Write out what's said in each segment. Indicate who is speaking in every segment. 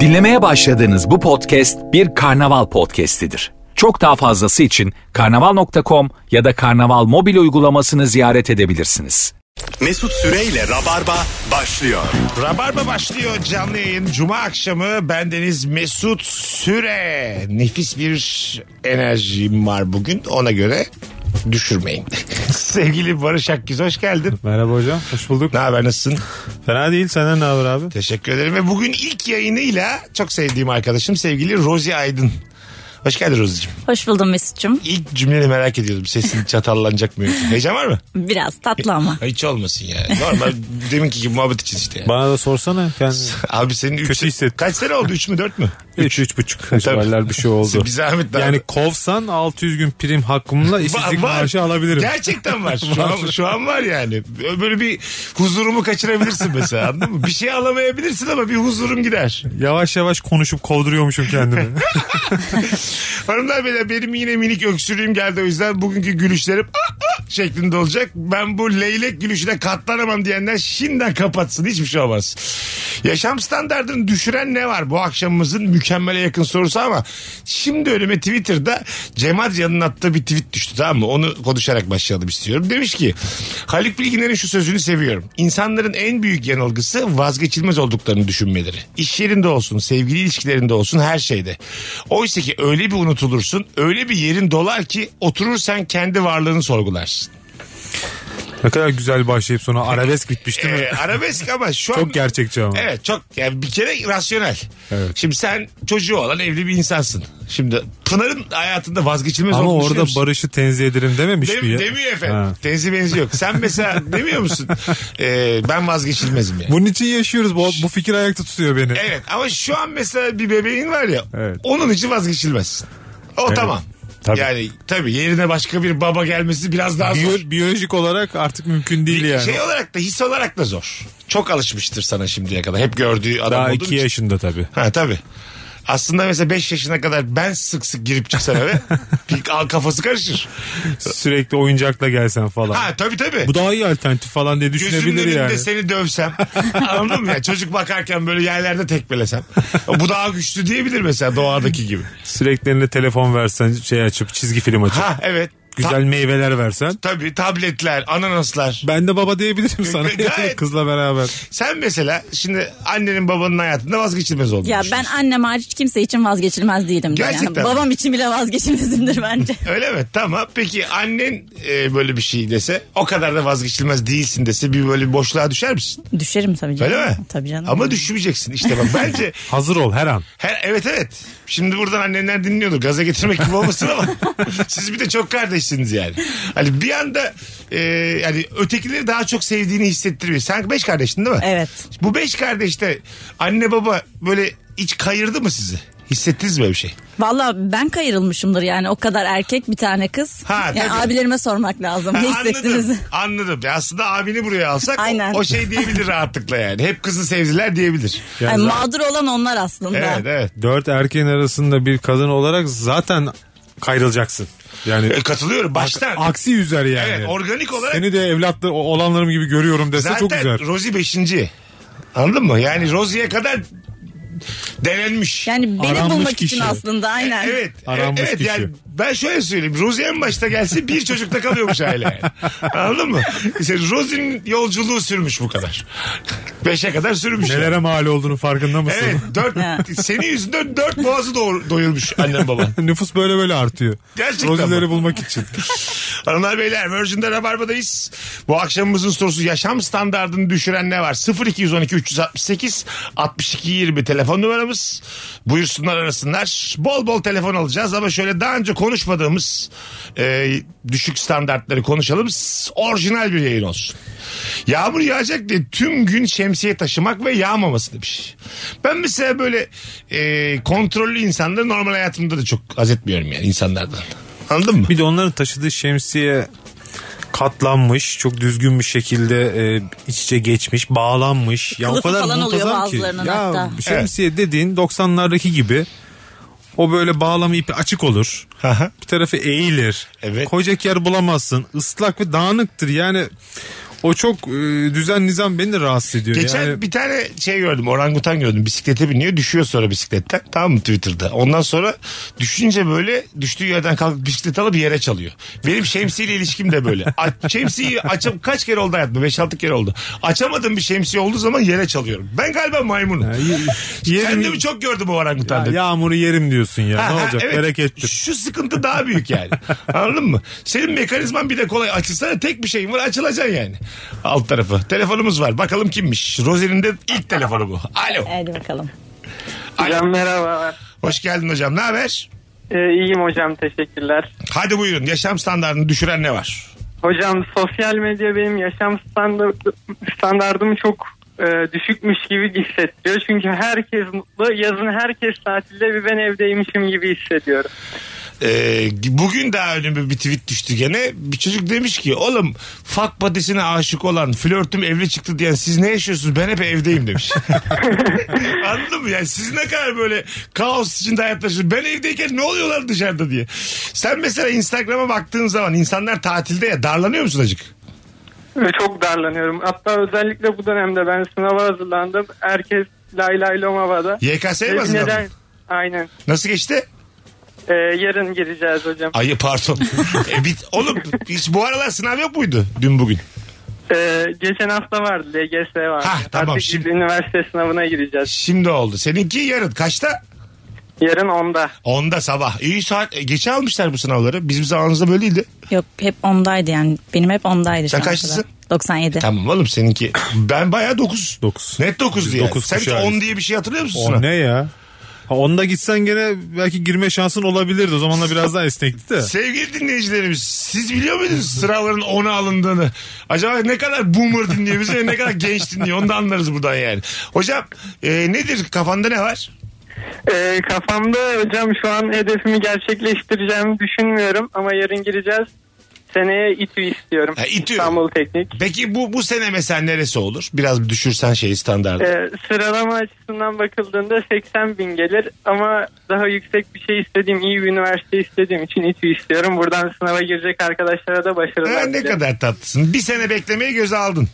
Speaker 1: Dinlemeye başladığınız bu podcast bir karnaval podcastidir. Çok daha fazlası için karnaval.com ya da karnaval mobil uygulamasını ziyaret edebilirsiniz.
Speaker 2: Mesut Süreyle Rabarba başlıyor.
Speaker 3: Rabarba başlıyor canlı yayın. Cuma akşamı bendeniz Mesut Süre. Nefis bir enerjim var bugün. Ona göre düşürmeyin. Sevgili Barış Akgüz hoş geldin.
Speaker 4: Merhaba hocam. Hoş bulduk.
Speaker 3: Ne haber nasılsın?
Speaker 4: Fena değil. Senden ne haber abi?
Speaker 3: Teşekkür ederim. Ve bugün ilk yayınıyla çok sevdiğim arkadaşım sevgili Rozi Aydın. Hoş geldin Rozi'cim.
Speaker 5: Hoş buldum Mesut'cum.
Speaker 3: İlk cümleni merak ediyordum. Sesin çatallanacak mı? Heyecan var mı?
Speaker 5: Biraz tatlı ama.
Speaker 3: Hiç olmasın yani. Normal deminki gibi muhabbet için işte. yani.
Speaker 4: Bana da sorsana. Kendini.
Speaker 3: Abi senin üç-
Speaker 4: Kötü hissettim.
Speaker 3: kaç sene oldu? 3 mü 4 mü?
Speaker 4: 3 üç buçuk civarlar bir şey oldu.
Speaker 3: Bir zahmet daha.
Speaker 4: Yani kovsan 600 gün prim hakkımla işsizlik
Speaker 3: Var, var.
Speaker 4: maaşı alabilirim.
Speaker 3: Gerçekten var. Şu an, şu an var yani. Böyle bir huzurumu kaçırabilirsin mesela anladın mı? Bir şey alamayabilirsin ama bir huzurum gider.
Speaker 4: Yavaş yavaş konuşup kovduruyormuşum kendimi.
Speaker 3: Hanımlar beyler benim yine minik öksürüğüm geldi o yüzden bugünkü gülüşlerim "Ah, ah" şeklinde olacak. Ben bu leylek gülüşüne katlanamam diyenler şimdiden kapatsın hiçbir şey olmaz. Yaşam standartını düşüren ne var bu akşamımızın mükemmele yakın sorusu ama şimdi önüme Twitter'da Cem Adrian'ın attığı bir tweet düştü tamam mı? Onu konuşarak başlayalım istiyorum. Demiş ki Haluk Bilginer'in şu sözünü seviyorum. İnsanların en büyük yanılgısı vazgeçilmez olduklarını düşünmeleri. İş yerinde olsun, sevgili ilişkilerinde olsun her şeyde. Oysa ki öyle bir unutulursun, öyle bir yerin dolar ki oturursan kendi varlığını sorgularsın.
Speaker 4: ne kadar güzel başlayıp sonra arabesk bitmiş değil mi?
Speaker 3: Ee, arabesk ama şu an...
Speaker 4: Çok gerçekçi ama.
Speaker 3: Evet çok yani bir kere rasyonel.
Speaker 4: Evet.
Speaker 3: Şimdi sen çocuğu olan evli bir insansın. Şimdi Pınar'ın hayatında vazgeçilmez
Speaker 4: Ama
Speaker 3: olduğunu düşünüyor
Speaker 4: orada
Speaker 3: musun?
Speaker 4: barışı tenzih ederim dememiş
Speaker 3: Dem-
Speaker 4: mi ya?
Speaker 3: demiyor efendim.
Speaker 4: Ha.
Speaker 3: Tenzi benzi yok. Sen mesela demiyor musun? Ee, ben vazgeçilmezim yani.
Speaker 4: Bunun için yaşıyoruz. Bu, bu fikir ayakta tutuyor beni.
Speaker 3: Evet ama şu an mesela bir bebeğin var ya.
Speaker 4: Evet.
Speaker 3: Onun için vazgeçilmezsin. O tamam.
Speaker 4: Tabii.
Speaker 3: Yani tabii yerine başka bir baba gelmesi biraz daha zor.
Speaker 4: Biyo- biyolojik olarak artık mümkün değil yani.
Speaker 3: Şey olarak da his olarak da zor. Çok alışmıştır sana şimdiye kadar. Hep gördüğü adam
Speaker 4: Daha
Speaker 3: olduğun
Speaker 4: iki
Speaker 3: için.
Speaker 4: yaşında tabii.
Speaker 3: Ha tabii. Aslında mesela 5 yaşına kadar ben sık sık girip çıksam eve bir al kafası karışır.
Speaker 4: Sürekli oyuncakla gelsen falan.
Speaker 3: Ha tabii tabii.
Speaker 4: Bu daha iyi alternatif falan diye
Speaker 3: Gözümün
Speaker 4: düşünebilir
Speaker 3: önünde
Speaker 4: yani.
Speaker 3: seni dövsem. anladın mı ya? Çocuk bakarken böyle yerlerde tekmelesem. Bu daha güçlü diyebilir mesela doğadaki gibi.
Speaker 4: Sürekli eline telefon versen şey açıp çizgi film açıp
Speaker 3: Ha evet.
Speaker 4: güzel
Speaker 3: Ta-
Speaker 4: meyveler versen
Speaker 3: tabii tabletler, ananaslar.
Speaker 4: ben de baba diyebilirim sana
Speaker 3: Gayet.
Speaker 4: kızla beraber.
Speaker 3: Sen mesela şimdi annenin babanın hayatında vazgeçilmez oldun.
Speaker 5: Ya ben annem hariç kimse için vazgeçilmez değilim. de
Speaker 3: Gerçekten mi?
Speaker 5: Yani. Babam için bile vazgeçilmezimdir bence.
Speaker 3: Öyle mi? Tamam. Peki annen e, böyle bir şey dese o kadar da vazgeçilmez değilsin dese bir böyle bir boşluğa düşer misin?
Speaker 5: Düşerim tabii canım.
Speaker 3: Öyle mi?
Speaker 5: Tabii canım.
Speaker 3: Ama düşmeyeceksin işte bak bence
Speaker 4: Hazır ol her an.
Speaker 3: Her, evet evet. Şimdi buradan annenler dinliyordur. Gaza getirmek gibi olmasın ama siz bir de çok kardeşsiniz yani. Hani bir anda e, yani ötekileri daha çok sevdiğini hissettiriyor. Sen beş kardeştin değil mi?
Speaker 5: Evet.
Speaker 3: Bu beş kardeşte anne baba böyle iç kayırdı mı sizi? Hissettiniz mi öyle bir şey?
Speaker 5: Valla ben kayırılmışımdır yani o kadar erkek bir tane kız.
Speaker 3: Ha,
Speaker 5: yani
Speaker 3: tabii.
Speaker 5: abilerime sormak lazım. ne
Speaker 3: Ha,
Speaker 5: hissettiniz?
Speaker 3: Anladım. anladım. Ya aslında abini buraya alsak o-
Speaker 5: Aynen.
Speaker 3: O, şey diyebilir rahatlıkla yani. Hep kızı sevdiler diyebilir.
Speaker 5: Yani mağdur olan onlar aslında.
Speaker 3: Evet evet.
Speaker 4: Dört erkeğin arasında bir kadın olarak zaten kayrılacaksın. Yani
Speaker 3: E, Katılıyorum baştan.
Speaker 4: aksi yüzer yani.
Speaker 3: Evet, organik olarak-
Speaker 4: Seni de evlatlı olanlarım gibi görüyorum dese
Speaker 3: Zaten
Speaker 4: çok güzel. Hmm.
Speaker 3: Rosie beşinci. Anladın mı? Yani Rosie'ye kadar denenmiş.
Speaker 5: Yani beni
Speaker 4: Aranmış
Speaker 5: bulmak için
Speaker 4: kişi.
Speaker 5: aslında aynen.
Speaker 3: Evet.
Speaker 4: Aranmış
Speaker 3: evet
Speaker 4: kişi.
Speaker 3: yani ben şöyle söyleyeyim. Rosie en başta gelse bir çocukta kalıyormuş aile. yani. Anladın mı? İşte Rosie'nin yolculuğu sürmüş bu kadar. Beşe kadar sürmüş. yani.
Speaker 4: Nelere mal olduğunu farkında mısın?
Speaker 3: Evet. Dört,
Speaker 5: Ha.
Speaker 3: senin yüzünden dört boğazı doğur, doyurmuş annem baban.
Speaker 4: Nüfus böyle böyle artıyor.
Speaker 3: Gerçekten
Speaker 4: Rozileri
Speaker 3: mi?
Speaker 4: bulmak için.
Speaker 3: Hanımlar beyler Virgin'de Rabarba'dayız. Bu akşamımızın sorusu yaşam standartını düşüren ne var? 0212 368 62 20 telefon numaramız. Buyursunlar arasınlar. Bol bol telefon alacağız ama şöyle daha önce konuşmadığımız e, düşük standartları konuşalım. S- Orijinal bir yayın olsun. Yağmur yağacak diye tüm gün şemsiye taşımak ve yağmaması demiş. Ben mesela böyle e, kontrollü insanları normal hayatımda da çok haz etmiyorum yani insanlardan. Anladın mı?
Speaker 4: Bir de onların taşıdığı şemsiye katlanmış, çok düzgün bir şekilde e, iç içe geçmiş, bağlanmış. Ya o
Speaker 5: Kılıfı
Speaker 4: kadar
Speaker 5: falan oluyor
Speaker 4: muntazam ki.
Speaker 5: bazılarının
Speaker 4: Ya
Speaker 5: hatta.
Speaker 4: şemsiye dediğin 90'lardaki gibi o böyle bağlama ipi açık olur.
Speaker 3: Aha.
Speaker 4: bir tarafı eğilir.
Speaker 3: Evet.
Speaker 4: Koyacak yer bulamazsın. Islak ve dağınıktır. Yani O çok e, düzen nizam beni de rahatsız ediyor.
Speaker 3: Geçen
Speaker 4: yani,
Speaker 3: bir tane şey gördüm orangutan gördüm bisiklete biniyor düşüyor sonra bisikletten tamam mı Twitter'da. Ondan sonra düşünce böyle düştüğü yerden kalkıp bisiklet alıp yere çalıyor. Benim şemsiyeyle ilişkim de böyle. A- şemsiyeyi açıp kaç kere oldu hayatımda 5-6 kere oldu. Açamadığım bir şemsiye olduğu zaman yere çalıyorum. Ben galiba maymunum.
Speaker 4: yerim-
Speaker 3: Kendimi çok gördüm o orangutanda.
Speaker 4: Ya yağmuru yerim diyorsun ya.
Speaker 3: Ha,
Speaker 4: ne
Speaker 3: ha,
Speaker 4: olacak?
Speaker 3: evet.
Speaker 4: Berekettir.
Speaker 3: Şu sıkıntı daha büyük yani. Anladın mı? Senin mekanizman bir de kolay. Açılsana tek bir şeyin var açılacaksın yani. Alt tarafı. Telefonumuz var. Bakalım kimmiş? Rozi'nin de ilk telefonu bu. Alo.
Speaker 5: Hadi bakalım.
Speaker 6: Hocam merhaba.
Speaker 3: Hoş geldin hocam. Ne haber?
Speaker 6: Ee, iyiyim hocam teşekkürler.
Speaker 3: Hadi buyurun. Yaşam standartını düşüren ne var?
Speaker 6: Hocam sosyal medya benim yaşam standart, standartımı çok e, düşükmüş gibi hissettiriyor. Çünkü herkes mutlu. Yazın herkes tatilde bir ben evdeymişim gibi hissediyorum.
Speaker 3: Ee, bugün daha önüme bir tweet düştü gene. Bir çocuk demiş ki oğlum fak patisine aşık olan flörtüm evli çıktı diyen siz ne yaşıyorsunuz ben hep evdeyim demiş. Anladın mı? Yani siz ne kadar böyle kaos içinde hayatta yaşıyorsunuz. Ben evdeyken ne oluyorlar dışarıda diye. Sen mesela Instagram'a baktığın zaman insanlar tatilde ya darlanıyor musun acık?
Speaker 6: Ve çok darlanıyorum. Hatta özellikle bu dönemde ben sınava hazırlandım. Herkes lay lay lom havada.
Speaker 3: YKS
Speaker 6: Ve
Speaker 3: bazında şey mı?
Speaker 6: neden- Aynen.
Speaker 3: Nasıl geçti?
Speaker 6: Ee, yarın gireceğiz hocam.
Speaker 3: Ay pardon. e, bit, oğlum hiç bu aralar sınav yok muydu dün bugün?
Speaker 6: Ee, geçen hafta vardı LGS vardı.
Speaker 3: Hah, tamam,
Speaker 6: Artık
Speaker 3: şimdi-
Speaker 6: biz üniversite sınavına gireceğiz.
Speaker 3: Şimdi oldu. Seninki yarın kaçta?
Speaker 6: Yarın 10'da.
Speaker 3: Onda sabah. İyi saat. e, Geçe almışlar bu sınavları. Bizim zamanımızda böyleydi.
Speaker 5: Yok hep ondaydı yani. Benim hep ondaydı.
Speaker 3: Sen
Speaker 5: şu ana
Speaker 3: kaçlısın?
Speaker 5: kadar. 97.
Speaker 3: Tamam oğlum seninki. Ben bayağı 9.
Speaker 4: Dokuz.
Speaker 3: Net 9 diye.
Speaker 4: Dokuz
Speaker 3: Sen hiç
Speaker 4: kuşağıyız.
Speaker 3: 10 diye bir şey hatırlıyor musun?
Speaker 4: O
Speaker 3: sınava?
Speaker 4: Oh, ne ya? Ha, onda gitsen gene belki girme şansın olabilirdi. O zamanla biraz daha esnekti de.
Speaker 3: Sevgili dinleyicilerimiz siz biliyor muydunuz sıraların 10'a alındığını? Acaba ne kadar boomer dinliyor bizi ve ne kadar genç dinliyor onu da anlarız buradan yani. Hocam e, nedir kafanda ne var?
Speaker 6: Ee, kafamda hocam şu an hedefimi gerçekleştireceğimi düşünmüyorum ama yarın gireceğiz. Seneye İTÜ istiyorum.
Speaker 3: Ha, İTÜ.
Speaker 6: İstanbul Teknik.
Speaker 3: Peki bu bu sene mesela neresi olur? Biraz bir düşürsen şeyi standartı.
Speaker 6: Ee, sıralama açısından bakıldığında 80 bin gelir ama daha yüksek bir şey istediğim, iyi bir üniversite istediğim için İTÜ istiyorum. Buradan sınava girecek arkadaşlara da başarılar.
Speaker 3: Ha, ne
Speaker 6: dilerim.
Speaker 3: kadar tatlısın. Bir sene beklemeyi göze aldın.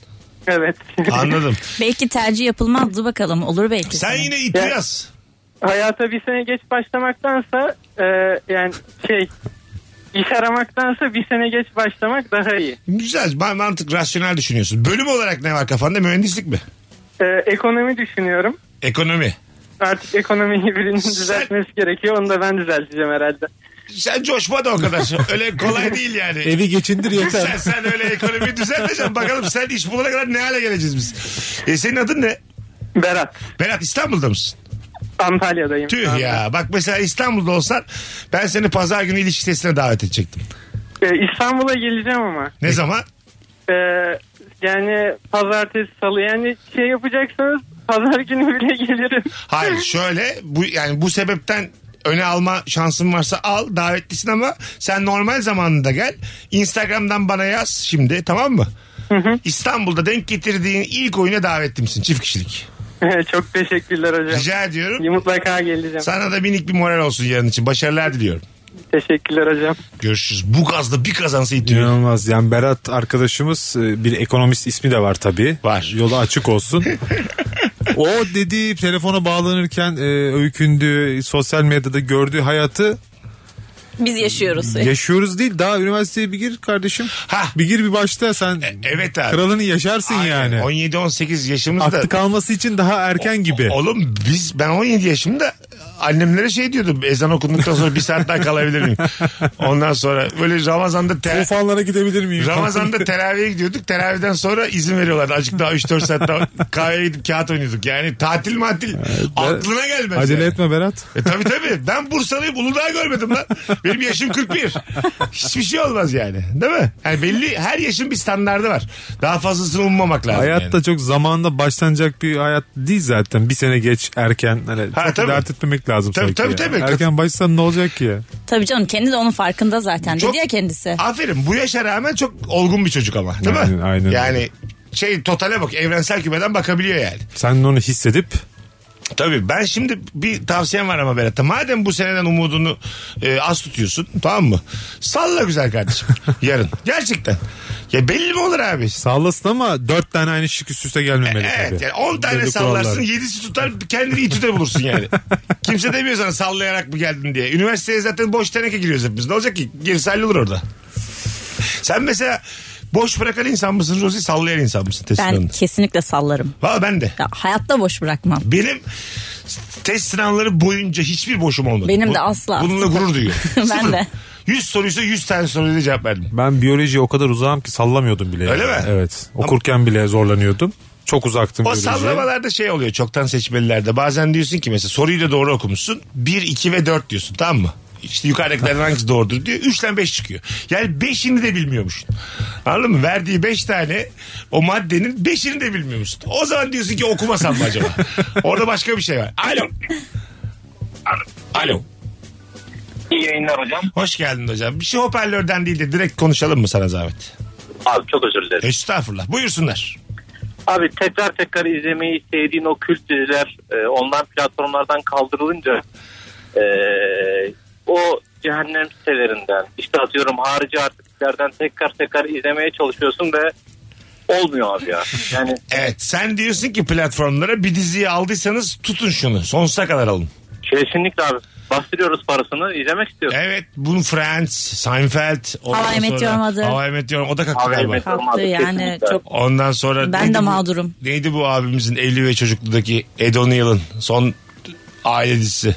Speaker 6: Evet.
Speaker 3: Anladım.
Speaker 5: Belki tercih yapılmazdı bakalım. Olur belki.
Speaker 3: Sen
Speaker 5: sana.
Speaker 3: yine itiraz.
Speaker 6: Hayata bir sene geç başlamaktansa e, yani şey iş aramaktansa bir sene geç başlamak daha iyi.
Speaker 3: Güzel. ma- Mantık, rasyonel düşünüyorsun. Bölüm olarak ne var kafanda? Mühendislik mi?
Speaker 6: Ee, ekonomi düşünüyorum.
Speaker 3: Ekonomi.
Speaker 6: Artık ekonomiyi birinin düzeltmesi gerekiyor. Onu da ben düzelteceğim herhalde.
Speaker 3: Sen coşma da o kadar. Öyle kolay değil yani.
Speaker 4: Evi geçindir
Speaker 3: sen,
Speaker 4: yeter.
Speaker 3: sen öyle ekonomiyi düzelteceksin. Bakalım sen iş bulana kadar ne hale geleceğiz biz. E, senin adın ne?
Speaker 6: Berat,
Speaker 3: Berat İstanbul'da mısın?
Speaker 6: Antalya'dayım. şu
Speaker 3: Tüh
Speaker 6: anda.
Speaker 3: ya. Bak mesela İstanbul'da olsan ben seni pazar günü ilişki testine davet edecektim.
Speaker 6: Ee, İstanbul'a geleceğim ama.
Speaker 3: Ne zaman?
Speaker 6: Ee, yani pazartesi, salı. Yani şey yapacaksanız pazar günü bile gelirim.
Speaker 3: Hayır şöyle bu yani bu sebepten öne alma şansın varsa al davetlisin ama sen normal zamanında gel. Instagram'dan bana yaz şimdi tamam mı? İstanbul'da denk getirdiğin ilk oyuna davetlimsin çift kişilik.
Speaker 6: Çok teşekkürler hocam.
Speaker 3: Rica ediyorum.
Speaker 6: Mutlaka geleceğim.
Speaker 3: Sana da minik bir moral olsun yarın için. Başarılar diliyorum.
Speaker 6: Teşekkürler hocam.
Speaker 3: Görüşürüz. Bu gazda bir kazansa itiyor.
Speaker 4: İnanılmaz. Yani Berat arkadaşımız e, bir ekonomist ismi de var tabii.
Speaker 3: Var.
Speaker 4: Yolu açık olsun. o dediği telefona bağlanırken e, öykündüğü, sosyal medyada gördüğü hayatı
Speaker 5: Biz yaşıyoruz.
Speaker 4: yaşıyoruz değil. Daha üniversiteye bir gir kardeşim.
Speaker 3: Hah.
Speaker 4: Bir gir bir başta sen
Speaker 3: E, Evet abi.
Speaker 4: kralını yaşarsın
Speaker 3: Aynen.
Speaker 4: yani.
Speaker 3: 17-18 yaşımızda.
Speaker 4: Aklı kalması için daha erken gibi.
Speaker 3: Oğlum biz ben 17 yaşımda annemlere şey diyordum. Ezan okunduktan sonra bir saat daha kalabilir miyim? Ondan sonra böyle Ramazan'da ter...
Speaker 4: Tufanlara gidebilir miyim?
Speaker 3: Ramazan'da teravihe gidiyorduk. Teravihden sonra izin veriyorlardı. Azıcık daha 3-4 saat daha kahveye gidip kağıt oynuyorduk. Yani tatil matil aklına gelmez.
Speaker 4: Acele
Speaker 3: yani.
Speaker 4: etme Berat.
Speaker 3: E tabii tabii. Ben Bursalıyım. Uludağ görmedim lan. Benim yaşım 41. Hiçbir şey olmaz yani. Değil mi? Yani belli her yaşın bir standardı var. Daha fazlasını ummamak lazım.
Speaker 4: Hayatta
Speaker 3: yani.
Speaker 4: çok zamanda başlanacak bir hayat değil zaten. Bir sene geç erken hani
Speaker 3: Ha,
Speaker 4: çok
Speaker 3: tabii.
Speaker 4: dert etmemek lazım
Speaker 3: Tabii,
Speaker 4: sanki
Speaker 3: tabii,
Speaker 4: ya.
Speaker 3: tabii.
Speaker 4: Erken başlasan ne olacak ki ya?
Speaker 5: Tabii canım kendi de onun farkında zaten.
Speaker 3: Çok-
Speaker 5: Dedi ya kendisi.
Speaker 3: Aferin. Bu yaşa rağmen çok olgun bir çocuk ama. Değil
Speaker 4: Aynen,
Speaker 3: mi?
Speaker 4: aynen.
Speaker 3: Yani şey totale bak. Evrensel kümeden bakabiliyor yani.
Speaker 4: Sen onu hissedip
Speaker 3: Tabii ben şimdi bir tavsiyem var ama Berat'a. Madem bu seneden umudunu e, az tutuyorsun tamam mı? Salla güzel kardeşim yarın. Gerçekten. Ya belli mi olur abi?
Speaker 4: Sallasın ama dört tane aynı şık üst üste gelmemeli
Speaker 3: Evet
Speaker 4: tabii.
Speaker 3: yani 10 tane
Speaker 4: Belli
Speaker 3: sallarsın
Speaker 4: kurallar.
Speaker 3: 7'si tutar kendini İTÜ'de bulursun yani. Kimse demiyor sana sallayarak mı geldin diye. Üniversiteye zaten boş teneke giriyoruz hepimiz. Ne olacak ki? Gerisi hallolur orada. Sen mesela boş bırakan insan mısın Rozi? Sallayan insan mısın? Test
Speaker 5: Ben
Speaker 3: sınavında?
Speaker 5: kesinlikle sallarım.
Speaker 3: Valla ben de.
Speaker 5: Ya, hayatta boş bırakmam.
Speaker 3: Benim test sınavları boyunca hiçbir boşum olmadı.
Speaker 5: Benim
Speaker 3: Bu-
Speaker 5: de asla.
Speaker 3: Bununla gurur duyuyorum.
Speaker 5: Ben
Speaker 3: Sıfır.
Speaker 5: de.
Speaker 3: 100 soruysa 100 tane soruya cevap verdim.
Speaker 4: Ben biyolojiye o kadar uzağım ki sallamıyordum bile.
Speaker 3: Öyle
Speaker 4: yani.
Speaker 3: mi?
Speaker 4: Evet. Okurken bile zorlanıyordum. Çok uzaktım
Speaker 3: O
Speaker 4: biyolojiye.
Speaker 3: sallamalarda şey oluyor çoktan seçmelilerde. Bazen diyorsun ki mesela soruyu da doğru okumuşsun. 1, 2 ve 4 diyorsun tamam mı? İşte yukarıdakilerden hangisi doğrudur diyor. 3 ile 5 çıkıyor. Yani 5'ini de bilmiyormuşsun. Anladın mı? Verdiği 5 tane o maddenin 5'ini de bilmiyormuşsun. O zaman diyorsun ki okumasam mı acaba? Orada başka bir şey var. Alo. Alo.
Speaker 7: İyi yayınlar hocam.
Speaker 3: Hoş geldin hocam. Bir şey hoparlörden değil de direkt konuşalım mı sana zahmet?
Speaker 7: Abi çok özür dilerim.
Speaker 3: Estağfurullah. Buyursunlar.
Speaker 7: Abi tekrar tekrar izlemeyi sevdiğin o kült diziler e, online platformlardan kaldırılınca e, o cehennem sitelerinden işte atıyorum harici artiklerden tekrar tekrar izlemeye çalışıyorsun ve olmuyor abi ya. Yani
Speaker 3: Evet sen diyorsun ki platformlara bir diziyi aldıysanız tutun şunu. Sonsuza kadar alın.
Speaker 7: kesinlikle abi bastırıyoruz parasını izlemek istiyoruz.
Speaker 3: Evet bunun Friends, Seinfeld. ondan
Speaker 5: How I Met
Speaker 3: sonra-
Speaker 5: Your Mother.
Speaker 3: How I Met Your O da
Speaker 7: How I
Speaker 3: kakı
Speaker 7: Met-
Speaker 3: galiba.
Speaker 7: Tamam
Speaker 5: Kalktı
Speaker 7: abi,
Speaker 5: yani
Speaker 7: kesinlikle.
Speaker 5: çok
Speaker 3: Ondan sonra...
Speaker 5: Ben
Speaker 3: neydi
Speaker 5: de
Speaker 3: bu-
Speaker 5: mağdurum.
Speaker 3: neydi bu abimizin 50 ve çocukludaki Ed O'Neill'ın son aile dizisi.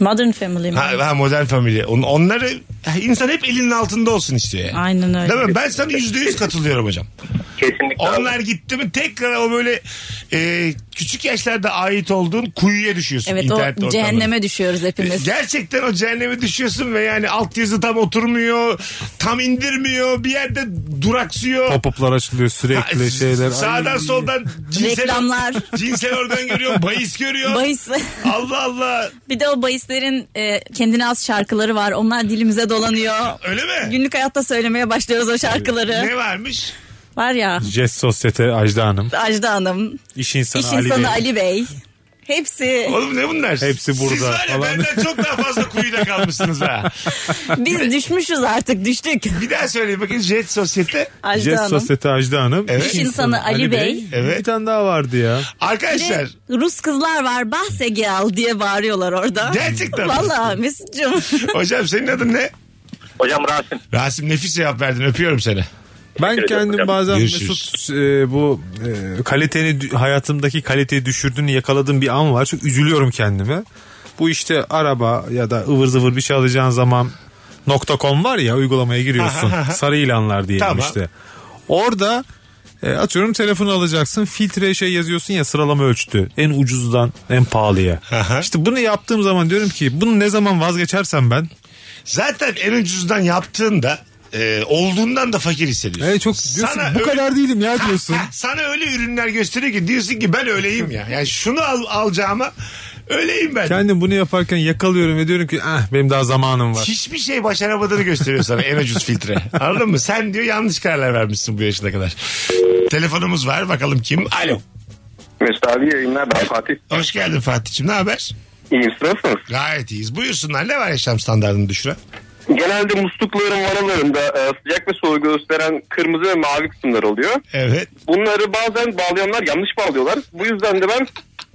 Speaker 5: modern family mi?
Speaker 3: Ha, ha, modern family. On- Onları insan hep elinin altında olsun istiyor yani.
Speaker 5: Aynen öyle.
Speaker 3: Değil mi? Ben sana yüzde yüz katılıyorum hocam.
Speaker 7: Kesinlikle abi.
Speaker 3: Onlar gitti mi tekrar o böyle e, küçük yaşlarda ait olduğun kuyuya düşüyorsun.
Speaker 5: Evet
Speaker 3: internet E,
Speaker 5: o
Speaker 3: ortamlarında.
Speaker 5: cehenneme düşüyoruz hepimiz.
Speaker 3: Gerçekten o cehenneme düşüyorsun ve yani altyazı tam oturmuyor, tam indirmiyor, bir yerde duraksıyor.
Speaker 4: Pop-up'lar açılıyor sürekli
Speaker 3: Ha,
Speaker 4: şeyler.
Speaker 3: Sağdan
Speaker 4: Ay.
Speaker 3: soldan cinsel,
Speaker 5: Reklamlar.
Speaker 3: cinsel organ görüyor, bahis görüyor.
Speaker 5: Bahis.
Speaker 3: Allah Allah.
Speaker 5: bir de o bahislerin e, kendine az şarkıları var. Onlar dilimize dolanıyor.
Speaker 3: Öyle mi?
Speaker 5: Günlük hayatta söylemeye başlıyoruz o şarkıları.
Speaker 3: Ne varmış?
Speaker 5: Var ya
Speaker 4: Jest Sosyete Ajda Hanım.
Speaker 5: Ajda Hanım,
Speaker 4: İş insanı,
Speaker 5: iş
Speaker 4: Ali,
Speaker 5: insanı
Speaker 4: Bey.
Speaker 5: Ali Bey. Hepsi
Speaker 3: Oğlum ne bunlar?
Speaker 4: Hepsi burada
Speaker 3: Siz var ya
Speaker 4: falan.
Speaker 3: benden çok daha fazla kuyuda kalmışsınız ha.
Speaker 5: biz düşmüşüz artık düştük.
Speaker 3: Bir daha söyleyeyim bakın Jet Sosyete.
Speaker 5: Ajda
Speaker 4: Jest
Speaker 5: Hanım.
Speaker 4: Sosyete Ajda Hanım.
Speaker 3: Evet.
Speaker 5: İş insanı Ali Bey.
Speaker 3: Evet.
Speaker 4: Bir tane daha vardı ya.
Speaker 5: Bir de
Speaker 3: Arkadaşlar
Speaker 5: Rus kızlar var bahse gel diye bağırıyorlar orada.
Speaker 3: Gerçekten mi?
Speaker 5: Valla Mesut'cum.
Speaker 3: hocam senin adın ne?
Speaker 7: Hocam Rasim.
Speaker 3: Rasim nefis cevap verdin öpüyorum seni.
Speaker 4: Ben
Speaker 7: ederim
Speaker 4: kendim
Speaker 7: hocam.
Speaker 4: bazen
Speaker 3: Görüşürüz.
Speaker 4: Mesut e, bu e, kaliteni dü- hayatımdaki kaliteyi düşürdüğünü yakaladığım bir an var. Çok üzülüyorum kendime. Bu işte araba ya da ıvır zıvır bir şey alacağın zaman .com var ya uygulamaya giriyorsun. sarı ilanlar diyelim
Speaker 3: Tamam.
Speaker 4: işte. Orada e, atıyorum telefonu alacaksın. Filtre şey yazıyorsun ya sıralama ölçtü. En ucuzdan en pahalıya.
Speaker 3: Aha.
Speaker 4: işte bunu yaptığım zaman diyorum ki bunu ne zaman vazgeçersem ben
Speaker 3: Zaten en ucuzdan yaptığında e, olduğundan da fakir hissediyorsun.
Speaker 4: e, çok diyorsun
Speaker 3: Sana
Speaker 4: bu
Speaker 3: öyle-
Speaker 4: kadar değilim ya diyorsun.
Speaker 3: Ha, sana öyle ürünler gösteriyor ki diyorsun ki ben öyleyim ya. Yani şunu al, alacağıma öyleyim ben.
Speaker 4: Kendim bunu yaparken yakalıyorum ve diyorum ki ah benim daha zamanım var.
Speaker 3: Hiçbir şey başaramadığını gösteriyor sana en ucuz filtre. Anladın mı? Sen diyor yanlış kararlar vermişsin bu yaşına kadar. Telefonumuz var bakalım kim? Alo.
Speaker 8: Mesut abi yayınlar ben Fatih.
Speaker 3: Hoş geldin Fatih'ciğim ne haber?
Speaker 8: İyiyim siz nasılsınız?
Speaker 3: Gayet iyiyiz. Buyursunlar ne var yaşam standartını düşüren?
Speaker 8: Genelde muslukların vanalarında e, sıcak ve soğuğu gösteren kırmızı ve mavi kısımlar oluyor.
Speaker 3: Evet.
Speaker 8: Bunları bazen bağlayanlar yanlış bağlıyorlar. Bu yüzden de ben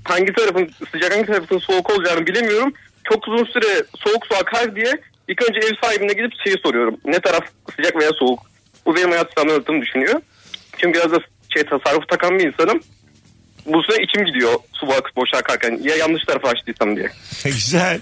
Speaker 8: hangi tarafın sıcak hangi tarafın soğuk olacağını bilemiyorum. Çok uzun süre soğuk su akar diye ilk önce ev sahibine gidip şeyi soruyorum. Ne taraf sıcak veya soğuk? Bu benim hayat standartımı düşünüyor. Çünkü biraz da şey, tasarruf takan bir insanım. Bu süre içim gidiyor su bak- boşa akarken. Ya yanlış tarafa açtıysam diye.
Speaker 3: Güzel.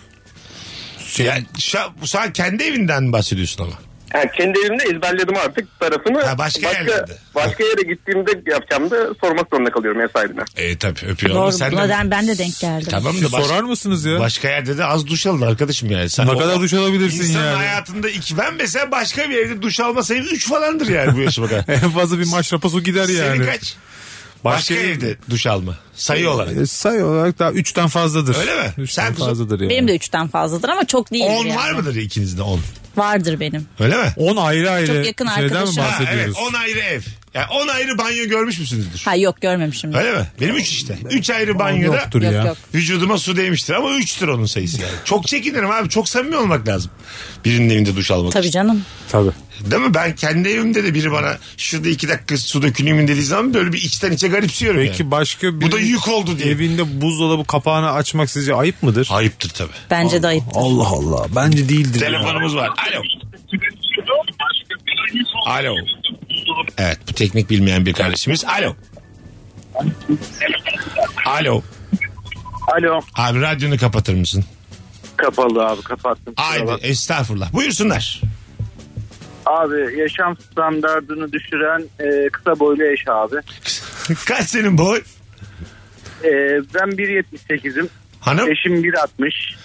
Speaker 3: Ya, şu, an, şu an kendi evinden mi bahsediyorsun ama?
Speaker 8: Yani kendi evimde ezberledim artık tarafını.
Speaker 3: Ha, başka yerlerde.
Speaker 8: başka yere gittiğimde yapacağımda sormak zorunda kalıyorum ev sahibine.
Speaker 3: E tabii öpüyorum.
Speaker 5: Doğru.
Speaker 3: Sen de-
Speaker 5: Bladen ben de denk geldim.
Speaker 3: Tamam da
Speaker 4: Siz
Speaker 3: baş-
Speaker 4: sorar mısınız ya?
Speaker 3: başka yerde de az duş alın arkadaşım yani. Sen
Speaker 4: ne
Speaker 3: o-
Speaker 4: kadar duş alabilirsin
Speaker 3: İnsanın
Speaker 4: yani?
Speaker 3: hayatında iki ben mesela başka bir evde duş alma sayım 3 falandır yani bu yaşıma kadar.
Speaker 4: En fazla bir maşrapa su gider E, yani.
Speaker 3: Senin kaç? Başka, evde duş alma sayı olarak.
Speaker 4: E, sayı olarak daha 3'ten fazladır.
Speaker 3: Öyle mi?
Speaker 4: 3'ten
Speaker 3: Sen kuzum-
Speaker 4: fazladır yani.
Speaker 5: Benim de üçten fazladır ama çok değil.
Speaker 3: 10
Speaker 5: yani.
Speaker 3: var mıdır ikinizde 10?
Speaker 5: Vardır benim.
Speaker 3: Öyle mi?
Speaker 4: 10 ayrı ayrı
Speaker 5: Çok yakın
Speaker 4: şeyden mi
Speaker 5: arkadaşım.
Speaker 3: Ha, evet
Speaker 4: bahsediyoruz?
Speaker 3: 10 ayrı ev. Yani 10 ayrı banyo görmüş müsünüzdür?
Speaker 5: Ha yok görmemişim.
Speaker 3: Öyle mi? Benim 3 işte. 3 ayrı banyoda
Speaker 4: Yoktur
Speaker 5: Yok,
Speaker 4: ya.
Speaker 5: yok.
Speaker 3: vücuduma su değmiştir ama 3'tür onun sayısı yani. Çok çekinirim abi. Çok samimi olmak lazım. Birinin evinde duş almak
Speaker 5: Tabii canım.
Speaker 4: Tabii.
Speaker 3: için. Değil mi? Ben kendi evimde de biri bana şurada 2 dakika su döküneyim dediği zaman böyle bir içten içe garipsiyorum
Speaker 4: Peki
Speaker 3: yani.
Speaker 4: başka bir
Speaker 3: Bu da yük oldu diye.
Speaker 4: Evinde buzdolabı kapağını açmak sizce ayıp mıdır?
Speaker 3: Ayıptır tabii.
Speaker 5: Bence de ayıp.
Speaker 4: Allah Allah. Bence değildir.
Speaker 3: Telefonumuz var. Alo. Alo. Evet bu teknik bilmeyen bir kardeşimiz. Alo. Alo.
Speaker 7: Alo.
Speaker 3: Abi radyonu kapatır mısın?
Speaker 7: Kapalı abi kapattım.
Speaker 3: Haydi estağfurullah. Buyursunlar.
Speaker 7: Abi yaşam standartını düşüren e, kısa boylu eş abi.
Speaker 3: Kaç senin boy?
Speaker 7: E, ben 1.78'im.
Speaker 3: Hanım?
Speaker 7: Eşim 1.60.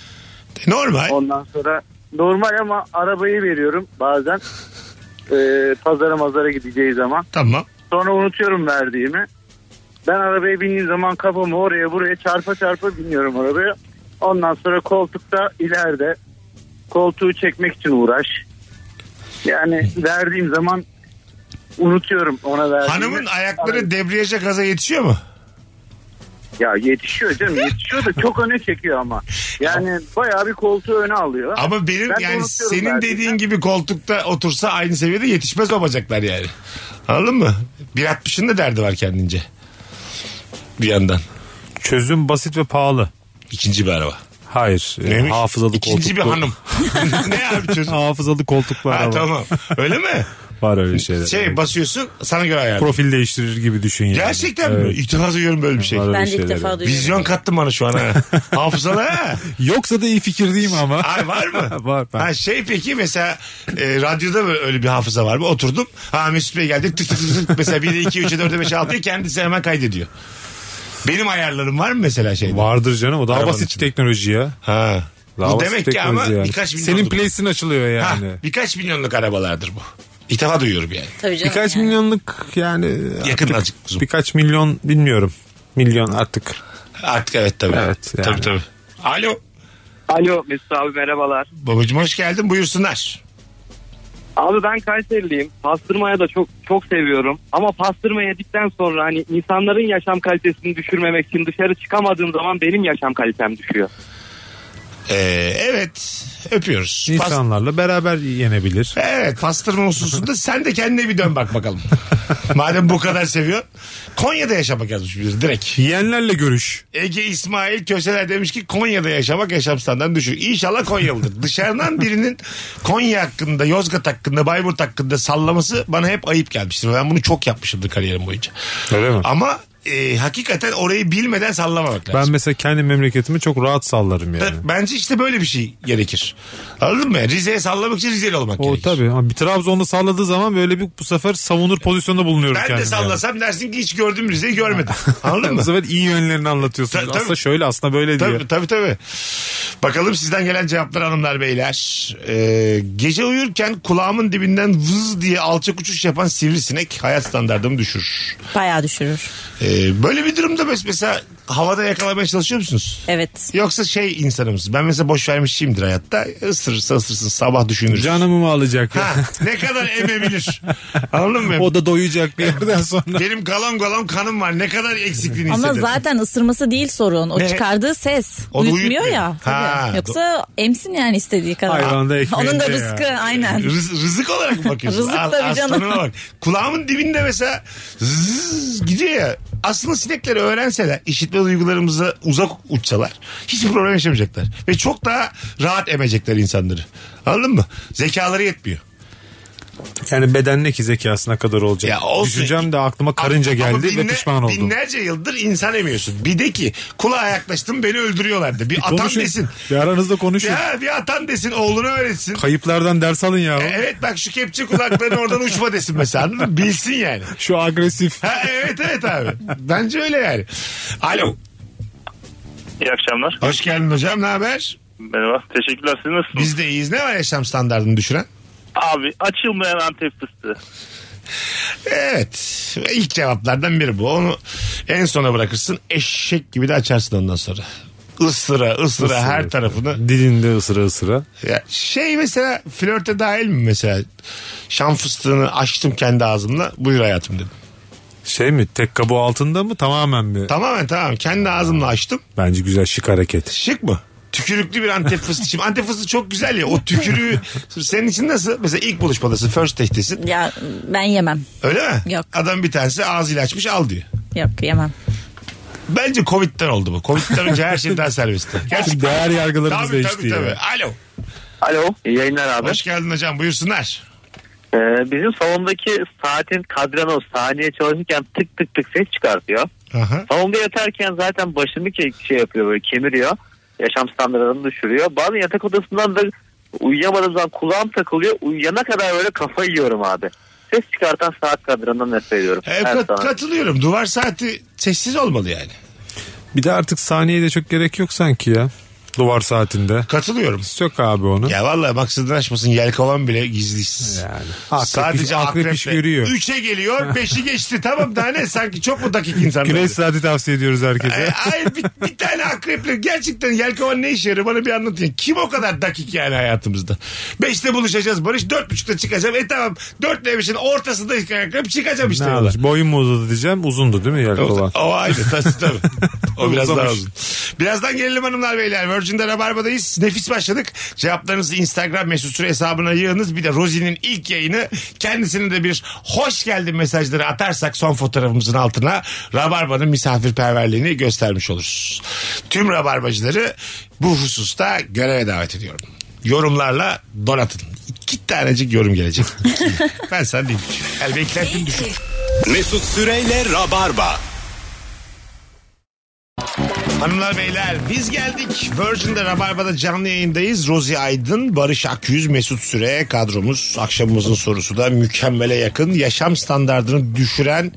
Speaker 3: Normal.
Speaker 7: Ondan sonra normal ama arabayı veriyorum bazen. E, pazara mazara gideceği zaman.
Speaker 3: Tamam.
Speaker 7: Sonra unutuyorum verdiğimi. Ben arabaya bindiğim zaman kafamı oraya buraya çarpa çarpa biniyorum arabaya. Ondan sonra koltukta ileride koltuğu çekmek için uğraş. Yani verdiğim zaman unutuyorum ona verdiğimi.
Speaker 3: Hanımın ayakları debriyaja gaza yetişiyor mu?
Speaker 7: Ya yetişiyor canım yetişiyor da çok öne çekiyor ama. Yani bayağı bir koltuğu öne alıyor.
Speaker 3: Ama benim
Speaker 7: Ben de
Speaker 3: yani
Speaker 7: unutuyorum
Speaker 3: senin
Speaker 7: verdiğimi.
Speaker 3: dediğin gibi koltukta otursa aynı seviyede yetişmez o bacaklar yani. Anladın mı? 1.60'ın da derdi var kendince. Bir yandan.
Speaker 4: Çözüm basit ve pahalı.
Speaker 3: İkinci bir araba.
Speaker 4: Hayır. e,
Speaker 3: Neymiş?
Speaker 4: Hafızalı
Speaker 3: İkinci bir
Speaker 4: koltuklu-
Speaker 3: hanım. ne abi çözüm?
Speaker 4: Hafızalı koltuklar
Speaker 3: Ha,
Speaker 4: var.
Speaker 3: tamam. Öyle mi?
Speaker 4: Var öyle şeyler.
Speaker 3: Şey basıyorsun sana göre ayarlı.
Speaker 4: Profil değiştirir gibi düşün yani.
Speaker 3: Gerçekten mi?
Speaker 4: Evet,
Speaker 3: İlk defa duyuyorum böyle bir şey.
Speaker 4: var öyle
Speaker 5: Ben de ilk
Speaker 4: şeyler.
Speaker 5: defa duydum.
Speaker 3: Vizyon kattın bana şu an ha. Hafızalı ha.
Speaker 4: Yoksa da iyi fikir değil mi ama?
Speaker 3: Ay var mı?
Speaker 4: var. ben-
Speaker 3: Ha şey peki mesela e, radyoda böyle öyle bir hafıza var mı? Oturdum. Ha Mesut Bey geldi. Tık tık tık tık. Mesela 1'e 2, 3'e 4'e 5'e 6'ya kendisi hemen kaydediyor. Benim ayarlarım var mı mesela şeyde?
Speaker 4: Vardır canım o daha
Speaker 3: Arabanın
Speaker 4: basit
Speaker 3: içinde.
Speaker 4: teknoloji ya.
Speaker 3: Ha.
Speaker 4: Daha
Speaker 3: bu
Speaker 4: basit
Speaker 3: demek ki ama
Speaker 4: teknoloji yani.
Speaker 3: birkaç milyonluk.
Speaker 4: Senin place'in açılıyor
Speaker 3: Ha,
Speaker 4: yani.
Speaker 3: birkaç milyonluk arabalardır bu. İlk defa duyuyorum yani.
Speaker 5: Tabii canım.
Speaker 4: Birkaç
Speaker 5: yani.
Speaker 4: milyonluk yani
Speaker 3: Yakın
Speaker 4: artık
Speaker 3: azıcık kuzum.
Speaker 4: birkaç milyon bilmiyorum. Milyon artık.
Speaker 3: Artık evet tabii.
Speaker 4: Evet, yani.
Speaker 3: Tabii tabii. Alo.
Speaker 6: Alo Mesut abi merhabalar.
Speaker 3: Babacım hoş geldin buyursunlar.
Speaker 6: Abi ben Kayseriliyim. Pastırmaya da çok çok seviyorum. Ama pastırma yedikten sonra hani insanların yaşam kalitesini düşürmemek için dışarı çıkamadığım zaman benim yaşam kalitem düşüyor.
Speaker 3: Ee, evet öpüyoruz. Pas-
Speaker 4: İnsanlarla beraber yenebilir.
Speaker 3: Evet pastırma hususunda sen de kendine bir dön bak bakalım. Madem bu kadar seviyor. Konya'da yaşamak yazmış bir direkt.
Speaker 4: Yiyenlerle görüş.
Speaker 3: Ege İsmail Köseler demiş ki Konya'da yaşamak yaşam standartı düşük. İnşallah Konyalıdır. Dışarıdan birinin Konya hakkında, Yozgat hakkında, Bayburt hakkında sallaması bana hep ayıp gelmiştir. Ben bunu çok yapmışımdır kariyerim boyunca.
Speaker 4: Öyle mi?
Speaker 3: Ama e, hakikaten orayı bilmeden sallamamak lazım.
Speaker 4: Ben mesela kendi memleketimi çok rahat sallarım yani.
Speaker 3: Bence işte böyle bir şey gerekir. Anladın mı? Rize'ye sallamak için Rizeli olmak
Speaker 4: O
Speaker 3: gerekir.
Speaker 4: tabii. Ama bir Trabzon'da salladığı zaman böyle bir bu sefer savunur pozisyonda bulunuyorum
Speaker 3: Ben de
Speaker 4: kendimi yani.
Speaker 3: sallasam dersin ki hiç gördüm Rize'yi görmedim. Anladın
Speaker 4: Bu
Speaker 3: mı?
Speaker 4: sefer iyi yönlerini anlatıyorsun.
Speaker 3: Tabii,
Speaker 4: aslında
Speaker 3: tabii.
Speaker 4: şöyle aslında böyle diyor.
Speaker 3: Tabii tabii tabii. Bakalım sizden gelen cevaplar hanımlar beyler. Ee, gece uyurken kulağımın dibinden vız diye alçak uçuş yapan sivrisinek hayat standartımı düşürür.
Speaker 5: Bayağı düşürür.
Speaker 3: Ee, böyle bir durumda mes- mesela havada yakalamaya çalışıyor musunuz?
Speaker 5: Evet.
Speaker 3: Yoksa şey insanımız ben mesela boş vermişimdir hayatta ısırırsa ısırsın sabah düşünürüz.
Speaker 4: Canımı mı alacak ya?
Speaker 3: Ha, ne kadar emebilir. Anladın mı?
Speaker 4: o da doyacak bir yerden sonra.
Speaker 3: Benim galam galam kanım var. Ne kadar eksikliğini
Speaker 5: Ama
Speaker 3: hissederim.
Speaker 5: zaten ısırması değil sorun. O
Speaker 3: Ne?
Speaker 5: çıkardığı ses.
Speaker 3: O da
Speaker 5: Uyutmuyor
Speaker 3: uyutmuyor.
Speaker 5: ya. Tabii.
Speaker 3: Ha.
Speaker 5: Yoksa emsin yani istediği kadar.
Speaker 4: Hayvan da ekmeğinde
Speaker 5: Onun da
Speaker 4: ya.
Speaker 5: rızkı aynen.
Speaker 3: Rız- rızık olarak mı bakıyorsun?
Speaker 5: Rızık
Speaker 3: As-
Speaker 5: tabii canım.
Speaker 3: Aslanıma bak. Kulağımın dibinde mesela zzz gidiyor ya. Aslında sinekleri öğrenseler, işitme duygularımıza uzak uçsalar hiçbir problem yaşamayacaklar. Ve çok daha rahat emecekler insanları. Anladın mı? Zekaları yetmiyor.
Speaker 4: Yani beden ne ki zekasına kadar olacak.
Speaker 3: Ya olsun.
Speaker 4: Düşüncem de aklıma karınca
Speaker 3: Ama
Speaker 4: geldi ve
Speaker 3: binle-
Speaker 4: pişman oldum.
Speaker 3: Binlerce yıldır insan emiyorsun. Bir de ki kulağa yaklaştım beni öldürüyorlardı. Bir atan
Speaker 4: Konuşun.
Speaker 3: desin.
Speaker 4: Bir aranızda konuşun.
Speaker 3: Ya bir atan desin oğlunu öğretsin. E,
Speaker 4: Kayıplardan ders alın ya.
Speaker 3: Evet bak şu kepçe kulaklarını oradan uçma desin mesela anladın mı? Bilsin yani.
Speaker 4: Şu agresif.
Speaker 3: Ha, evet evet abi. Bence öyle yani. Alo.
Speaker 7: İyi akşamlar.
Speaker 3: Hoş geldin hocam. Ne haber?
Speaker 7: Merhaba. Teşekkürler. Siz nasılsınız?
Speaker 3: Biz de iyiyiz. Ne var yaşam standartını düşüren?
Speaker 7: Abi açılmayan Antep fıstığı.
Speaker 3: Evet. İlk cevaplardan biri bu. Onu en sona bırakırsın. Eşek gibi de açarsın ondan sonra. Isıra ısıra
Speaker 4: Isıra,
Speaker 3: her
Speaker 4: ısıra.
Speaker 3: tarafını.
Speaker 4: Dilinde ısıra ısıra.
Speaker 3: Ya şey mesela flörte dahil mi mesela? Şam fıstığını açtım kendi ağzımla. Buyur hayatım dedim.
Speaker 4: Şey mi tek kabuğu altında mı tamamen mi?
Speaker 3: Tamamen tamam. Kendi ağzımla açtım.
Speaker 4: Bence güzel şık hareket.
Speaker 3: Şık mı? Tükürüklü bir antep fıstığı. Şimdi antep fıstığı çok güzel ya. O tükürüğü senin için nasıl? Mesela ilk buluşmadasın. First date'tesin.
Speaker 5: Ya ben yemem.
Speaker 3: Öyle mi?
Speaker 5: Yok.
Speaker 3: Adam bir tanesi ağzıyla açmış al diyor.
Speaker 5: Yok yemem.
Speaker 3: Bence Covid'den oldu bu. Covid'den önce her şey daha serbestti. Gerçekten.
Speaker 4: Değer yargılarımız
Speaker 3: Tabii
Speaker 4: değişti.
Speaker 3: tabii
Speaker 4: ya.
Speaker 3: tabii. Alo.
Speaker 7: Alo iyi yayınlar abi.
Speaker 3: Hoş geldin hocam. Buyursunlar.
Speaker 7: Ee, bizim salondaki saatin kadranı o saniye çalışırken tık tık tık ses çıkartıyor.
Speaker 3: Aha.
Speaker 7: Salonda yatarken zaten başını ke- şey yapıyor böyle kemiriyor. Yaşam standartlarını düşürüyor. Bazen yatak odasından da uyuyamadığım zaman kulağım takılıyor. Uyuyana kadar böyle kafayı yiyorum abi. Ses çıkartan saat kadranından nefret ediyorum.
Speaker 3: E,
Speaker 7: Her
Speaker 3: kat-
Speaker 7: zaman.
Speaker 3: katılıyorum. Duvar saati sessiz olmalı yani.
Speaker 4: Bir de artık saniyeye de çok gerek yok sanki ya. Duvar saatinde.
Speaker 3: Katılıyorum.
Speaker 4: Sök abi onu.
Speaker 3: Ya vallahi maksudun açmasın yelkovan bile gizlisiz.
Speaker 4: Yani.
Speaker 3: Sadece
Speaker 4: akrep,
Speaker 3: akrep
Speaker 4: iş görüyor.
Speaker 3: 3'e geliyor 5'i geçti tamam daha ne sanki çok mu dakik insanlar?
Speaker 4: Güneş saati tavsiye ediyoruz
Speaker 3: Ay,
Speaker 4: herkese.
Speaker 3: ay, bir, bir tane akreple gerçekten yelkovan ne işe yarıyor bana bir anlatın. Kim o kadar dakik yani hayatımızda? Beşte buluşacağız Barış dört buçukta çıkacağım. E tamam dörtle beşin ortasında akrep çıkacağım işte.
Speaker 4: ne
Speaker 3: yola.
Speaker 4: yapmış? Boyun mu uzadı diyeceğim. Uzundu değil mi
Speaker 3: O,
Speaker 4: yelkovan?
Speaker 3: o aynı tabii tabii. O biraz daha
Speaker 4: Uzamış.
Speaker 3: uzun. Birazdan gelelim hanımlar beyler. Virgin'de Rabarba'dayız. Nefis başladık. Cevaplarınızı Instagram mesut süre hesabına yığınız. Bir de Rozi'nin ilk yayını kendisine de bir hoş geldin mesajları atarsak son fotoğrafımızın altına Rabarba'nın misafirperverliğini göstermiş oluruz. Tüm Rabarbacıları bu hususta göreve davet ediyorum. Yorumlarla donatın. İki tanecik yorum gelecek. ben sana diyeyim. Yani beklentim düşük.
Speaker 2: Mesut Süreyle Rabarba.
Speaker 3: Hanımlar beyler biz geldik. Virgin'de Rabarba'da canlı yayındayız. Rozi Aydın, Barış Akyüz, Mesut Süre kadromuz. Akşamımızın sorusu da mükemmele yakın. Yaşam standartını düşüren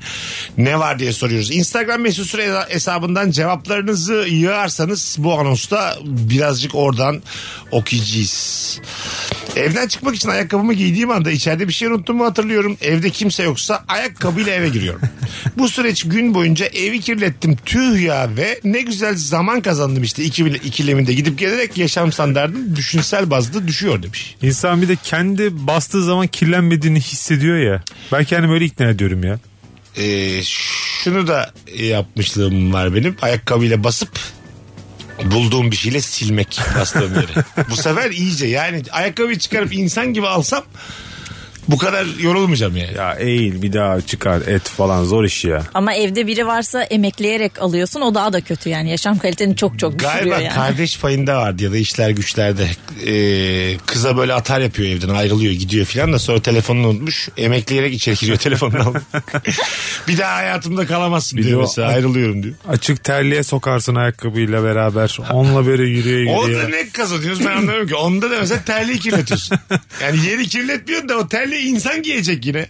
Speaker 3: ne var diye soruyoruz. Instagram Mesut Süre hesabından cevaplarınızı yığarsanız bu anonsta birazcık oradan okuyacağız. Evden çıkmak için ayakkabımı giydiğim anda içeride bir şey unuttum mu hatırlıyorum. Evde kimse yoksa ayakkabıyla eve giriyorum. Bu süreç gün boyunca evi kirlettim tüh ya ve ne güzel zaman kazandım işte İki- ikileminde gidip gelerek yaşam standartım düşünsel bazda düşüyor demiş.
Speaker 4: İnsan bir de kendi bastığı zaman kirlenmediğini hissediyor ya. Ben kendimi öyle ikna ediyorum ya.
Speaker 3: Ee, şunu da yapmışlığım var benim ayakkabıyla basıp bulduğum bir şeyle silmek bastığım yeri. Bu sefer iyice yani ayakkabıyı çıkarıp insan gibi alsam bu kadar yorulmayacağım yani.
Speaker 4: Ya eğil bir daha çıkar et falan zor iş ya.
Speaker 5: Ama evde biri varsa emekleyerek alıyorsun o daha da kötü yani. Yaşam kaliteni çok çok düşürüyor
Speaker 3: Galiba
Speaker 5: yani.
Speaker 3: kardeş payında vardı ya da işler güçlerde. Ee, kıza böyle atar yapıyor evden ayrılıyor gidiyor filan da sonra telefonunu unutmuş. Emekleyerek içeri giriyor telefonunu alıp. bir daha hayatımda kalamazsın
Speaker 4: Bir de
Speaker 3: diyor
Speaker 4: o-
Speaker 3: mesela ayrılıyorum diyor.
Speaker 4: Açık terliğe sokarsın ayakkabıyla beraber. Onunla böyle yürüye yürüye.
Speaker 3: Onda ne kazanıyoruz ben anlamıyorum ki. Onda da mesela terliği kirletiyorsun. Yani yeri kirletmiyorsun da o terliği insan giyecek yine.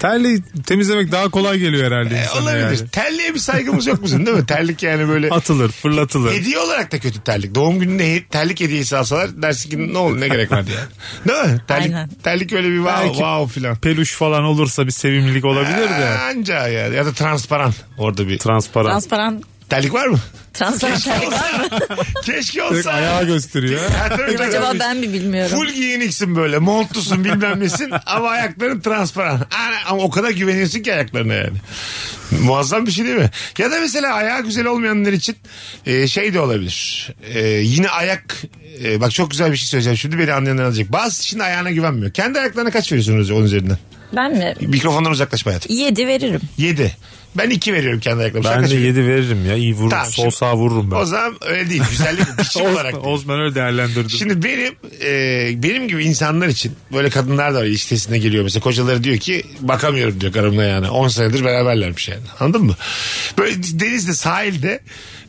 Speaker 4: Terliği temizlemek daha kolay geliyor herhalde
Speaker 3: E,
Speaker 4: insana
Speaker 3: olabilir.
Speaker 4: yani.
Speaker 3: Terliğe bir saygımız yok bizim değil mi? Terlik yani böyle...
Speaker 4: Atılır fırlatılır.
Speaker 3: Hediye olarak da kötü terlik. Doğum gününde he- terlik hediyesi alsalar dersin ki ne oldu ne gerek vardı yani. Değil mi? Terlik,
Speaker 5: Aynen.
Speaker 3: terlik öyle bir wow,
Speaker 4: Belki-
Speaker 3: wow filan.
Speaker 4: Peluş falan olursa bir sevimlilik olabilir de.
Speaker 3: Anca ya. Ya da transparan orada bir.
Speaker 4: Transparan.
Speaker 5: Transparan
Speaker 3: terlik var mı?
Speaker 5: transparan terlik var mı?
Speaker 3: Keşke
Speaker 4: Direkt
Speaker 3: olsa.
Speaker 4: ayağı gösteriyor.
Speaker 3: Ha, tabii, tabii.
Speaker 5: Acaba ben mi bilmiyorum?
Speaker 3: Full giyiniksin böyle montlusun bilmem nesin ama ayakların transparan. Ana, Ama o kadar güveniyorsun ki ayaklarına yani. Muazzam bir şey değil mi? Ya da mesela ayağı güzel olmayanlar için e, şey de olabilir. E, yine ayak e, bak çok güzel bir şey söyleyeceğim şimdi beni anlayanlar alacak. Bazı şimdi ayağına güvenmiyor. Kendi ayaklarına kaç veriyorsunuz onun üzerinden?
Speaker 5: Ben mi?
Speaker 3: Mikrofondan uzaklaş hayatım.
Speaker 5: Yedi veririm.
Speaker 3: 7. Ben 2 veriyorum kendi ayaklarıma. Sen
Speaker 4: Ben
Speaker 3: kaç
Speaker 4: de
Speaker 3: veriyorsun?
Speaker 4: 7 veririm ya. iyi vururum.
Speaker 3: Tamam,
Speaker 4: Sol
Speaker 3: şimdi-
Speaker 4: sağ vururum ben.
Speaker 3: O zaman öyle değil. Güzellik biçim olarak.
Speaker 4: Osman, Osman öyle değerlendirdim.
Speaker 3: Şimdi benim e, benim gibi insanlar için böyle kadınlar da var ilişkisine geliyor. Mesela kocaları diyor ki bakamıyorum diyor karımla yani. 10 senedir beraberlermiş yani. Anladın mı? Böyle denizde sahilde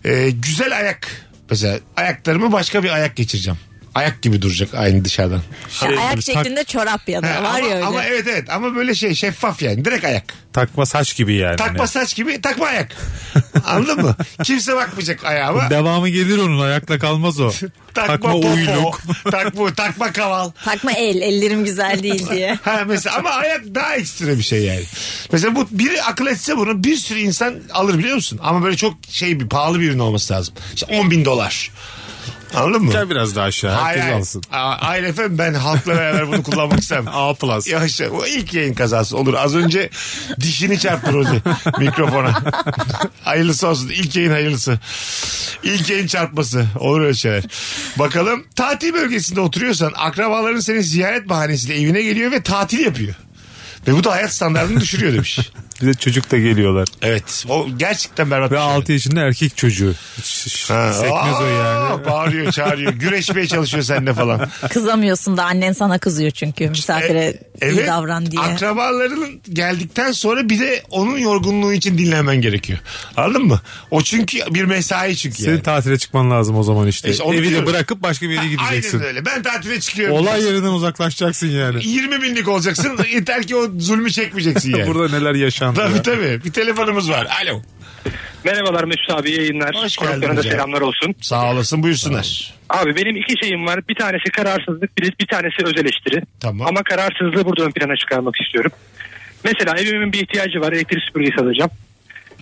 Speaker 3: e, güzel ayak mesela ayaklarımı başka bir ayak geçireceğim. Ayak gibi duracak aynı dışarıdan.
Speaker 5: Ya
Speaker 4: Şey
Speaker 5: ayak
Speaker 4: gibi, tak-
Speaker 5: şeklinde çorap ya
Speaker 3: Ha,
Speaker 5: da
Speaker 3: ama,
Speaker 5: var ya öyle.
Speaker 3: ama evet evet ama böyle şey şeffaf yani direkt ayak.
Speaker 4: Takma saç gibi yani. Hani
Speaker 3: Takma saç gibi takma ayak. Anladın mı? Kimse bakmayacak ayağıma.
Speaker 4: Devamı gelir onun ayakla kalmaz o.
Speaker 3: Takma,
Speaker 4: Takma
Speaker 3: popo,
Speaker 4: uyluk.
Speaker 3: takma, takma kaval.
Speaker 5: Takma el, ellerim güzel değil diye.
Speaker 3: Ha mesela ama ayak daha ekstra bir şey yani. Mesela bu biri akıl etse bunu bir sürü insan alır biliyor musun? Ama böyle çok şey bir pahalı bir ürün olması lazım. İşte 10 bin dolar. Anladın mı?
Speaker 4: Gel biraz daha aşağı.
Speaker 3: Hayır,
Speaker 4: Herkes
Speaker 3: hayır.
Speaker 4: alsın.
Speaker 3: Aa, Hayır efendim ben halkla beraber bunu kullanmak istemem.
Speaker 4: A plus.
Speaker 3: Yavaş yavaş. O ilk yayın kazası olur. Az önce dişini çarptı Rozi mikrofona. hayırlısı olsun. İlk yayın hayırlısı. İlk yayın çarpması. Olur öyle şeyler. Bakalım tatil bölgesinde oturuyorsan akrabaların seni ziyaret bahanesiyle evine geliyor ve tatil yapıyor. Ve bu da hayat standartını düşürüyor demiş.
Speaker 4: Bir de çocuk da geliyorlar.
Speaker 3: Evet. O gerçekten berbat. bir
Speaker 4: Ve
Speaker 3: şey.
Speaker 4: 6 yaşında erkek çocuğu. Hiç- hiç
Speaker 3: Ha,
Speaker 4: Sekmez o
Speaker 3: aa,
Speaker 4: yani.
Speaker 3: Bağırıyor çağırıyor. Güreşmeye çalışıyor seninle falan.
Speaker 5: Kızamıyorsun da annen sana kızıyor çünkü misafire
Speaker 3: E,
Speaker 5: iyi davran diye.
Speaker 3: Akrabalarının geldikten sonra bir de onun yorgunluğu için dinlenmen gerekiyor. Anladın mı? O çünkü bir mesai çünkü
Speaker 4: Senin
Speaker 3: yani.
Speaker 4: tatile çıkman lazım o zaman işte.
Speaker 3: İşte onu
Speaker 4: Evi
Speaker 3: biliyorum.
Speaker 4: de bırakıp başka bir yere gideceksin.
Speaker 3: Aynen öyle. Ben tatile çıkıyorum.
Speaker 4: Olay yerinden uzaklaşacaksın yani.
Speaker 3: 20 binlik olacaksın. Yeter ki o zulmü çekmeyeceksin yani.
Speaker 4: Burada neler yaşandı.
Speaker 3: Tabii
Speaker 4: ya.
Speaker 3: tabii. Bir telefonumuz var. Alo.
Speaker 7: Merhabalar Mesut abi yayınlar.
Speaker 3: Hoş
Speaker 7: Konuklarına
Speaker 3: geldiniz
Speaker 7: da
Speaker 3: ya.
Speaker 7: selamlar olsun.
Speaker 3: Sağ olasın buyursunlar.
Speaker 7: Abi benim iki şeyim var. Bir tanesi kararsızlık, bir, bir tanesi öz eleştiri.
Speaker 3: Tamam.
Speaker 7: Ama kararsızlığı burada ön plana çıkarmak istiyorum. Mesela evimin bir ihtiyacı var. Elektrik süpürgesi alacağım.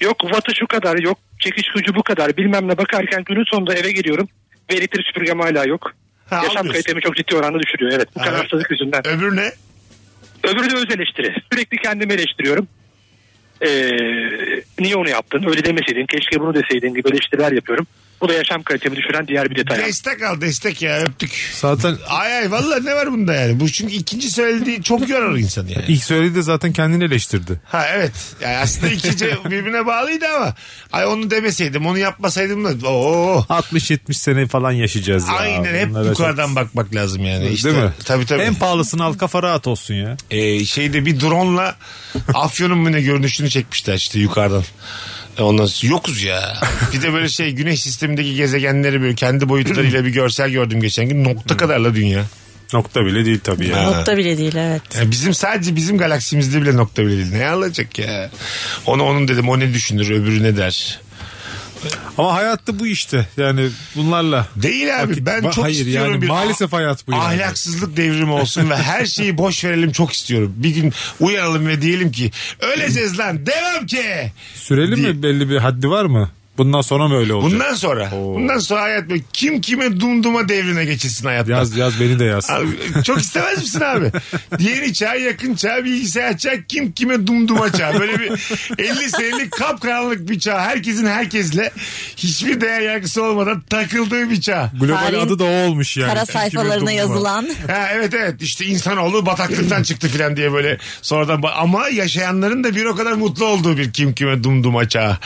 Speaker 7: Yok vatı şu kadar, yok çekiş gücü bu kadar bilmem ne bakarken günün sonunda eve geliyorum ve elektrik süpürgem hala yok.
Speaker 3: Ha,
Speaker 7: Yaşam
Speaker 3: almıyorsun.
Speaker 7: kalitemi çok ciddi oranda düşürüyor. Evet bu
Speaker 3: Ha,
Speaker 7: kararsızlık yüzünden.
Speaker 3: Öbür ne?
Speaker 7: Öbürü de öz eleştiri. Sürekli kendimi eleştiriyorum. Ee, niye onu yaptın? Öyle demeseydin. Keşke bunu deseydin gibi eleştiriler yapıyorum. Bu da yaşam kalitemi düşüren diğer bir detay.
Speaker 3: Destek al destek ya öptük.
Speaker 4: Zaten
Speaker 3: Ay ay valla ne var bunda yani? Bu çünkü ikinci söylediği çok yorar insanı yani.
Speaker 4: ilk söylediği de zaten kendini eleştirdi.
Speaker 3: Ha evet. Yani aslında ikinci birbirine bağlıydı ama. Ay onu demeseydim, onu yapmasaydım da. Oo.
Speaker 4: 60-70 sene falan yaşayacağız ya.
Speaker 3: Aynen hep
Speaker 4: Bunlara
Speaker 3: yukarıdan
Speaker 4: çok-
Speaker 3: bakmak lazım yani. İşte,
Speaker 4: Değil mi?
Speaker 3: E Tabii tabii.
Speaker 4: En pahalısını al kafa rahat olsun ya.
Speaker 3: Ee, şeyde bir drone'la Afyon'un mu ne görünüşünü çekmişler işte yukarıdan. E, Ondan sonra yokuz ya. Bir de böyle şey güneş sistemindeki gezegenleri böyle kendi boyutlarıyla bir görsel gördüm geçen gün. Nokta kadarla dünya.
Speaker 4: Nokta bile değil tabii ya.
Speaker 5: Nokta bile değil evet.
Speaker 3: Yani bizim sadece bizim galaksimizde bile nokta bile değil. Ne alacak ya? Onu onun dedim o ne düşünür öbürü ne der.
Speaker 4: Ama hayatta bu işte. Yani bunlarla.
Speaker 3: Değil abi
Speaker 4: Vakit-
Speaker 3: ben
Speaker 4: Va-
Speaker 3: çok
Speaker 4: hayır,
Speaker 3: istiyorum
Speaker 4: yani
Speaker 3: bir
Speaker 4: maalesef hayat bu yani.
Speaker 3: ahlaksızlık devrimi olsun ve her şeyi boş verelim çok istiyorum. Bir gün uyanalım ve diyelim ki öleceğiz lan devam ki.
Speaker 4: Süreli
Speaker 3: Değil.
Speaker 4: mi belli bir haddi var mı? Bundan sonra mı öyle olacak?
Speaker 3: Bundan sonra bundan sonra hayat böyle kim kime dumduma devrine geçilsin hayatta.
Speaker 4: Yaz yaz beni de yaz.
Speaker 3: Abi, çok istemez misin abi? Yeni çağ, yakın çağ, bilgisayar çağ, kim kime dumduma çağ. Böyle bir 50 senelik kapkaranlık bir çağ. Herkesin herkesle hiçbir değer yargısı olmadan takıldığı bir çağ.
Speaker 4: Global
Speaker 5: Tarihin
Speaker 4: adı da o olmuş yani.
Speaker 5: Kara sayfalarına
Speaker 4: 2009
Speaker 5: yazılan
Speaker 3: Ha, evet evet işte insanoğlu bataklıktan çıktı filan diye böyle sonradan ba- ama yaşayanların da bir o kadar mutlu olduğu bir kim kime dumduma çağı.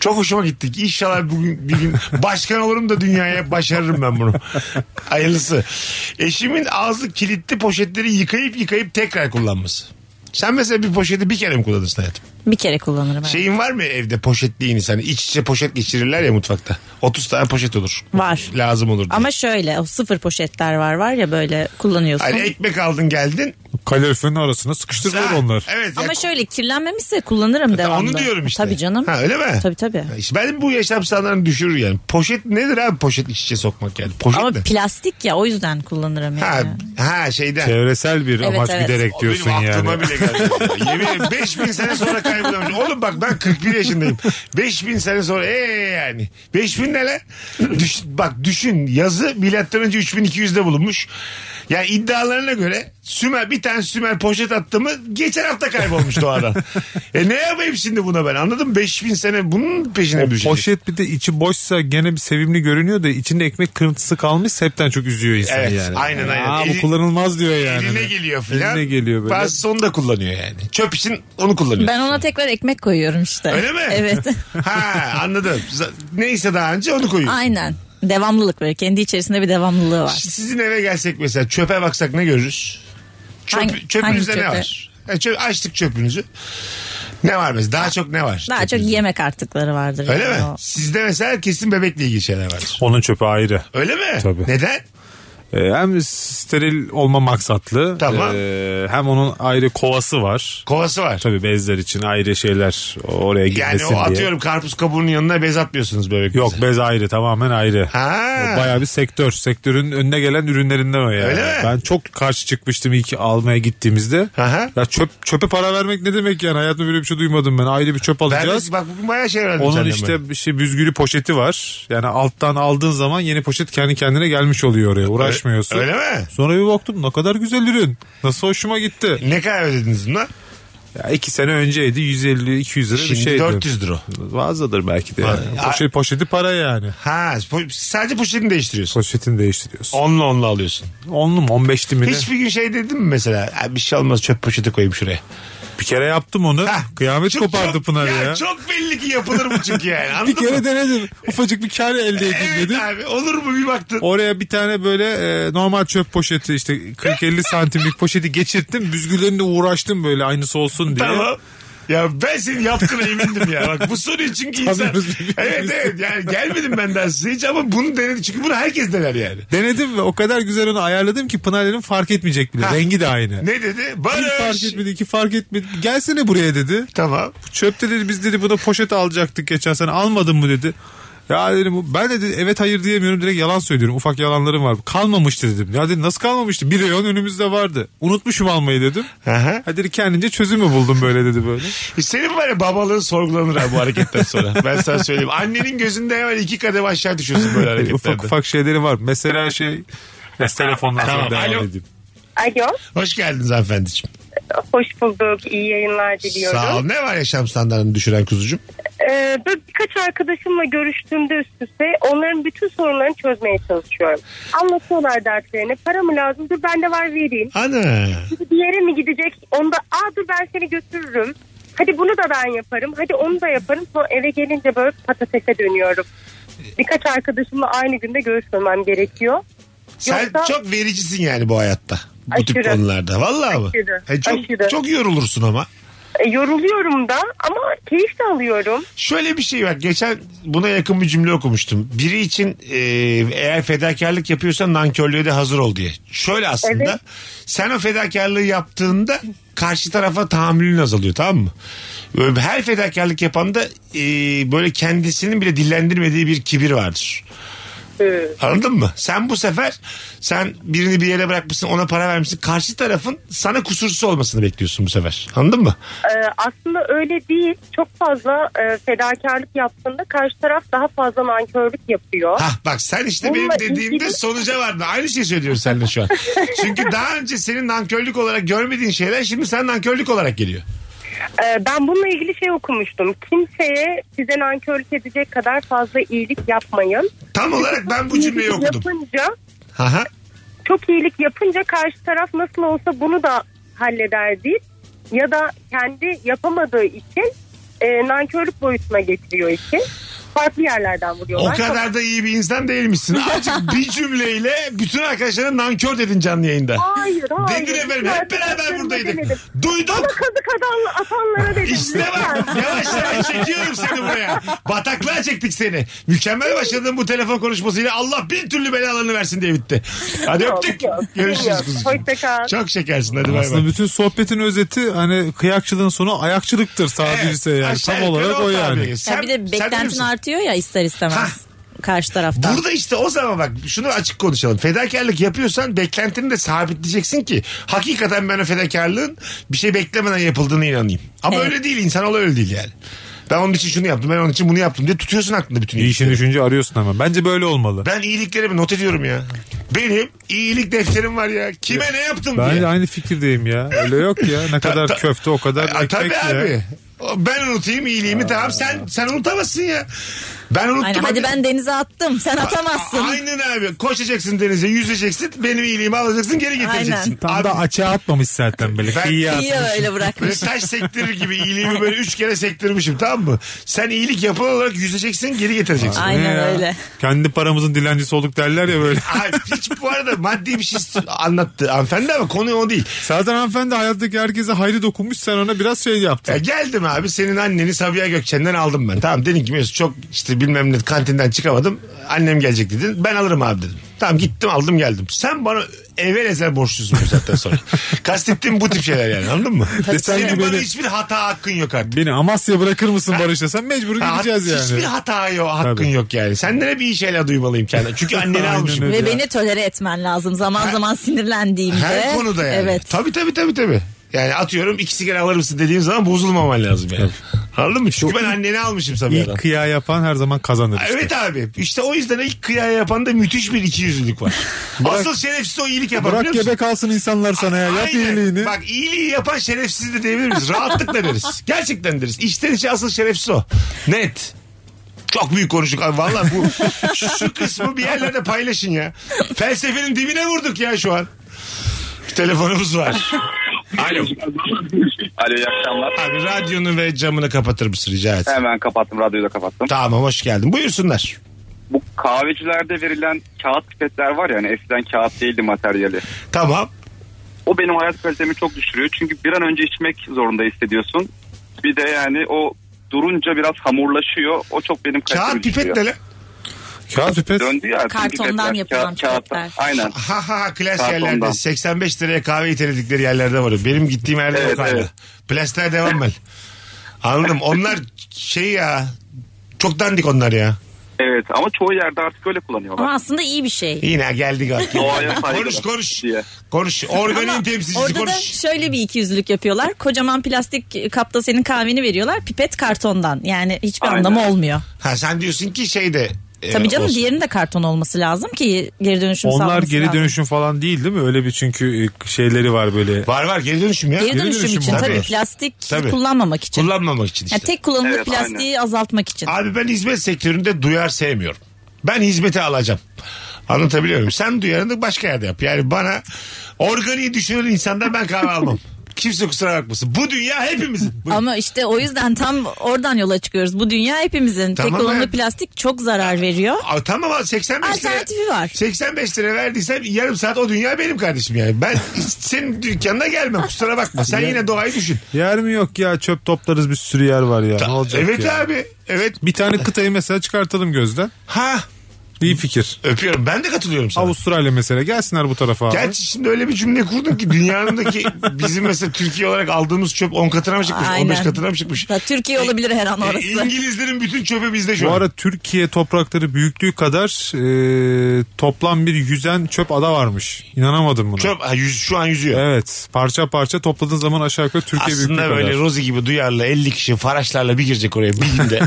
Speaker 3: Çok hoşuma gittik. İnşallah bugün bir gün başkan olurum da dünyaya başarırım ben bunu. Hayırlısı. Eşimin ağzı kilitli poşetleri yıkayıp yıkayıp tekrar kullanması. Sen mesela bir poşeti bir kere mi kullanırsın hayatım?
Speaker 5: bir kere kullanırım. evet.
Speaker 3: Şeyin var mı evde poşetliğini sen? İç içe poşet geçirirler ya mutfakta. 30 tane poşet olur.
Speaker 5: Var.
Speaker 3: Lazım olur diye.
Speaker 5: Ama şöyle o sıfır poşetler var var ya böyle kullanıyorsun.
Speaker 3: Hani ekmek aldın geldin.
Speaker 4: Kaloriferin arasına sıkıştırılır onlar.
Speaker 3: Evet. ya E,
Speaker 5: Ama şöyle kirlenmemişse kullanırım devamlı.
Speaker 3: Onu diyorum işte.
Speaker 5: Tabii canım.
Speaker 3: Ha, öyle mi?
Speaker 5: Tabii tabii.
Speaker 3: İşte ben bu yaşam standartını düşürür yani. Poşet nedir abi poşet iç içe sokmak yani? Poşet
Speaker 5: Ama
Speaker 3: ne?
Speaker 5: plastik ya o yüzden kullanırım
Speaker 3: Ha,
Speaker 5: yani.
Speaker 3: ha şeyden.
Speaker 4: Çevresel bir
Speaker 5: Evet,
Speaker 4: amaç
Speaker 5: evet.
Speaker 4: giderek diyorsun
Speaker 3: Benim
Speaker 4: yani.
Speaker 3: aklıma bile geldi. Yemin ederim 5000 sene sonra kaybolamış. Oğlum bak ben 41 yaşındayım. 5000 sene sonra ee yani. 5000 ne lan? Düş, bak düşün yazı milattan önce 3200'de bulunmuş. Yani iddialarına göre Sümer bir tane Sümer poşet attı mı geçen hafta kaybolmuş doğadan. e ne yapayım şimdi buna ben anladın mı? 5000 sene bunun peşine düşecek.
Speaker 4: Poşet bir de içi boşsa gene bir sevimli görünüyor da içinde ekmek kırıntısı kalmışsa hepten çok üzüyor insanı
Speaker 3: Evet,
Speaker 4: yani.
Speaker 3: aynen, aynen.
Speaker 4: Aa,
Speaker 3: Eli-
Speaker 4: bu kullanılmaz diyor yani.
Speaker 3: Eline geliyor filan.
Speaker 4: Eline geliyor böyle.
Speaker 3: Bazısı onu da kullanıyor yani. Çöp için onu kullanıyor.
Speaker 5: Ben ona tekrar ekmek koyuyorum işte.
Speaker 3: Öyle mi?
Speaker 5: Evet.
Speaker 3: ha anladım. Z- Neyse daha önce onu koyuyor.
Speaker 5: Aynen. Devamlılık böyle kendi içerisinde bir devamlılığı var.
Speaker 3: Sizin eve gelsek mesela çöpe baksak ne görürüz? Çöp,
Speaker 5: Hangi-
Speaker 3: çöpünüzde
Speaker 5: hangi
Speaker 3: ne
Speaker 5: çöpe?
Speaker 3: var? E, çöp, açtık çöpünüzü. Ne var mesela? Daha çok ne var?
Speaker 5: Daha çok
Speaker 3: çöpünüzde?
Speaker 5: yemek artıkları vardır.
Speaker 3: Öyle
Speaker 5: yani
Speaker 3: mi?
Speaker 5: o.
Speaker 3: Sizde mesela kesin bebekle ilgili şeyler var.
Speaker 4: Onun çöpü ayrı.
Speaker 3: Öyle mi?
Speaker 4: Tabii.
Speaker 3: Neden?
Speaker 4: Ee, hem steril olma maksatlı.
Speaker 3: Tamam.
Speaker 4: Ee, hem onun ayrı kovası var.
Speaker 3: Kovası var.
Speaker 4: Tabii bezler için ayrı şeyler oraya
Speaker 3: Yani
Speaker 4: gitmesin
Speaker 3: o
Speaker 4: diye.
Speaker 3: atıyorum karpuz kabuğunun yanına bez atmıyorsunuz bebek.
Speaker 4: Yok
Speaker 3: bezi.
Speaker 4: bez ayrı tamamen ayrı.
Speaker 3: Ha.
Speaker 4: O Bayağı bir sektör. Sektörün önüne gelen ürünlerinden o yani.
Speaker 3: Öyle mi?
Speaker 4: Ben çok karşı çıkmıştım ilk almaya gittiğimizde.
Speaker 3: Aha.
Speaker 4: Ya çöp çöpe para vermek ne demek yani? Hayatımda böyle bir şey duymadım ben. Ayrı bir çöp
Speaker 3: Ben
Speaker 4: alacağız.
Speaker 3: de, bak bugün bayağı şey öğrendim
Speaker 4: Onun
Speaker 3: senden
Speaker 4: işte bir şey büzgülü poşeti var. Yani alttan aldığın zaman yeni poşet kendi kendine gelmiş oluyor oraya.
Speaker 3: ben.
Speaker 4: Uğraşmıyorsun.
Speaker 3: Öyle mi?
Speaker 4: Sonra bir baktım ne kadar güzel ürün. Nasıl hoşuma gitti.
Speaker 3: Ne kadar ödediniz bunlar?
Speaker 4: Ya iki sene önceydi 150-200 lira bir şey
Speaker 3: Şimdi
Speaker 4: şeydi.
Speaker 3: 400 lira.
Speaker 4: Fazladır belki de. Yani.
Speaker 3: Ha.
Speaker 4: Poşet, poşeti para yani.
Speaker 3: Ha po- sadece poşetini değiştiriyorsun.
Speaker 4: Poşetini değiştiriyorsun.
Speaker 3: Onunla onunla alıyorsun.
Speaker 4: Onlu mu 15'li mi ne?
Speaker 3: Hiçbir gün şey dedin mi mesela? "Ha, Bir şey olmaz çöp poşeti koyayım şuraya.
Speaker 4: Bir kere yaptım onu.
Speaker 3: Hah.
Speaker 4: Kıyamet
Speaker 3: Çok-
Speaker 4: kopardı
Speaker 3: çok-
Speaker 4: Pınar ya.
Speaker 3: Çok belli ki yapılır bu çünkü yani. Anladın
Speaker 4: Bir kere
Speaker 3: mı?
Speaker 4: denedim. Ufacık bir kar elde edeyim
Speaker 3: Evet
Speaker 4: dedim.
Speaker 3: abi olur mu bir baktın.
Speaker 4: Oraya bir tane böyle e, normal çöp poşeti işte 40-50 santimlik poşeti geçirttim. Büzgülerinde uğraştım böyle aynısı olsun diye.
Speaker 3: Tamam. Ya ben senin yaptığına emindim ya. Bak bu soruyu çünkü insan...
Speaker 4: Tanıyoruz birbirimizi.
Speaker 3: evet evet yani gelmedim ben daha size hiç ama bunu denedi. Çünkü bunu herkes dener yani.
Speaker 4: Denedim ve o kadar güzel onu ayarladım ki Pınar dedim fark etmeyecek bile.
Speaker 3: Ha.
Speaker 4: Rengi de aynı.
Speaker 3: Ne dedi?
Speaker 4: Bir fark
Speaker 3: Barış.
Speaker 4: etmedi, iki fark etmedi. Gelsene buraya dedi.
Speaker 3: Tamam.
Speaker 4: Çöpte dedi biz dedi buna poşet alacaktık geçen sene almadın mı dedi. Ya dedim bu- ben dedi evet hayır diyemiyorum direkt yalan söylüyorum. Ufak yalanlarım var. Kalmamıştı dedim. Ya dedi nasıl kalmamıştı? Bir reyon önümüzde vardı. Unutmuşum almayı dedim.
Speaker 3: Aha.
Speaker 4: Ha dedi kendince çözümü buldum böyle dedi böyle.
Speaker 3: Senin var ya babalığın sorgulanır abi bu hareketten sonra. Ben sana söyleyeyim. Annenin gözünde hemen iki kadem aşağı düşüyorsun böyle hareketlerde.
Speaker 4: ufak ufak şeyleri var. Mesela şey Neyse, telefondan sonra
Speaker 3: Tamam,
Speaker 4: devam
Speaker 3: alo.
Speaker 4: edeyim.
Speaker 9: Alo.
Speaker 3: Hoş geldiniz hanımefendiciğim.
Speaker 9: Hoş bulduk. İyi yayınlar diliyorum.
Speaker 3: Sağ ol. Ne var yaşam standartını düşüren kuzucuğum?
Speaker 9: Ee, böyle birkaç arkadaşımla görüştüğümde üst üste onların bütün sorunlarını çözmeye çalışıyorum. Anlatıyorlar dertlerini. Para mı lazım? Dur bende var vereyim.
Speaker 3: Ana.
Speaker 9: Bir yere mi gidecek? Onda aa dur ben seni götürürüm. Hadi bunu da ben yaparım. Hadi onu da yaparım. Sonra eve gelince böyle patatese dönüyorum.
Speaker 3: Ee,
Speaker 9: Birkaç arkadaşımla aynı günde görüşmemem gerekiyor.
Speaker 3: Sen
Speaker 9: Yoksa-
Speaker 3: çok vericisin yani bu hayatta. Bu tip
Speaker 9: Aşırı.
Speaker 3: konularda. Vallahi mı?
Speaker 9: Aşırı.
Speaker 3: E çok,
Speaker 9: Aşırı.
Speaker 3: çok yorulursun ama.
Speaker 9: E, yoruluyorum da ama keyif de alıyorum.
Speaker 3: Şöyle bir şey var. Geçen buna yakın bir cümle okumuştum. Biri için e, eğer fedakarlık yapıyorsan nankörlüğe de hazır ol diye. Şöyle aslında
Speaker 9: Evet.
Speaker 3: sen o fedakarlığı yaptığında karşı tarafa tahammülün azalıyor tamam mı? Böyle her fedakarlık yapan da e, böyle kendisinin bile dillendirmediği bir kibir vardır. Ee, Anladın mı? Sen bu sefer sen birini bir yere bırakmışsın ona para vermişsin. Karşı tarafın sana kusursuz olmasını bekliyorsun bu sefer. Anladın mı?
Speaker 9: Ee, aslında öyle değil. Çok fazla e, fedakarlık yaptığında karşı taraf daha fazla nankörlük yapıyor.
Speaker 3: Hah bak sen işte benim
Speaker 9: Bununla
Speaker 3: dediğimde
Speaker 9: ilgili-
Speaker 3: sonuca vardın. Aynı şeyi söylüyorum seninle şu an. Çünkü daha önce senin nankörlük olarak görmediğin şeyler şimdi sen nankörlük olarak geliyor.
Speaker 9: Ee, ben bununla ilgili şey okumuştum. Kimseye size nankörlük edecek kadar fazla iyilik yapmayın.
Speaker 3: Tam olarak ben bu cümleyi
Speaker 9: İyilik
Speaker 3: okudum.
Speaker 9: Yapınca,
Speaker 3: Aha.
Speaker 9: çok iyilik yapınca karşı taraf nasıl olsa bunu da halleder değil. Ya da kendi yapamadığı için e, nankörlük boyutuna getiriyor işi. Farklı yerlerden
Speaker 3: O
Speaker 9: vuruyorlar.
Speaker 3: kadar da iyi bir insan değilmişsin. Azıcık bir cümleyle bütün arkadaşların nankör dedin canlı yayında.
Speaker 9: Hayır hayır.
Speaker 3: Dedin efendim hep beraber buradaydık.
Speaker 9: Demedim. Bana
Speaker 3: Duyduk.
Speaker 9: kazık atan, atanlara dedim.
Speaker 3: İşte bak
Speaker 9: lütfen.
Speaker 3: yavaş yavaş çekiyorum seni buraya. Bataklığa çektik seni. Mükemmel başladığın bu telefon konuşmasıyla Allah bin türlü belalarını versin diye bitti. Hadi
Speaker 9: Yok,
Speaker 3: öptük.
Speaker 9: yok,
Speaker 3: Görüşürüz
Speaker 9: yok.
Speaker 3: kuzucuğum.
Speaker 9: Hoşça kal.
Speaker 3: Çok şekersin hadi bay bay.
Speaker 4: Aslında bütün sohbetin özeti hani kıyakçılığın sonu ayakçılıktır tabirse yani.
Speaker 3: aşağı
Speaker 4: Tam
Speaker 3: yukarı
Speaker 4: olarak
Speaker 3: o
Speaker 4: o yani.
Speaker 3: tabiri. Sen-
Speaker 5: Ya bir
Speaker 3: sen
Speaker 5: de beklentin
Speaker 3: bilirsin.
Speaker 5: artıyor ya ister istemez.
Speaker 3: Ha.
Speaker 5: Karşı taraftan.
Speaker 3: Burada işte o zaman bak şunu açık konuşalım. Fedakarlık yapıyorsan beklentini de sabitleyeceksin ki hakikaten ben o fedakarlığın bir şey beklemeden yapıldığına inanayım. Ama
Speaker 5: Evet.
Speaker 3: öyle değil insan öyle değil yani. Ben onun için şunu yaptım ben onun için bunu yaptım diye tutuyorsun aklında bütün
Speaker 4: İyi işin
Speaker 3: iyilikleri.
Speaker 4: düşünce arıyorsun ama. Bence böyle olmalı.
Speaker 3: Ben iyiliklerimi not ediyorum ya. Benim iyilik defterim var ya. Kime ne yaptım
Speaker 4: Ben
Speaker 3: diye.
Speaker 4: de aynı fikirdeyim ya. Öyle yok ya. Ne kadar
Speaker 3: ta-
Speaker 4: köfte o kadar
Speaker 3: Ay,
Speaker 4: ekmek
Speaker 3: tabii
Speaker 4: ya.
Speaker 3: abi. O- Ben unutayım iyiliğimi tamam sen sen unutamazsın ya. Ben unuttum.
Speaker 5: Aynen, hadi ben denize attım sen atamazsın.
Speaker 3: Aynen abi. Koşacaksın denize, yüzeceksin. Benim iyiliğimi alacaksın, geri getireceksin.
Speaker 5: Aynen.
Speaker 4: Tam
Speaker 3: abi,
Speaker 4: da açığa atmamış zaten böyle.
Speaker 3: Ben-
Speaker 4: Kıyıya
Speaker 5: İyi ya
Speaker 4: atmış.
Speaker 5: öyle
Speaker 3: Böyle
Speaker 5: bırakmış.
Speaker 3: taş sektirir gibi iyiliğimi böyle üç kere sektirmişim tamam mı? Sen iyilik yapan olarak yüzeceksin, geri getireceksin.
Speaker 5: Aynen
Speaker 4: Ne ya?
Speaker 5: öyle.
Speaker 4: Kendi paramızın dilencisi olduk derler ya böyle.
Speaker 3: Ay, hiç bu arada maddi bir şey anlattı hanımefendi ama konu o değil.
Speaker 4: Zaten hanımefendi hayattaki herkese hayrı dokunmuş
Speaker 3: E,
Speaker 4: sen ona biraz şey yaptın.
Speaker 3: Ya geldim abi senin anneni Sabiha Gökçen'den aldım ben. Tamam dedim ki Mesut çok işte işte bilmem ne kantinden çıkamadım. Annem gelecek dedin. Ben alırım abi dedim. Tamam gittim aldım geldim. Sen bana evvel ezel borçlusun bu saatten sonra. Kastettiğim bu tip şeyler yani anladın mı?
Speaker 4: Desen
Speaker 3: Senin
Speaker 4: ki
Speaker 3: bana
Speaker 4: beni-
Speaker 3: hiçbir hata hakkın yok artık.
Speaker 4: Beni Amasya bırakır mısın Barış desem mecbur
Speaker 3: Ha,
Speaker 4: gideceğiz yani.
Speaker 3: Hiçbir hata yok, hakkın
Speaker 4: Tabii.
Speaker 3: yok yani. Senden hep iyi şeyler duymalıyım kendime. Çünkü anneni
Speaker 4: Aynen
Speaker 3: almışım.
Speaker 4: öyle.
Speaker 5: Ve
Speaker 4: Evet ya.
Speaker 5: beni tolere etmen lazım zaman zaman sinirlendiğimde.
Speaker 3: Her konuda yani.
Speaker 5: Evet.
Speaker 3: Tabii tabii tabii tabii. Yani atıyorum iki sigara alır mısın dediğim zaman bozulmaman lazım yani. Anladın mı? Çünkü ben anneni almışım Sabiha'dan.
Speaker 4: İlk kıya yapan her zaman kazanır işte.
Speaker 3: Evet abi. İşte o yüzden ilk kıyaya yapan da müthiş bir ikiyüzlülük var. Asıl şerefsiz o iyilik yapan
Speaker 4: Bırak
Speaker 3: biliyor musun?
Speaker 4: gebe kalsın insanlar sana ya. Yap
Speaker 3: Aynen.
Speaker 4: iyiliğini.
Speaker 3: Bak iyiliği yapan şerefsiz de diyebilir miyiz? Rahatlıkla deriz. Gerçekten deriz. İçten içe asıl şerefsiz o. Net. Çok büyük konuştuk. Abi valla bu şu kısmı bir yerlerde paylaşın ya. Felsefenin dibine vurduk ya şu an. Bir telefonumuz var. Alo.
Speaker 10: Alo iyi akşamlar.
Speaker 3: Abi radyonu ve camını kapatır mısın rica et.
Speaker 10: Hemen kapattım radyoyu da kapattım.
Speaker 3: Tamam hoş geldin. Buyursunlar.
Speaker 10: Bu kahvecilerde verilen kağıt pipetler var ya hani eskiden kağıt değildi materyali.
Speaker 3: Tamam.
Speaker 10: O benim hayat kalitemi çok düşürüyor. Çünkü bir an önce içmek zorunda hissediyorsun. Bir de yani o durunca biraz hamurlaşıyor. O çok benim kalitemi
Speaker 3: Kağıt pipet
Speaker 10: düşürüyor.
Speaker 3: ne lan?
Speaker 4: Kağıt pipet.
Speaker 10: Döndü ya. tüm
Speaker 5: Kartondan
Speaker 10: pipetler,
Speaker 5: yapılan
Speaker 10: kağıt- kağıttan.
Speaker 5: pipetler.
Speaker 10: Aynen.
Speaker 3: Ha ha ha klas
Speaker 10: Saat
Speaker 3: yerlerde
Speaker 10: ondan.
Speaker 3: 85 liraya kahve iteledikleri yerlerde var. o. Benim gittiğim yerde
Speaker 10: Evet,
Speaker 3: yok hala.
Speaker 10: evet.
Speaker 3: Plastiğe devam ben. Anladım. Onlar şey ya çok dandik onlar ya.
Speaker 10: Evet ama çoğu yerde artık öyle kullanıyorlar.
Speaker 5: Ama aslında iyi bir şey.
Speaker 3: Yine geldik artık.
Speaker 10: Doğaya saygı
Speaker 3: konuş
Speaker 10: var
Speaker 3: konuş.
Speaker 10: diye.
Speaker 3: Konuş. Organin
Speaker 5: Ama
Speaker 3: temsilcisi
Speaker 5: orada da
Speaker 3: konuş.
Speaker 5: şöyle bir ikiyüzlülük yapıyorlar. Kocaman plastik kapta senin kahveni veriyorlar. Pipet kartondan. Yani hiçbir
Speaker 10: Aynen.
Speaker 5: anlamı olmuyor.
Speaker 3: Ha sen diyorsun ki şey de e,
Speaker 5: Tabii canım
Speaker 3: olsun.
Speaker 5: diğerinin de karton olması lazım ki geri dönüşüm
Speaker 4: Onlar
Speaker 5: sağlaması
Speaker 4: geri
Speaker 5: lazım.
Speaker 4: dönüşüm falan değil değil mi? Öyle bir çünkü e, şeyleri var böyle.
Speaker 3: Var var geri dönüşüm ya.
Speaker 5: Geri dönüşüm, için
Speaker 3: var.
Speaker 5: tabii,
Speaker 3: Tabii.
Speaker 5: plastik
Speaker 3: Tabii.
Speaker 5: kullanmamak için.
Speaker 3: Kullanmamak için işte.
Speaker 5: Yani tek kullanımlık
Speaker 10: Evet,
Speaker 5: plastiği azaltmak için.
Speaker 3: Abi ben hizmet sektöründe duyar sevmiyorum. Ben hizmeti alacağım. Anlatabiliyor muyum? Sen duyarını da başka yerde yap. Yani bana organiği düşünen insandan ben kahve almam. Kimse kusura bakmasın. Bu dünya hepimizin. Bu-
Speaker 5: Ama işte o yüzden tam oradan yola çıkıyoruz. Bu dünya hepimizin.
Speaker 3: Tamam
Speaker 5: tek kullanımlı
Speaker 3: ben-
Speaker 5: plastik çok zarar veriyor.
Speaker 3: Aa, tamam abi, 85 lira.
Speaker 5: Alternatifi var.
Speaker 3: 85 lira verdiysem yarım saat o dünya benim kardeşim yani. Ben senin dükkanına gelmem kusura bakma. Sen yine doğayı düşün.
Speaker 4: Yer mi yok ya? Çöp toplarız bir sürü yer var ya. ne olacak
Speaker 3: evet
Speaker 4: ya?
Speaker 3: abi. Evet.
Speaker 4: Bir tane kıtayı mesela çıkartalım gözden.
Speaker 3: Ha
Speaker 4: İyi fikir.
Speaker 3: öpüyorum. Ben de katılıyorum sana.
Speaker 4: Avustralya mesela gelsinler bu tarafa abi.
Speaker 3: Gerçi şimdi öyle bir cümle kurdun ki dünyanındaki bizim mesela Türkiye olarak aldığımız çöp 10 katına mı çıkmış?
Speaker 5: Aynen.
Speaker 3: 15 katına mı çıkmış?
Speaker 5: Ya Türkiye olabilir her an
Speaker 3: E,
Speaker 5: orası.
Speaker 3: İngilizlerin bütün çöpü bizde şu
Speaker 4: Bu
Speaker 3: an.
Speaker 4: ara Türkiye toprakları büyüklüğü kadar e, toplam bir yüzen çöp ada varmış. İnanamadım buna.
Speaker 3: Çöp ha, yüz, şu an yüzüyor.
Speaker 4: Evet. Parça parça topladığın zaman aşağı yukarı Türkiye büyüklüğü
Speaker 3: Aslında
Speaker 4: kadar.
Speaker 3: böyle Rozi gibi duyarlı 50 kişi faraşlarla bir girecek oraya bir günde.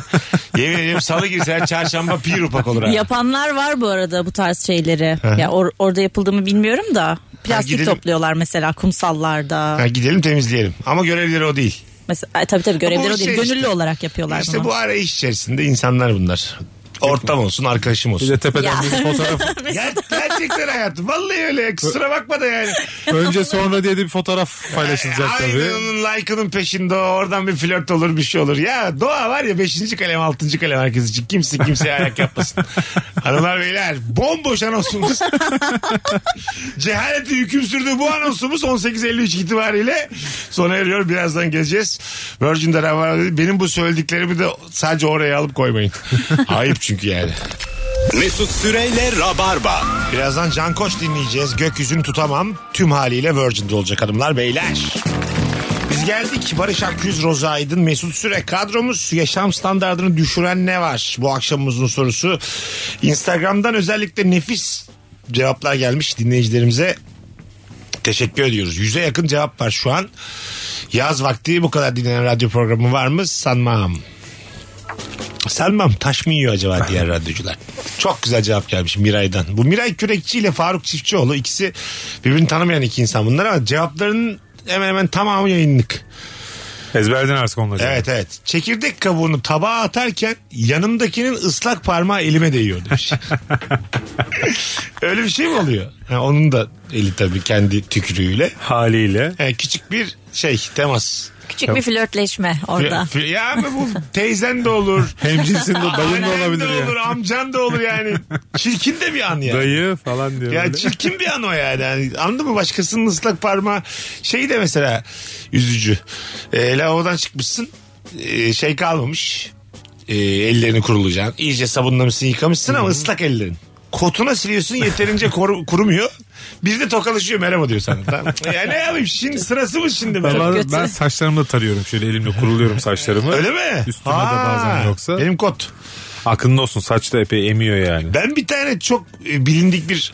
Speaker 3: Yemin ediyorum salı girse çarşamba pir upak olur abi.
Speaker 5: Yapanlar var bu arada bu tarz şeyleri. ya or- orada yapıldığımı bilmiyorum da. Plastik
Speaker 3: gidelim.
Speaker 5: topluyorlar mesela kumsallarda.
Speaker 3: Ha, gidelim temizleyelim. Ama görevleri o değil.
Speaker 5: Mesela ay, tabii tabii görevleri
Speaker 3: Bu
Speaker 5: o değil.
Speaker 3: şey
Speaker 5: Gönüllü
Speaker 3: işte.
Speaker 5: olarak yapıyorlar
Speaker 3: İşte
Speaker 5: bunu.
Speaker 3: bu arayış içerisinde insanlar bunlar. Ortam olsun, arkadaşım
Speaker 4: Bir de
Speaker 3: olsun.
Speaker 4: tepeden
Speaker 5: Ya.
Speaker 4: bir fotoğraf.
Speaker 3: Ger- gerçekten hayatım. Vallahi öyle. ya. Kusura bakma da yani.
Speaker 4: Önce sonra diye de bir fotoğraf paylaşılacak tabii.
Speaker 3: Aynen onun like'ının peşinde o. Oradan bir flört olur bir şey olur. Ya doğa var ya 5. kalem 6. kalem herkes için. Kimse kimseye ayak yapmasın. Hanımlar beyler bomboş anonsumuz. Cehaleti hüküm sürdüğü bu anonsumuz 18.53 itibariyle sona eriyor. Birazdan geleceğiz. Virgin'de Rabarba- benim bu söylediklerimi de sadece oraya alıp koymayın. Ayıp çünkü yani.
Speaker 2: Mesut Süreyle Rabarba.
Speaker 3: Birazdan Can Koç dinleyeceğiz. Gökyüzünü tutamam. Tüm haliyle Virgin'de olacak hanımlar beyler. Biz geldik. Barış Akküz, Roza Aydın, Mesut Süre kadromuz. Yaşam standartını düşüren ne var? Bu akşamımızın sorusu. Instagram'dan özellikle nefis cevaplar gelmiş dinleyicilerimize. Teşekkür ediyoruz. Yüze yakın cevap var şu an. Yaz vakti bu kadar dinlenen radyo programı var mı? Sanmam. Sanmam taş mı yiyor acaba diğer radyocular? Çok güzel cevap gelmiş Miray'dan. Bu Miray Kürekçi ile Faruk Çiftçioğlu ikisi birbirini tanımayan iki insan bunlar ama cevaplarının hemen hemen tamamı yayınlık.
Speaker 4: Ezberden artık onları.
Speaker 3: Evet evet. Çekirdek kabuğunu tabağa atarken yanımdakinin ıslak parmağı elime değiyor demiş. Öyle bir şey mi oluyor? Ha, onun da eli tabii kendi tükürüğüyle.
Speaker 4: Haliyle.
Speaker 3: Ha, küçük bir şey temas.
Speaker 5: Küçük bir flörtleşme orada.
Speaker 3: Ya, ya ama bu teyzen de olur.
Speaker 4: Hemcinsin de dayın da
Speaker 3: Annen
Speaker 4: olabilir
Speaker 3: de
Speaker 4: ya.
Speaker 3: olur, amcan da olur yani. Çirkin de bir an ya.
Speaker 4: Dayı falan diyor.
Speaker 3: ya
Speaker 4: böyle.
Speaker 3: çirkin bir an o yani. yani. Anladın mı? Başkasının ıslak parmağı şey de mesela üzücü. E, lavabodan çıkmışsın. E, şey kalmamış. e, ellerini kurulacaksın. İyice sabunlamışsın yıkamışsın ama ıslak ellerin. Kotuna siliyorsun yeterince koru- kurumuyor. Bir de tokalaşıyor merhaba diyor sana. Tamam. Ya ne yapayım şimdi sırası mı şimdi? benim?
Speaker 4: Ben, ben saçlarımı da tarıyorum şöyle elimle kuruluyorum saçlarımı.
Speaker 3: Öyle mi?
Speaker 4: Üstüme de
Speaker 3: Ha,
Speaker 4: bazen yoksa.
Speaker 3: Benim kot.
Speaker 4: Aklın olsun saç da epey emiyor yani.
Speaker 3: Ben bir tane çok e, bilindik bir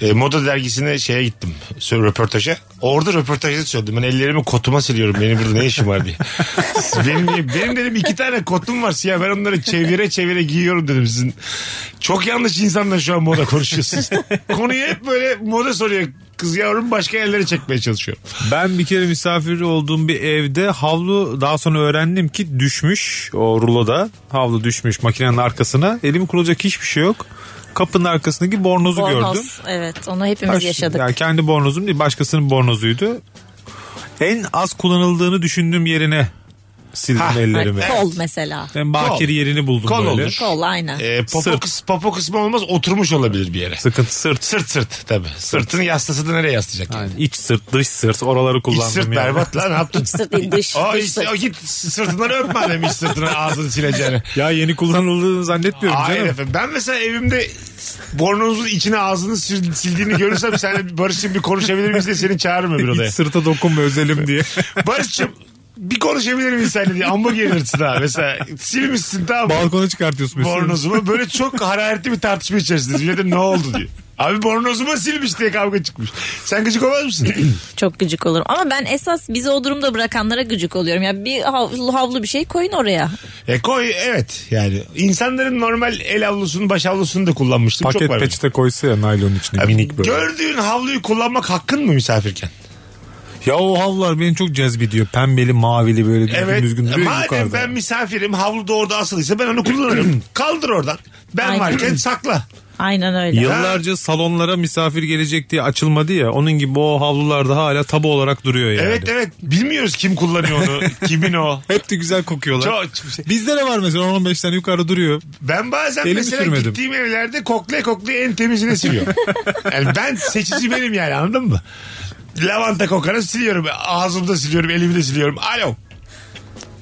Speaker 3: e, moda dergisine şeye gittim. sö- Röportaja. Orada röportajda söyledim. Ben ellerimi kotuma siliyorum. Benim burada ne işim var diye. benim, benim dedim iki tane kotum var siyah. Ben onları çevire çevire giyiyorum dedim sizin. Çok yanlış insanla şu an moda konuşuyorsunuz. Konuyu hep böyle moda soruyor. Kız yavrum başka yerlere çekmeye çalışıyor.
Speaker 4: Ben bir kere misafir olduğum bir evde havlu daha sonra öğrendim ki düşmüş o ruloda. Havlu düşmüş makinenin arkasına. Elim kurulacak hiçbir şey yok. Kapının arkasındaki bornozu
Speaker 5: Bornoz.
Speaker 4: gördüm.
Speaker 5: Evet onu hepimiz
Speaker 3: şey
Speaker 4: Baş-
Speaker 5: yaşadık.
Speaker 4: Yani kendi bornozum değil başkasının bornozuydu. En az kullanıldığını düşündüğüm yerine sildim
Speaker 3: Ha,
Speaker 4: ellerimi.
Speaker 5: Kol mesela.
Speaker 4: Ben bakiri
Speaker 3: Kol.
Speaker 4: yerini buldum
Speaker 3: Kol
Speaker 4: böyle.
Speaker 3: olur.
Speaker 5: Kol aynen.
Speaker 3: E, popo,
Speaker 4: Sırt.
Speaker 3: kıs- popo kısmı olmaz oturmuş olabilir bir yere.
Speaker 4: Sıkıntı sırt.
Speaker 3: Sırt sırt tabii. Sırtın yastası da nereye yaslayacak? Yani?
Speaker 4: Yani iç sırt dış sırt oraları
Speaker 3: İç
Speaker 4: kullandım.
Speaker 3: sırt
Speaker 4: yani.
Speaker 3: berbat lan ne yaptın?
Speaker 5: Sırt değil, dış.
Speaker 3: O,
Speaker 5: dış
Speaker 3: işte,
Speaker 5: sırt.
Speaker 3: o git sırtından öp madem hiç sırtına ağzını sileceğini.
Speaker 4: Ya yeni kullanıldığını zannetmiyorum
Speaker 3: Hayır
Speaker 4: canım.
Speaker 3: efendim. Ben mesela evimde bornozun içine ağzını sil- sildiğini görürsem sen Barış'cığım bir konuşabilir miyiz diye seni çağırırım öbür odaya.
Speaker 4: İç sırta dokunma özelim diye.
Speaker 3: Barış'cığım bir konuşabilir miyiz seninle diye amma gelirsin ha. Mesela silmişsin tamam mı?
Speaker 4: Balkona çıkartıyorsun mesela.
Speaker 3: bornozumu. Böyle çok hararetli bir tartışma içerisindeyiz. Bir de ne oldu diye. Abi bornozuma silmiş diye kavga çıkmış. Sen gıcık olmaz mısın?
Speaker 5: Çok gıcık olurum. Ama ben esas bizi o durumda bırakanlara gıcık oluyorum. Ya bir havlu, havlu bir şey koyun oraya.
Speaker 3: e koy evet yani. insanların normal el havlusunu baş havlusunu da kullanmıştım.
Speaker 4: Paket
Speaker 3: çok var.
Speaker 4: peçete koysa ya naylon içine
Speaker 3: Abi,
Speaker 4: minik böyle.
Speaker 3: Gördüğün havluyu kullanmak hakkın mı misafirken?
Speaker 4: Ya o havlular beni çok cezbediyor. Pembeli mavili böyle düzgün
Speaker 3: Evet.
Speaker 4: düzgün duruyor
Speaker 3: Madem
Speaker 4: yukarıda.
Speaker 3: ben misafirim havlu da orada asılıysa ben onu kullanırım. Kaldır oradan. Ben
Speaker 5: Aynen.
Speaker 3: varken sakla.
Speaker 5: Aynen öyle.
Speaker 4: Yıllarca salonlara misafir gelecek diye açılmadı ya. Onun gibi o havlular da hala tabu olarak duruyor yani.
Speaker 3: Evet evet bilmiyoruz kim kullanıyor onu. kimin o.
Speaker 4: Hep de güzel kokuyorlar.
Speaker 3: Çok- çok şey.
Speaker 4: Bizde de var mesela 10-15 tane yukarı duruyor.
Speaker 3: Ben bazen
Speaker 4: Elimi
Speaker 3: mesela
Speaker 4: sürmedim.
Speaker 3: gittiğim evlerde koklaya koklaya en temizini siliyorum. yani ben seçici benim yani anladın mı? Lavanta kokanı siliyorum. Ağzımda siliyorum, elimde siliyorum. Alo.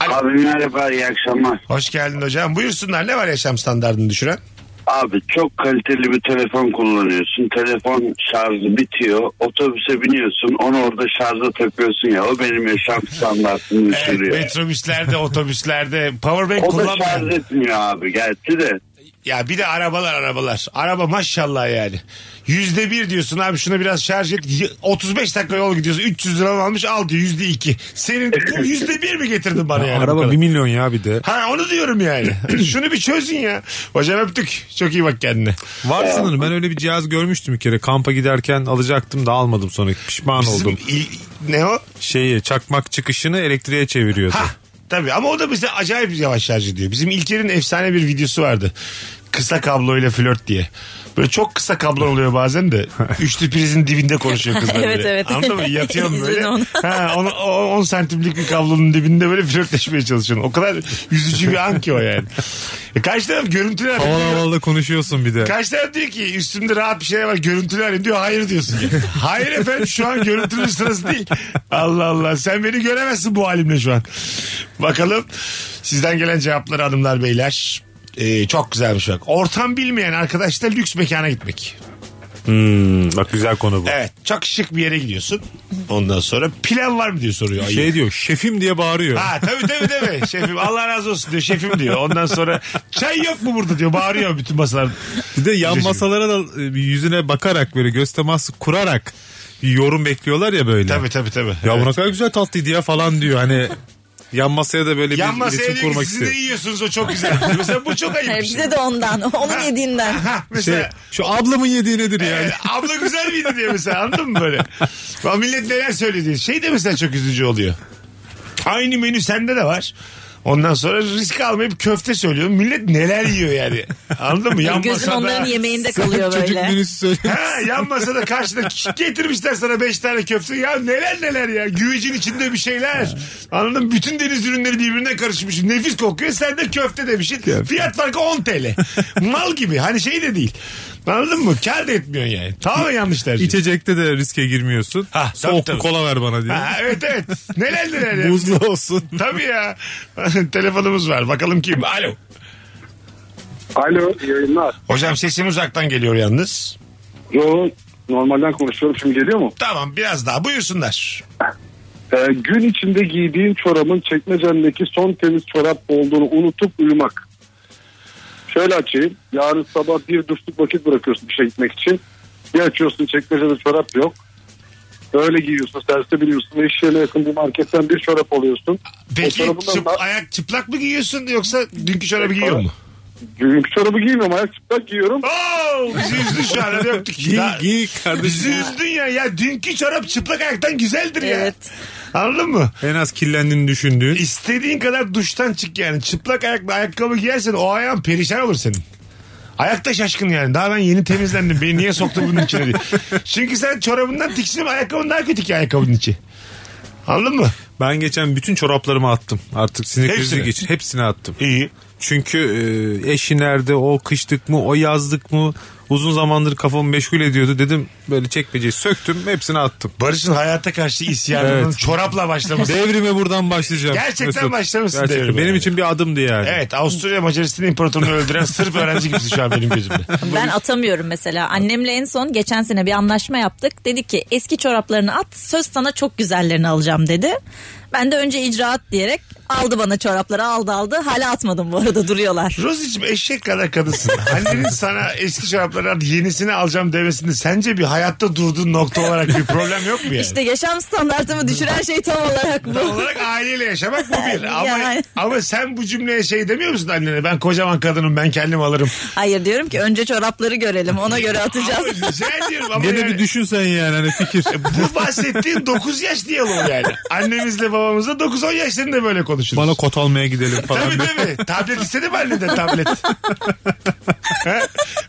Speaker 10: Abi merhaba iyi akşamlar.
Speaker 3: Hoş geldin hocam. Buyursunlar ne var yaşam standartını düşüren?
Speaker 10: Abi çok kaliteli bir telefon kullanıyorsun. Telefon şarjı bitiyor. Otobüse biniyorsun. Onu orada şarja takıyorsun ya. O benim yaşam standartımı
Speaker 3: Evet,
Speaker 10: düşürüyor.
Speaker 3: metrobüslerde, otobüslerde powerbank
Speaker 10: o da şarj
Speaker 3: kullanmayan.
Speaker 10: etmiyor abi. Gerçi de.
Speaker 3: Ya bir de arabalar arabalar. Araba maşallah yani. Yüzde bir diyorsun abi şuna biraz şarj et. Y- 35 dakika yol gidiyorsun. 300 lira almış al diyor yüzde iki. Senin bu yüzde bir mi getirdin bana yani? bu
Speaker 4: Araba
Speaker 3: kadar?
Speaker 4: 1 milyon ya bir de.
Speaker 3: Ha onu diyorum yani. Şunu bir çözün ya. Hocam öptük. Çok iyi bak kendine.
Speaker 4: Var sanırım ben öyle bir cihaz görmüştüm bir kere. Kampa giderken alacaktım da almadım sonra pişman
Speaker 3: Bizim
Speaker 4: oldum.
Speaker 3: il- ne o?
Speaker 4: Şeyi çakmak çıkışını elektriğe çeviriyordu.
Speaker 3: Ha tabii ama o da bize acayip yavaş şarj ediyor. Bizim İlker'in efsane bir videosu vardı. Kısa kabloyla flört diye. Böyle çok kısa kablo oluyor bazen de. Üçlü prizin dibinde konuşuyor kızlar.
Speaker 5: Evet,
Speaker 3: böyle.
Speaker 5: evet.
Speaker 3: Anladın mı? Yatıyorum böyle.
Speaker 5: İzledim onu.
Speaker 3: Ha, on, o- on santimlik bir kablonun dibinde böyle flörtleşmeye çalışıyorsun. O kadar yüzücü bir an ki o yani. E, karşı taraf görüntüler.
Speaker 4: Havalı havalı konuşuyorsun bir de.
Speaker 3: Kaç tane diyor ki üstümde rahat bir şey var görüntülü alayım diyor hayır diyorsun. ya. hayır efendim şu an görüntünün sırası değil. Allah Allah sen beni göremezsin bu halimle şu an. Bakalım sizden gelen cevapları hanımlar beyler. Ee, çok güzelmiş bak. Ortam bilmeyen arkadaşla lüks mekana gitmek.
Speaker 4: Hmm, bak güzel konu bu.
Speaker 3: Evet çok şık bir yere gidiyorsun. Ondan sonra pilav var mı diye soruyor. ayı.
Speaker 4: Şey diyor şefim diye bağırıyor.
Speaker 3: Ha tabii tabii tabii. Şefim Allah razı olsun diyor. Şefim diyor. Ondan sonra çay yok mu burada diyor. Bağırıyor bütün masalar.
Speaker 4: Bir de yan
Speaker 3: Güzel
Speaker 4: masalara da e, yüzüne bakarak böyle göz teması kurarak bir yorum bekliyorlar ya böyle.
Speaker 3: Tabii tabii tabii.
Speaker 4: Ya
Speaker 3: Evet.
Speaker 4: bu ne kadar güzel tatlıydı ya falan diyor hani. Yan masaya da böyle
Speaker 3: Yan
Speaker 4: bir
Speaker 3: masaya
Speaker 4: iletişim
Speaker 3: diyor ki
Speaker 4: kurmak
Speaker 3: siz de
Speaker 4: istiyor.
Speaker 3: yiyorsunuz o çok güzel. Mesela bu çok ayıp.
Speaker 5: Hayır,
Speaker 3: bir şey.
Speaker 5: bize de ondan. Onun yediğinden.
Speaker 3: Ha,
Speaker 4: Şey,
Speaker 3: mesela
Speaker 4: şu ablamın yediği nedir Şey, yani?
Speaker 3: e, abla güzel miydi diye mesela anladın mı böyle? Ya millet neler söyledi. Şey de mesela çok üzücü oluyor. Aynı menü sende de var. Ondan sonra risk almayıp köfte söylüyorum. Millet neler yiyor yani. Anladın mı? Yan
Speaker 5: Gözün
Speaker 3: masada-
Speaker 5: onların yemeğinde kalıyor
Speaker 4: Çocuk
Speaker 5: böyle.
Speaker 4: menüsü söylüyor.
Speaker 3: Ha, yan masada karşıda getirmişler sana beş tane köfte. Ya neler neler ya. Güvecin içinde bir şeyler. Anladın mı? Bütün deniz ürünleri birbirine karışmış. Nefis kokuyor. Sen de köfte demişsin. Fiyat farkı 10 TL. Mal gibi. Hani şey de değil. Anladın mı? Kar da etmiyorsun yani. Tamamen yanlış tercih.
Speaker 4: İçecekte de riske girmiyorsun.
Speaker 3: Ha, tabii,
Speaker 4: Soğuk bir
Speaker 3: tabii.
Speaker 4: kola ver bana diyor.
Speaker 3: Ha, evet evet. Neler neler ya.
Speaker 4: Buzlu olsun.
Speaker 3: Tabii ya. Telefonumuz var. Bakalım kim? Alo.
Speaker 11: Alo iyi yayınlar.
Speaker 3: Hocam sesim uzaktan geliyor yalnız.
Speaker 11: Yo normalden konuşuyorum şimdi geliyor mu?
Speaker 3: Tamam biraz daha buyursunlar.
Speaker 11: Ee, gün içinde giydiğin çorabın çekmecendeki son temiz çorap olduğunu unutup uyumak. Şöyle açayım. Yarın sabah bir duşluk vakit bırakıyorsun işe gitmek için. Bir açıyorsun çekmecede çorap yok. Böyle giyiyorsun, serse biliyorsun ve iş yerine yakın bir marketten bir çorap alıyorsun.
Speaker 3: Peki
Speaker 11: O çorabından
Speaker 3: çıp-
Speaker 11: da-
Speaker 3: ayak çıplak mı giyiyorsun yoksa dünkü çorabı giyiyor mu?
Speaker 11: Dünkü çorabı giymiyorum, ayak çıplak giyiyorum.
Speaker 3: Oo, bizi üzdün şu an hadi öptük.
Speaker 4: Giy
Speaker 3: Daha-
Speaker 4: giy
Speaker 3: Bizi
Speaker 4: kardeşim.
Speaker 3: üzdün ya. Ya dünkü çorap çıplak ayaktan güzeldir ya.
Speaker 5: Evet.
Speaker 3: Anladın mı?
Speaker 4: en az kirlendiğini düşündüğün.
Speaker 3: İstediğin kadar duştan çık yani. Çıplak ayakla ayakkabı giyersen o ayağın perişan olur senin. Ayakta şaşkın yani. Daha ben yeni temizlendim. Beni niye soktun bunun içine diye. Çünkü sen çorabından tiksinip ayakkabın daha kötü ki ayakkabının içi. Anladın mı?
Speaker 4: Ben geçen bütün çoraplarımı attım. Artık sinir krizi
Speaker 3: Hepsini.
Speaker 4: geçir. Hepsini attım.
Speaker 3: İyi.
Speaker 4: Çünkü e, eşi nerede o kışlık mı o yazlık mı uzun zamandır kafamı meşgul ediyordu dedim böyle çekmeceyi söktüm hepsini attım.
Speaker 3: Barış'ın hayata karşı isyanının
Speaker 4: Evet.
Speaker 3: çorapla başlaması.
Speaker 4: Devrime buradan başlayacağım.
Speaker 3: Gerçekten başlamışsın
Speaker 4: Gerçekten.
Speaker 3: devrime.
Speaker 4: Benim için bir adımdı yani.
Speaker 3: Evet Avusturya Macaristan imparatorunu öldüren sırf öğrenci gibisin şu an benim gözümde.
Speaker 5: Ben atamıyorum mesela. Annemle en son geçen sene bir anlaşma yaptık. Dedi ki eski çoraplarını at söz sana çok güzellerini alacağım dedi. Ben de önce icraat diyerek aldı bana çorapları aldı aldı. Hala atmadım bu arada duruyorlar.
Speaker 3: Rosicim eşek kadar kadınsın. Annenin sana eski çorapları al, yenisini alacağım demesinde sence bir hayatta durduğun nokta olarak bir problem yok mu yani?
Speaker 5: İşte yaşam standartımı düşüren şey tam olarak
Speaker 3: Tam
Speaker 5: bu.
Speaker 3: olarak aileyle yaşamak bu bir. Ama,
Speaker 5: Yani.
Speaker 3: ama sen bu cümleye şey demiyor musun annene? Ben kocaman kadınım ben kendim alırım.
Speaker 5: Hayır diyorum ki önce çorapları görelim ona göre atacağız.
Speaker 3: Ama rica ediyorum ama
Speaker 4: Ne de
Speaker 3: yani- E,
Speaker 4: bir düşün sen yani hani fikir.
Speaker 3: bu bahsettiğin 9 yaş diyaloğu yani. Annemizle babamızla 9-10 yaşlarında böyle konuşuruz.
Speaker 4: Bana kot almaya gidelim falan.
Speaker 3: Tabii
Speaker 4: diye.
Speaker 3: tabii. Tablet istedi mi anneden tablet? Ha?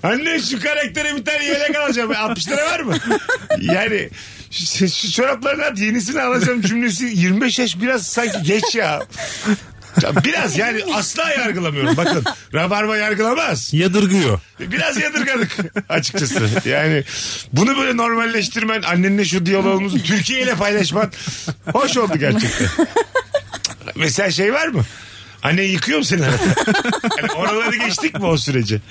Speaker 3: Anne şu karaktere bir tane yelek alacağım. 60 lira var mı? Yani şu, şu çoraplarını at yenisini alacağım cümlesi 25 yaş biraz sanki geç ya. Ya Biraz yani asla yargılamıyorum. Bakın Rabarba yargılamaz.
Speaker 4: Yadırgıyor.
Speaker 3: Biraz yadırgadık açıkçası. Yani bunu böyle normalleştirmen, annenle şu diyalogumuzu Türkiye ile paylaşman hoş oldu gerçekten. Mesela şey var mı? Anne yıkıyor mu seni arada? Yani oraları geçtik mi o süreci?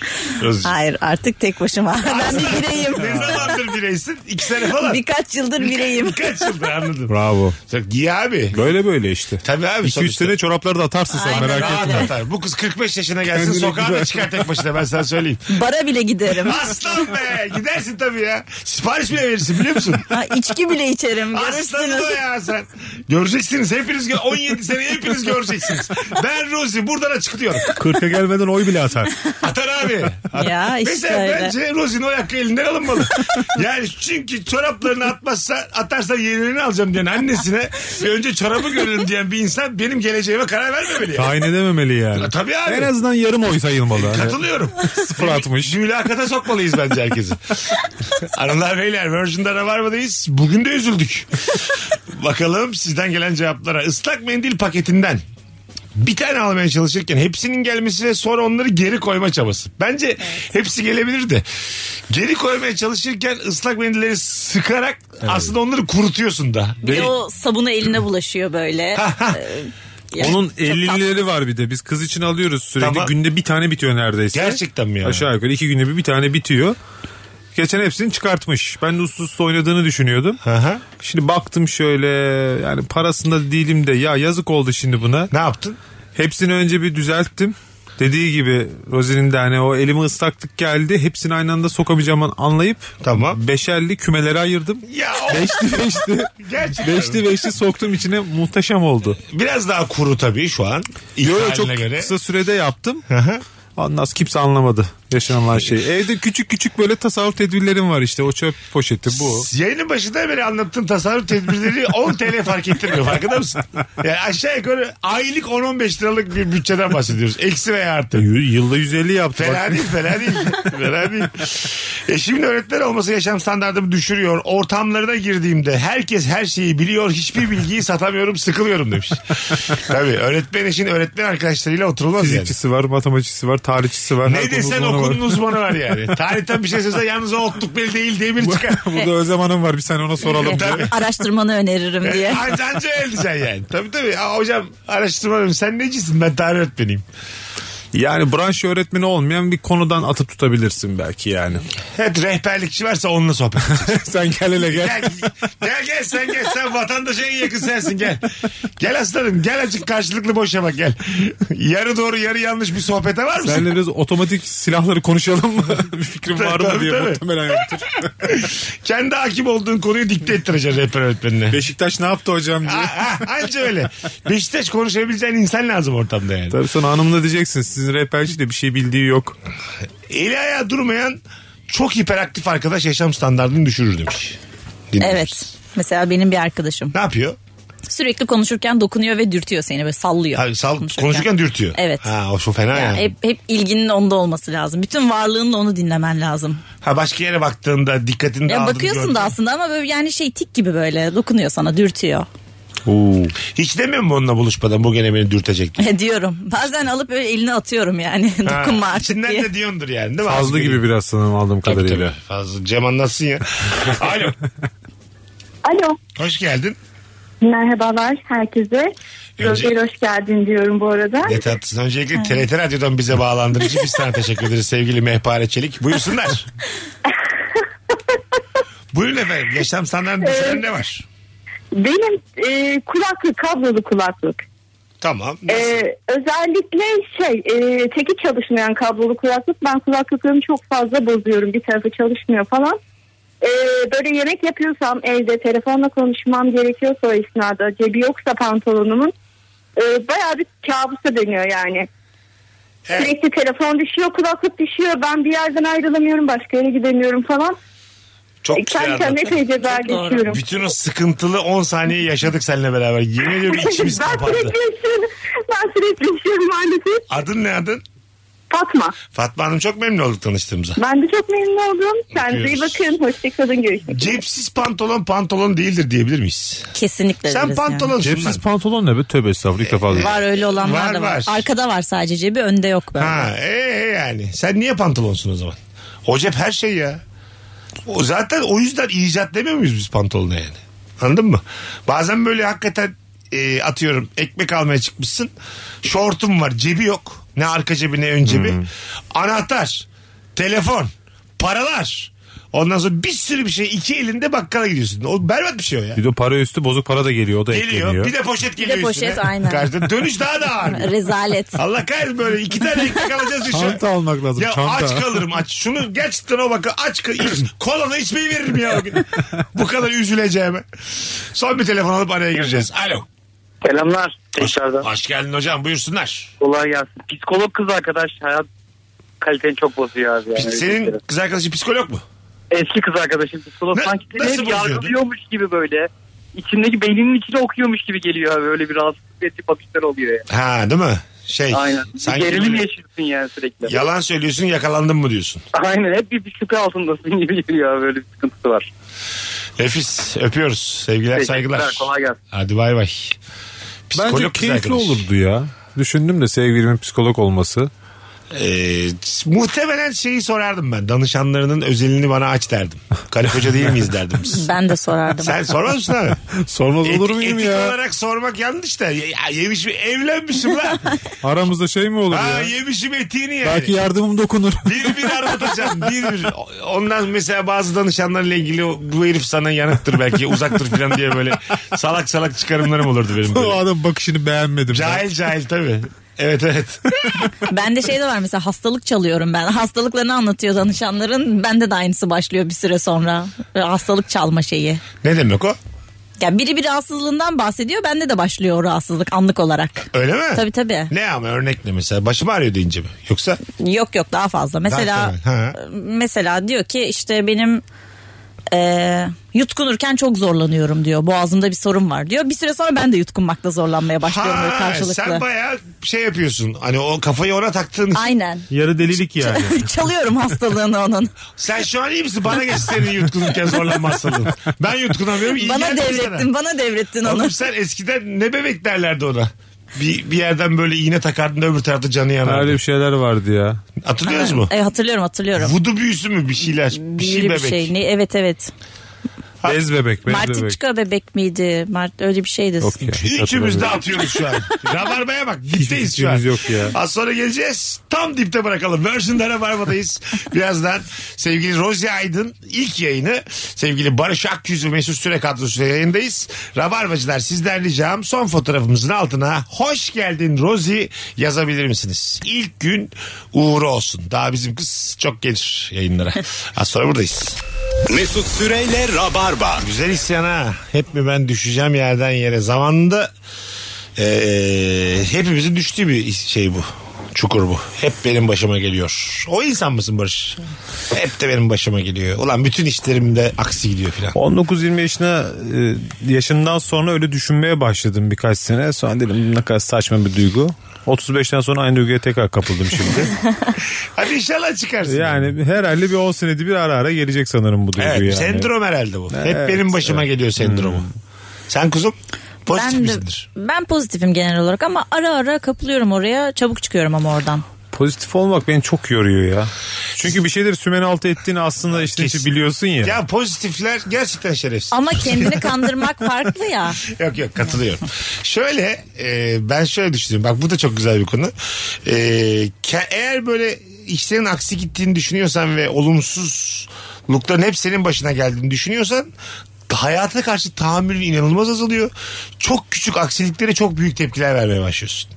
Speaker 3: Rozucuğum.
Speaker 5: Hayır artık tek başıma. ben bir bireyim.
Speaker 3: Ne zamandır bireysin? İki sene falan.
Speaker 5: Birkaç yıldır bireyim.
Speaker 3: Kaç yıldır anladım.
Speaker 4: Bravo.
Speaker 3: Sen Giy abi.
Speaker 4: Böyle böyle işte.
Speaker 3: Tabii abi
Speaker 4: 2-3
Speaker 3: sonuçta.
Speaker 4: sene çorapları da atarsın sen
Speaker 5: Aynen
Speaker 4: merak
Speaker 5: öyle.
Speaker 4: etme.
Speaker 3: Rahat atar. Bu kız 45 yaşına gelsin
Speaker 4: Kendine
Speaker 3: sokağa da
Speaker 4: güzel.
Speaker 3: çıkar tek başına ben sana söyleyeyim.
Speaker 5: Bara bile giderim.
Speaker 3: Aslan be gidersin tabii ya. Sipariş bile verirsin biliyor musun?
Speaker 5: Ha, içki bile içerim.
Speaker 3: Aslan
Speaker 5: Görürsünüz.
Speaker 3: o ya sen. Göreceksiniz hepiniz gö- 17 sene hepiniz göreceksiniz. Ben Rosie buradan açıklıyorum.
Speaker 4: 40'a gelmeden oy bile atar.
Speaker 3: Atar abi. At-
Speaker 5: Ya işte
Speaker 3: Mesela
Speaker 5: öyle.
Speaker 3: bence Rosie'nin o ayakkabı elinden alınmalı. yani çünkü çoraplarını atmazsa atarsa yenilerini alacağım diyen annesine ve önce çorabı görelim diyen bir insan benim geleceğime karar vermemeli. yani. E,
Speaker 4: Tayin edememeli yani.
Speaker 3: Tabii abi.
Speaker 4: En azından yarım oy sayılmalı. Hani
Speaker 3: Katılıyorum.
Speaker 4: sıfır atmış.
Speaker 3: Mülakata sokmalıyız bence herkesi. Aralar beyler Virgin'de Rabarba'dayız. Bugün de üzüldük. Bakalım sizden gelen cevaplara. Islak mendil paketinden bir tane almaya çalışırken hepsinin gelmesi ve sonra onları geri koyma çabası. Bence hepsi gelebilirdi. Geri koymaya çalışırken ıslak mendilleri sıkarak aslında onları kurutuyorsun da.
Speaker 5: Bir de o sabunu eline bulaşıyor böyle. Ee, yani
Speaker 4: Onun
Speaker 5: çok tatlı.
Speaker 4: 50'lileri var bir de. Biz kız için alıyoruz sürekli.
Speaker 3: Tamam.
Speaker 4: Günde bir tane bitiyor neredeyse.
Speaker 3: Gerçekten mi ya?
Speaker 4: Aşağı yukarı iki günde bir, bir tane bitiyor. Geçen hepsini çıkartmış. Ben de uslu uslu oynadığını düşünüyordum.
Speaker 3: Hı hı.
Speaker 4: Şimdi baktım şöyle yani parasında değilim de ya yazık oldu şimdi buna.
Speaker 3: Ne yaptın?
Speaker 4: Hepsini önce bir düzelttim. Dediği gibi Rozi'nin de hani o elimi ıslaklık geldi. Hepsini aynı anda sokamayacağımı anlayıp
Speaker 3: Tamam.
Speaker 4: beşerli kümelere ayırdım.
Speaker 3: Ya o-
Speaker 4: Beşli beşli.
Speaker 3: Gerçekten.
Speaker 4: beşli beşli soktum içine muhteşem oldu.
Speaker 3: biraz daha kuru tabii şu an. İlk
Speaker 4: Yo, yo,
Speaker 3: haline
Speaker 4: çok
Speaker 3: göre.
Speaker 4: kısa sürede yaptım.
Speaker 3: Hı hı.
Speaker 4: Ondan sonra kimse anlamadı yaşanılan şeyi. Evde küçük küçük böyle tasavvur tedbirlerim var işte. O çöp poşeti bu.
Speaker 3: Yayının başında beri anlattığım tasarruf tedbirleri 10 TL fark ettirmiyor farkında mısın? Yani aşağı yukarı aylık 10-15 liralık bir bütçeden bahsediyoruz. Eksi veya artı.
Speaker 4: Y- Yılda 150 yaptı.
Speaker 3: Fena değil, fena değil. fena değil. Eşimin öğretmen olması yaşam standartımı düşürüyor. Ortamlarına girdiğimde herkes her şeyi biliyor. Hiçbir bilgiyi satamıyorum, sıkılıyorum demiş. Tabii öğretmen eşin öğretmen arkadaşlarıyla oturulmaz yani.
Speaker 4: Fizikçisi var, matematikçisi var, tarihçisi var. her
Speaker 3: Ne
Speaker 4: konuda
Speaker 3: desen
Speaker 4: uzmanı var.
Speaker 3: okulun uzmanı var yani. Tarihten bir şey söylesen yalnız o otluk belli değil diye biri çıkar.
Speaker 4: Burada Özlem Hanım var bir sen ona soralım.
Speaker 3: Tabii.
Speaker 5: şey.
Speaker 3: E,
Speaker 5: Araştırmanı öneririm diye.
Speaker 3: Anca, anca öyle diyeceksin yani. Tabii tabii. Aa, hocam araştırma öğretmenim. Sen necisin? Ben tarih öğretmeniyim.
Speaker 4: Yani branş öğretmeni olmayan bir konudan atıp tutabilirsin belki yani.
Speaker 3: Evet rehberlikçi varsa onunla sohbet
Speaker 4: Sen gel hele gel.
Speaker 3: Gel, gel gel sen gel sen vatandaşa en yakın sensin gel. Gel aslanım gel açık karşılıklı boşa bak gel. Yarı doğru yarı yanlış bir sohbete var mısın?
Speaker 4: Senle biraz otomatik silahları konuşalım mı? bir fikrim var mı
Speaker 3: Tabii,
Speaker 4: diye
Speaker 3: tabii.
Speaker 4: muhtemelen yoktur.
Speaker 3: Kendi hakim olduğun konuyu dikte ettireceksin rehber öğretmenine.
Speaker 4: Beşiktaş ne yaptı hocam diye.
Speaker 3: Ha, Anca öyle. Beşiktaş konuşabileceğin insan lazım ortamda yani.
Speaker 4: Tabii sonra hanımına diyeceksin sizin rehberci de bir şey bildiği yok.
Speaker 3: Eli ayağı durmayan çok hiperaktif arkadaş yaşam standartını düşürür demiş. Dinliyoruz.
Speaker 5: Evet. Mesela benim bir arkadaşım.
Speaker 3: Ne yapıyor?
Speaker 5: Sürekli konuşurken dokunuyor ve dürtüyor seni böyle sallıyor.
Speaker 3: Ha, sal, konuşurken. dürtüyor.
Speaker 5: Evet.
Speaker 3: Ha, o çok fena
Speaker 5: Yani
Speaker 3: yani.
Speaker 5: hep, hep ilginin onda olması lazım. Bütün varlığınla onu dinlemen lazım.
Speaker 3: Ha, başka yere baktığında dikkatini
Speaker 5: Ya
Speaker 3: dağıldığını
Speaker 5: bakıyorsun
Speaker 3: gördün.
Speaker 5: da aslında ama böyle yani şey tik gibi böyle dokunuyor sana dürtüyor.
Speaker 3: Hiç demiyor mu onunla buluşmadan bu gene beni dürtecek diye.
Speaker 5: Diyorum. Bazen alıp böyle eline atıyorum yani.
Speaker 3: Ha,
Speaker 5: Dokunma artık
Speaker 3: içinden
Speaker 5: diye.
Speaker 3: de diyordur yani değil mi?
Speaker 4: Fazla
Speaker 3: Az
Speaker 4: gibi biraz sanırım aldığım
Speaker 3: Tabii
Speaker 4: kadarıyla.
Speaker 3: tabii. Fazla. Cem anlatsın ya. Alo.
Speaker 12: Alo.
Speaker 3: Hoş geldin.
Speaker 12: Merhabalar herkese.
Speaker 3: Önce-
Speaker 12: Roger hoş geldin diyorum bu arada.
Speaker 3: Ne tatlısın. Öncelikle TRT Radyo'dan bize bağlandığın için biz sana teşekkür ederiz sevgili Mehpare Çelik. Buyursunlar. Buyurun efendim. Yaşam standartını düşünen ne var?
Speaker 12: Benim e, kulaklık, kablolu kulaklık.
Speaker 3: Tamam.
Speaker 9: Ee,
Speaker 12: E, özellikle şey, e, teki çalışmayan kablolu kulaklık. Ben kulaklıklarımı çok fazla bozuyorum. Bir tarafı çalışmıyor falan. E, böyle yemek yapıyorsam evde telefonla konuşmam gerekiyorsa o esnada cebi yoksa pantolonumun e, bayağı bir kabusa dönüyor yani. Sürekli telefon düşüyor, kulaklık düşüyor. Ben bir yerden ayrılamıyorum, başka yere gidemiyorum falan. E,
Speaker 9: e,
Speaker 3: Çok güzel
Speaker 12: Kendi kendime
Speaker 3: anlattın.
Speaker 12: epey ceza geçiyorum.
Speaker 3: Bütün o sıkıntılı 10 saniyeyi yaşadık seninle beraber. Yemin ediyorum
Speaker 12: ben
Speaker 3: şey içimiz kapandı.
Speaker 12: sürekli yaşıyorum. Ben sürekli yaşıyorum maalesef.
Speaker 3: Adın ne adın?
Speaker 12: Fatma.
Speaker 3: Fatma Hanım çok memnun olduk tanıştığımıza.
Speaker 12: Ben de çok memnun oldum. Kendinize iyi
Speaker 3: Öpüyoruz.
Speaker 12: bakın. Hoşçakalın. Görüşmek üzere.
Speaker 3: Cepsiz pantolon pantolon değildir diyebilir miyiz?
Speaker 5: Kesinlikle.
Speaker 3: Sen
Speaker 5: deriz
Speaker 3: pantolon
Speaker 4: Cepsiz pantolon ne be? Tövbe estağfurullah ilk defa
Speaker 5: yani.
Speaker 4: duydum.
Speaker 5: Var öyle olanlar
Speaker 3: Ee, Var,
Speaker 5: da var.
Speaker 3: var.
Speaker 5: Arkada var sadece cebi önde yok böyle.
Speaker 3: Ha, e, e yani. Sen niye pantolonsun o zaman? O cep her şey ya. O zaten o yüzden icat demiyor muyuz biz pantolona yani? Anladın mı? Bazen böyle hakikaten e, atıyorum ekmek almaya çıkmışsın. Şortum var, cebi yok. Ne arka cebi ne ön cebi. Anahtar, telefon, paralar. Ondan sonra bir sürü bir şey iki elinde bakkala gidiyorsun. O berbat bir şey o ya.
Speaker 4: Bir de para üstü bozuk para da geliyor o da
Speaker 3: Geliyor.
Speaker 4: ekleniyor.
Speaker 3: Bir de poşet
Speaker 5: Bir de
Speaker 3: geliyor
Speaker 5: poşet,
Speaker 3: üstüne.
Speaker 5: aynen.
Speaker 3: Karşıda dönüş daha da ağır.
Speaker 5: Rezalet.
Speaker 3: Allah kahretsin böyle iki tane ekmek alacağız düşün.
Speaker 4: Çanta almak lazım
Speaker 3: Ya
Speaker 4: çanta.
Speaker 3: aç kalırım aç. Şunu gerçekten o bakın aç kal- iç, kolana içmeyi veririm ya bugün. Bu kadar üzüleceğime. Son bir telefon alıp araya gireceğiz. Alo.
Speaker 7: Selamlar tekrardan.
Speaker 3: Hoş geldin hocam buyursunlar.
Speaker 7: Kolay gelsin. Psikolog kız arkadaş hayat kaliteni çok bozuyor abi. Yani.
Speaker 3: Senin kız arkadaşın psikolog mu?
Speaker 7: Eski kız arkadaşım psikolog
Speaker 3: Ne-
Speaker 7: sanki seni
Speaker 3: nasıl
Speaker 7: hep
Speaker 3: bozuyordu?
Speaker 7: yargılıyormuş gibi böyle. İçindeki beyninin içine okuyormuş gibi geliyor abi. Öyle bir rahatsızlık ve tipatişler oluyor yani.
Speaker 3: Ha değil mi? Şey.
Speaker 7: Aynen. Bir
Speaker 3: sanki
Speaker 7: Gerilim
Speaker 3: böyle
Speaker 7: yaşıyorsun yani sürekli.
Speaker 3: Yalan söylüyorsun yakalandın mı diyorsun.
Speaker 7: Aynen hep bir, bir şüphe altındasın gibi geliyor abi. Öyle bir sıkıntısı var.
Speaker 3: Nefis öpüyoruz. Sevgiler saygılar.
Speaker 7: Kolay gelsin.
Speaker 3: Hadi bay bay.
Speaker 4: Bence
Speaker 3: Psikolog kız
Speaker 4: keyifli
Speaker 3: arkadaş.
Speaker 4: olurdu ya. Düşündüm de sevgilimin psikolog olması.
Speaker 3: Ee, muhtemelen şeyi sorardım ben. Danışanlarının özelini bana aç derdim. Karı koca değil miyiz derdim. biz.
Speaker 5: Ben de sorardım.
Speaker 3: Sen sormaz mısın abi?
Speaker 4: Sormaz olur
Speaker 3: Eti-
Speaker 4: muyum
Speaker 3: etik
Speaker 4: ya?
Speaker 3: olarak sormak yanlış da. Ya, ya yemişim evlenmişim lan.
Speaker 4: Aramızda şey mi olur
Speaker 3: ha
Speaker 4: ya?
Speaker 3: yemişim etiğini yani.
Speaker 4: Belki yardımım dokunur.
Speaker 3: Bir bir anlatacağım. Bir bir. Ondan mesela bazı danışanlarla ilgili o- bu herif sana yanıktır belki uzaktır falan diye böyle salak salak çıkarımlarım olurdu benim.
Speaker 4: o
Speaker 3: Böyle.
Speaker 4: adam bakışını beğenmedim. ben.
Speaker 3: Cahil cahil tabii. Evet evet.
Speaker 5: Ben de şey de var mesela hastalık çalıyorum ben. Hastalıklarını anlatıyor danışanların. Bende de aynısı başlıyor bir süre sonra. Böyle Hastalık çalma şeyi.
Speaker 3: Ne demek o?
Speaker 5: Ya biri bir rahatsızlığından bahsediyor. Bende de başlıyor o rahatsızlık anlık olarak.
Speaker 3: Öyle mi?
Speaker 5: Tabii tabii.
Speaker 3: Ne ama örnek ne mesela? Başım ağrıyor deyince mi? Yoksa
Speaker 5: Yok yok daha fazla. Mesela
Speaker 3: temel, ha.
Speaker 5: mesela diyor ki işte benim e, yutkunurken çok zorlanıyorum diyor. Boğazımda bir sorun var diyor. Bir süre sonra ben de yutkunmakta zorlanmaya başlıyorum böyle
Speaker 3: ha,
Speaker 5: karşılıklı.
Speaker 3: sen bayağı şey yapıyorsun. Hani o kafayı ona taktığın.
Speaker 5: Aynen.
Speaker 4: Yarı delilik yani.
Speaker 5: Çalıyorum hastalığını onun.
Speaker 3: Sen şu an iyi misin? Bana geç senin yutkunurken zorlanmazsın. Ben yutkunamıyorum. iyi
Speaker 5: bana
Speaker 3: geldi
Speaker 5: devrettin,
Speaker 3: sana.
Speaker 5: bana devrettin onu.
Speaker 3: Oğlum sen eskiden ne bebek derlerdi ona. Bir, bir yerden böyle iğne takardın da öbür tarafta canı yanardı.
Speaker 4: Öyle bir şey. şeyler vardı ya.
Speaker 3: Hatırlıyorsunuz mu?
Speaker 5: E, hatırlıyorum hatırlıyorum.
Speaker 3: Vudu büyüsü mü bir şeyler? Bir şey
Speaker 5: Büyülü
Speaker 3: bebek.
Speaker 5: bir şey. Ne- Evet evet.
Speaker 4: Bez bebek, bez bebek.
Speaker 5: Martiçka bebek miydi? Mart öyle bir şeydi.
Speaker 4: Yok ya, hiç
Speaker 3: Üçümüz de
Speaker 4: hatırlamıyorum.
Speaker 3: atıyoruz şu an. Rabarbaya bak dipteyiz şu an.
Speaker 4: fikrimiz yok ya.
Speaker 3: Az sonra geleceğiz. Tam dipte bırakalım. Version'da Rabarba'dayız. Birazdan sevgili Rozi Aydın ilk yayını sevgili Barış Akyüz ve Mesut Süre kadrosuyla yayındayız. Rabarbacılar sizden ricam son fotoğrafımızın altına hoş geldin Rozi yazabilir misiniz? İlk gün uğru olsun. Daha bizim kız çok gelir yayınlara. Az sonra buradayız.
Speaker 2: Mesut Süreyle Rabarba.
Speaker 3: Güzel isyan ha. Hep mi ben düşeceğim yerden yere? Zamanında eee, hepimizin düştüğü bir şey bu. Çukur bu. Hep benim başıma geliyor. O insan mısın Barış? Hep de benim başıma geliyor. Ulan bütün işlerimde aksi gidiyor filan.
Speaker 4: 19-20 yaşına e, yaşından sonra öyle düşünmeye başladım birkaç sene. Sonra dedim ne kadar saçma bir duygu. 35'ten sonra aynı duyguya tekrar kapıldım şimdi.
Speaker 3: Hadi inşallah çıkarsın.
Speaker 4: yani herhalde bir 10 senede bir ara ara gelecek sanırım bu duygu
Speaker 3: evet,
Speaker 4: yani.
Speaker 3: sendrom herhalde bu. Hep
Speaker 4: Evet, Hmm.
Speaker 3: benim başıma geliyor sendromu. Sen kuzum pozitif
Speaker 5: Ben, de-
Speaker 3: misindir?
Speaker 5: ben pozitifim genel olarak ama ara ara kapılıyorum oraya. Çabuk çıkıyorum ama oradan.
Speaker 4: Pozitif olmak beni çok yoruyor ya. Çünkü bir şeyleri sümen altı ettiğini aslında işte
Speaker 3: Kesin.
Speaker 4: biliyorsun ya.
Speaker 3: Ya pozitifler gerçekten şerefsiz.
Speaker 5: Ama kendini kandırmak farklı ya.
Speaker 3: yok yok katılıyorum. şöyle e, ben şöyle düşünüyorum. Bak bu da çok güzel bir konu. E, ke- eğer böyle işlerin aksi gittiğini düşünüyorsan ve olumsuzlukların hep senin başına geldiğini düşünüyorsan hayata karşı tahammülün inanılmaz azalıyor. Çok küçük aksiliklere çok büyük tepkiler vermeye başlıyorsun.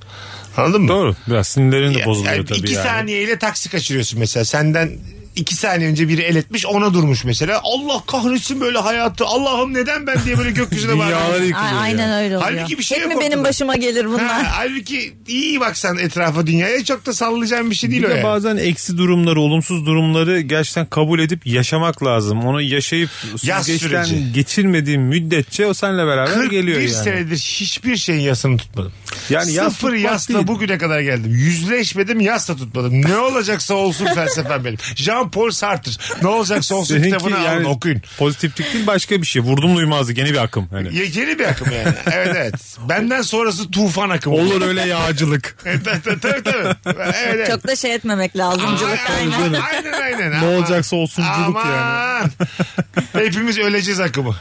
Speaker 3: Anladın mı?
Speaker 4: Doğru. Biraz sinirlerin de
Speaker 3: Ya-
Speaker 4: bozuluyor
Speaker 3: yani
Speaker 4: tabii
Speaker 3: iki
Speaker 4: yani.
Speaker 3: saniyeyle taksi kaçırıyorsun mesela. Senden iki saniye önce biri el etmiş ona durmuş mesela. Allah kahretsin böyle hayatı. Allah'ım neden ben diye böyle gökyüzüne
Speaker 4: Dünyaları
Speaker 3: bağırıyorsun.
Speaker 5: A-
Speaker 4: yıkılıyor
Speaker 5: Aynen
Speaker 4: ya.
Speaker 5: öyle oluyor.
Speaker 3: Halbuki bir şey
Speaker 5: Hep
Speaker 3: yok
Speaker 5: mi benim
Speaker 3: ortada?
Speaker 5: başıma gelir bunlar?
Speaker 3: Ha, halbuki iyi baksan etrafa dünyaya çok da sallayacağın bir şey değil
Speaker 4: Bir
Speaker 3: o
Speaker 4: de
Speaker 3: yani.
Speaker 4: bazen eksi durumları, olumsuz durumları gerçekten kabul edip yaşamak lazım. Onu yaşayıp
Speaker 3: Yaz süreci.
Speaker 4: süzgeçten geçirmediğin müddetçe o seninle beraber
Speaker 3: 41
Speaker 4: geliyor yani.
Speaker 3: senedir hiçbir şeyin yasını tutmadım.
Speaker 4: Yani yas
Speaker 3: Sıfır
Speaker 4: tutmak
Speaker 3: yasla
Speaker 4: değil.
Speaker 3: bugüne kadar geldim. Yüzleşmedim yasla tutmadım. Ne olacaksa olsun felsefem benim. Jean Paul Sartre. Ne olacaksa olsun
Speaker 4: Seninki
Speaker 3: kitabını alın
Speaker 4: yani
Speaker 3: okuyun.
Speaker 4: Pozitiflik değil başka bir şey. Vurdum duymazlık yeni bir akım. hani. Yani.
Speaker 3: Ye- Yeni bir akım yani. Evet evet. Benden sonrası tufan akımı.
Speaker 4: Olur öyle yağcılık.
Speaker 3: Evet, evet, evet, evet, evet. Evet, evet.
Speaker 5: Çok da şey etmemek lazımcılık.
Speaker 3: Aynen, aynen aynen. aynen.
Speaker 4: ne
Speaker 3: Aman.
Speaker 4: olacaksa olsunculuk yani.
Speaker 3: Aman. Hepimiz öleceğiz akımı.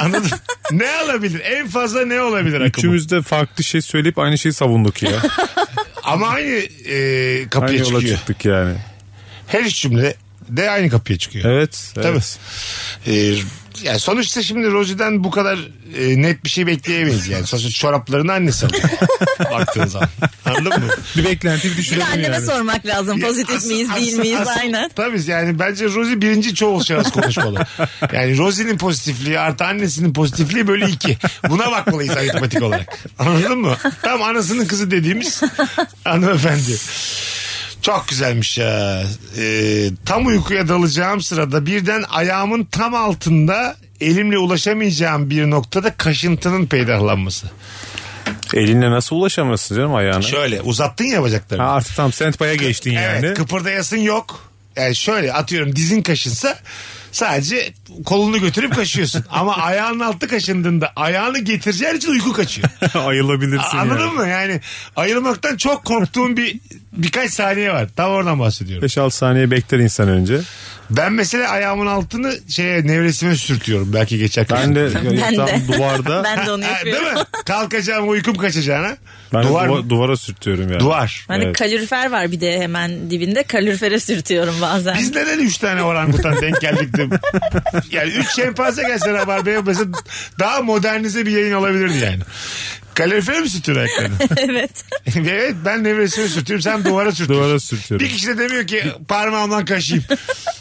Speaker 3: Anladın? Ne alabilir? En fazla ne olabilir akımı?
Speaker 4: Üçümüz de farklı şey söyleyip aynı şeyi savunduk ya.
Speaker 3: Ama aynı e,
Speaker 4: aynı
Speaker 3: kapıya
Speaker 4: yola
Speaker 3: çıkıyor.
Speaker 4: çıktık yani.
Speaker 3: Her üç cümle de aynı kapıya çıkıyor.
Speaker 4: Evet.
Speaker 3: Tabii.
Speaker 4: evet.
Speaker 3: Ee, yani sonuçta şimdi Rozi'den bu kadar e, net bir şey bekleyemeyiz yani. Sonuçta çoraplarını annesi alıyor. Baktığın zaman. Anladın mı?
Speaker 4: Bir beklenti bir
Speaker 5: Bir de
Speaker 4: düşünelim
Speaker 5: anneme
Speaker 4: yani.
Speaker 5: sormak lazım. Pozitif
Speaker 3: Asıl-
Speaker 5: miyiz değil
Speaker 3: asıl-
Speaker 5: miyiz?
Speaker 3: asıl-
Speaker 5: Aynen.
Speaker 3: Tabii yani bence Rosie birinci çoğul şahıs konuşmalı. Yani Rosie'nin pozitifliği artı annesinin pozitifliği böyle iki. Buna bakmalıyız aritmetik olarak. Anladın mı? Tam anasının kızı dediğimiz hanımefendi. Çok güzelmiş ya. Ee, tam uykuya dalacağım sırada birden ayağımın tam altında elimle ulaşamayacağım bir noktada kaşıntının peydahlanması.
Speaker 4: Elinle nasıl ulaşamazsın canım ayağına?
Speaker 3: Şöyle uzattın ya bacaklarını.
Speaker 4: Ha, artık tam sentpaya geçtin yani.
Speaker 3: Evet kıpırdayasın yok. Yani şöyle atıyorum dizin kaşınsa sadece kolunu götürüp kaşıyorsun. Ama ayağının altı kaşındığında ayağını getireceğin için uyku kaçıyor.
Speaker 4: Ayılabilirsin
Speaker 3: Anladın
Speaker 4: yani.
Speaker 3: mı? Yani ayılmaktan çok korktuğum bir birkaç saniye var. Tam oradan bahsediyorum.
Speaker 4: 5-6 saniye bekler insan önce.
Speaker 3: Ben mesela ayağımın altını şeye nevresime sürtüyorum belki geçer.
Speaker 4: Ben de
Speaker 5: Ben
Speaker 4: tam
Speaker 5: de.
Speaker 4: duvarda ben,
Speaker 5: Ben de onu
Speaker 3: Ha, değil
Speaker 5: yapıyorum.
Speaker 3: mi? Kalkacağım uykum kaçacağına.
Speaker 4: de
Speaker 3: duvar,
Speaker 4: duva- duvara sürtüyorum yani.
Speaker 3: duvar.
Speaker 5: Hani
Speaker 4: Evet.
Speaker 5: kalorifer var bir de hemen dibinde. Kalorifere sürtüyorum bazen.
Speaker 3: Biz neden 3 tane orangutan denk geldik de? Yani 3 şempanze gelse Rabarba'ya mesela daha modernize bir yayın olabilirdi yani. Kalorifere mi sürtüyor ayaklarını?
Speaker 5: evet.
Speaker 3: evet ben nevresine sürtüyorum sen duvara sürtüyorsun.
Speaker 4: Duvara sürtüyorum.
Speaker 3: Bir kişi de demiyor ki parmağımdan kaşıyım.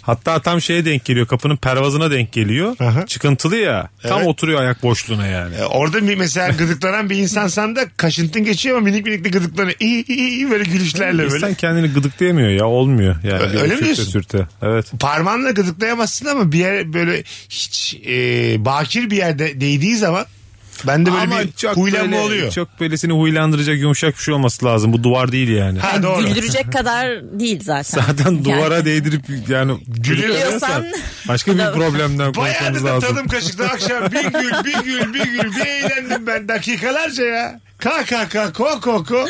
Speaker 4: Hatta tam şeye denk geliyor. Kapının pervazına denk geliyor.
Speaker 3: Aha.
Speaker 4: Çıkıntılı ya. Tam
Speaker 3: Evet.
Speaker 4: oturuyor ayak boşluğuna yani.
Speaker 3: E, Orada bir mesela gıdıklanan bir insansan da kaşıntın geçiyor ama minik minik de gıdıklanıyor. İyi, iyi, iyi, böyle gülüşlerle
Speaker 4: İnsan
Speaker 3: böyle.
Speaker 4: kendini gıdıklayamıyor ya. Olmuyor yani.
Speaker 3: Ö-
Speaker 4: Bir
Speaker 3: öyle mi
Speaker 4: sürte
Speaker 3: diyorsun?
Speaker 4: sürte. Evet.
Speaker 3: Parmağınla gıdıklayamazsın ama bir yer böyle hiç e, bakir bir yerde değdiği zaman bende böyle bir huylanma
Speaker 4: böyle-
Speaker 3: oluyor.
Speaker 4: Çok böyle seni huylandıracak yumuşak bir şey olması lazım. Bu duvar değil yani.
Speaker 3: Ha,
Speaker 5: Yani
Speaker 3: doğru.
Speaker 5: güldürecek kadar değil zaten.
Speaker 4: Zaten duvara
Speaker 5: Yani.
Speaker 4: değdirip yani
Speaker 5: Gülüyorsan-
Speaker 4: başka bir problemden
Speaker 3: Bayağı da
Speaker 4: korkmamız lazım.
Speaker 3: tadım kaşıktı akşam. Bir gül, bir gül, bir gül. Bir eğlendim ben dakikalarca ya. Ka ka ka ko ko ko.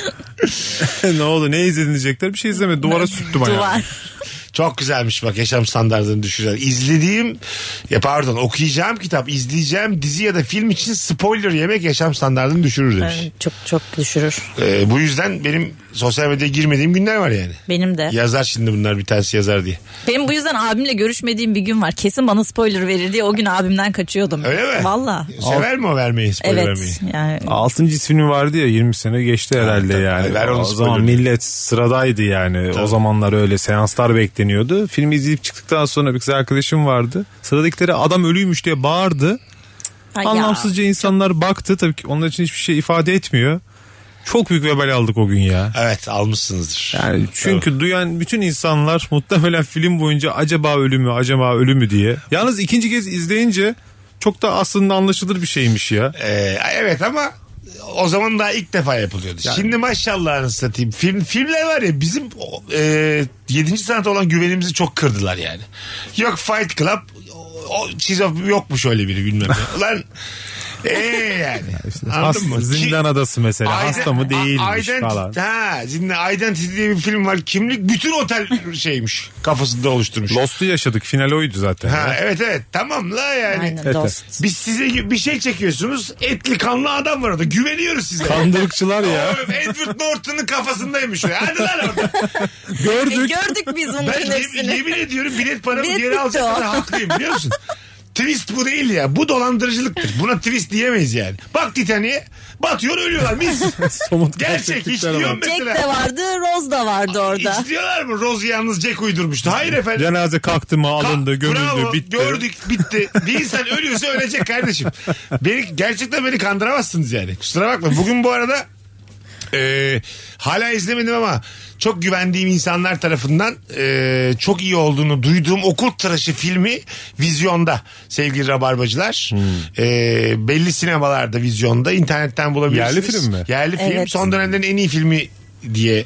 Speaker 4: ne oldu? Ne izlenecekler? Bir şey izleme. Duvara sürttüm ayağı.
Speaker 5: Duvar.
Speaker 3: Çok güzelmiş bak yaşam standartlarını düşüren. İzlediğim ya pardon okuyacağım kitap, izleyeceğim dizi ya da film için spoiler yemek yaşam standartını düşürür demiş.
Speaker 5: çok çok düşürür.
Speaker 3: Ee, bu yüzden benim sosyal medyaya girmediğim günler var yani.
Speaker 5: Benim de.
Speaker 3: Yazar şimdi bunlar bir tanesi yazar diye.
Speaker 5: Benim bu yüzden abimle görüşmediğim bir gün var. Kesin bana spoiler verir diye o gün abimden kaçıyordum.
Speaker 3: Öyle mi?
Speaker 5: Valla.
Speaker 3: Sever mi o vermeyi spoiler
Speaker 5: Evet.
Speaker 3: vermeyi?
Speaker 5: Yani
Speaker 4: Altıncı ismini vardı ya 20 sene geçti herhalde yani.
Speaker 3: Ver onu
Speaker 4: o zaman
Speaker 3: spoiler.
Speaker 4: millet sıradaydı yani. O zamanlar öyle seanslar bekleniyordu. Filmi izleyip çıktıktan sonra bir kız arkadaşım vardı. Sıradakileri adam ölüymüş diye bağırdı.
Speaker 5: Ay ya.
Speaker 4: Anlamsızca insanlar baktı. Tabii ki onlar için hiçbir şey ifade etmiyor. Çok büyük vebal aldık o gün ya.
Speaker 3: Evet almışsınızdır.
Speaker 4: Yani çünkü duyan bütün insanlar muhtemelen film boyunca acaba ölümü acaba ölümü diye. Yalnız ikinci kez izleyince çok da aslında anlaşılır bir şeymiş ya.
Speaker 3: Ee, evet ama o zaman daha ilk defa yapılıyordu. Şimdi maşallah anasını satayım. Film, filmler var ya bizim e, 7. sanata olan güvenimizi çok kırdılar yani. Yok Fight Club o- o, şizof- yokmuş öyle biri bilmem ne. Ulan ee yani.
Speaker 4: Has-
Speaker 3: Anladın mı? Ki-
Speaker 4: Zindan adası mesela
Speaker 3: Aiden-
Speaker 4: hasta mı
Speaker 3: A-
Speaker 4: değilmiş
Speaker 3: Identity-
Speaker 4: falan.
Speaker 3: Ha, Zindan- Identity diye bir film var. Kimlik bütün otel şeymiş. Kafasında oluşturmuş.
Speaker 4: Lost'u yaşadık final oydu zaten.
Speaker 3: Ha,
Speaker 4: ya.
Speaker 3: evet evet tamam la yani.
Speaker 5: Aynen,
Speaker 4: Evet,
Speaker 5: dost. E,
Speaker 3: Biz size gü- bir şey çekiyorsunuz. Etli kanlı adam var orada. Güveniyoruz size.
Speaker 4: Kandırıkçılar ya.
Speaker 3: Oğlum, Edward Norton'ın kafasındaymış o. ya. Hadi lan orada.
Speaker 5: E,
Speaker 4: Gördük.
Speaker 5: gördük biz
Speaker 3: Ben
Speaker 5: bunların
Speaker 3: yemin,
Speaker 5: hepsini.
Speaker 3: yemin ediyorum bilet paramı
Speaker 5: Bilet
Speaker 3: geri
Speaker 5: bitti
Speaker 3: alacaklar
Speaker 5: o.
Speaker 3: haklıyım biliyor musun? Twist bu değil ya. Bu dolandırıcılıktır. Buna twist diyemeyiz yani. Bak Titanic'e batıyor ölüyorlar mis.
Speaker 4: Somut
Speaker 3: Gerçek hiç
Speaker 4: gerçeklikler var.
Speaker 3: diyorum
Speaker 5: Jack
Speaker 3: mesela.
Speaker 5: de vardı, Rose da vardı orada.
Speaker 3: Hiç diyorlar mı? Rose yalnız Jack uydurmuştu. Hayır efendim.
Speaker 4: Cenaze kalktı mı alındı
Speaker 3: Ka-
Speaker 4: gömüldü
Speaker 3: bravo,
Speaker 4: bitti.
Speaker 3: Gördük bitti. Bir insan ölüyorsa ölecek kardeşim. Beni, gerçekten beni kandıramazsınız yani. Kusura bakma. Bugün bu arada e, hala izlemedim ama çok güvendiğim insanlar tarafından e, çok iyi olduğunu duyduğum okul tıraşı filmi vizyonda sevgili rabarbacılar.
Speaker 4: Hmm.
Speaker 3: E, belli sinemalarda vizyonda internetten bulabilirsiniz.
Speaker 4: Yerli film mi?
Speaker 3: Yerli film.
Speaker 5: Evet.
Speaker 3: Son dönemlerin en iyi filmi diye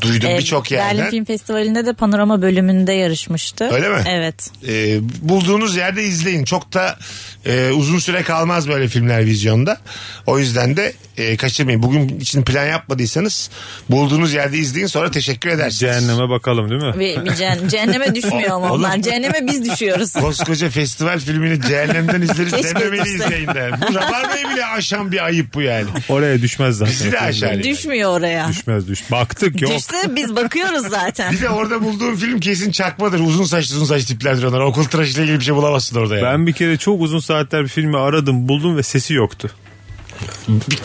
Speaker 3: duydum
Speaker 5: E,
Speaker 3: birçok
Speaker 5: Berlin
Speaker 3: yerden.
Speaker 5: Film Festivali'nde de panorama bölümünde yarışmıştı.
Speaker 3: Öyle mi?
Speaker 5: Evet.
Speaker 3: Ee, bulduğunuz yerde izleyin. Çok da e, uzun süre kalmaz böyle filmler vizyonda. O yüzden de e, kaçırmayın. Bugün için plan yapmadıysanız bulduğunuz yerde izleyin sonra teşekkür edersiniz.
Speaker 4: Cehenneme bakalım değil mi?
Speaker 5: Ve bir cehen- cehenneme düşmüyor ama onlar. Cehenneme biz düşüyoruz.
Speaker 3: Koskoca festival filmini cehennemden izleriz
Speaker 5: Keşke
Speaker 3: dememeli
Speaker 5: düşse.
Speaker 3: izleyin de. Bu Rabarba'yı bile aşan bir ayıp bu yani.
Speaker 4: Oraya düşmez zaten.
Speaker 3: Bizi de aşağı edin.
Speaker 5: Düşmüyor oraya.
Speaker 4: Düşmez düş. Baktık yok.
Speaker 5: Düşse biz bakıyoruz zaten.
Speaker 3: Bir de orada bulduğum film kesin çakmadır. Uzun saçlı uzun saç tiplerdir onlar. Okul tıraşıyla ilgili bir şey bulamazsın orada yani.
Speaker 4: Ben bir kere çok uzun saatler bir filmi aradım buldum ve sesi yoktu.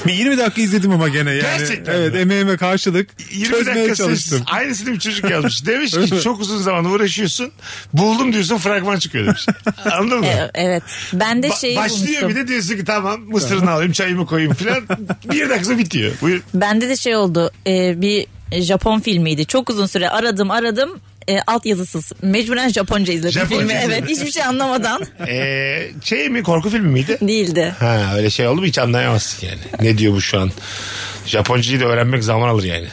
Speaker 4: Bir 20 dakika izledim ama gene yani.
Speaker 3: Gerçekten
Speaker 4: evet
Speaker 3: mi?
Speaker 4: emeğime karşılık
Speaker 3: 20
Speaker 4: çözmeye
Speaker 3: dakika sessiz.
Speaker 4: çalıştım.
Speaker 3: Aynısını bir çocuk yazmış. Demiş ki çok uzun zaman uğraşıyorsun. Buldum diyorsun fragman çıkıyor demiş. Anladın mı?
Speaker 5: E, evet. Ben de
Speaker 3: Ba-
Speaker 5: şeyi
Speaker 3: başlıyor
Speaker 5: bulmuştum.
Speaker 3: bir de diyorsun ki tamam mısırını alayım çayımı koyayım filan. bir dakika sonra bitiyor. Buyur.
Speaker 5: Bende de şey oldu. e, bir Japon filmiydi. Çok uzun süre aradım aradım. E, alt yazısız. Mecburen Japonca izledim
Speaker 3: Japonca
Speaker 5: filmi.
Speaker 3: izledin.
Speaker 5: Evet hiçbir şey anlamadan
Speaker 3: Ee, şey mi korku filmi miydi?
Speaker 5: değildi.
Speaker 3: Ha öyle şey oldu mu hiç anlayamazsın yani. Ne diyor bu şu an? Japoncayı da öğrenmek zaman alır yani.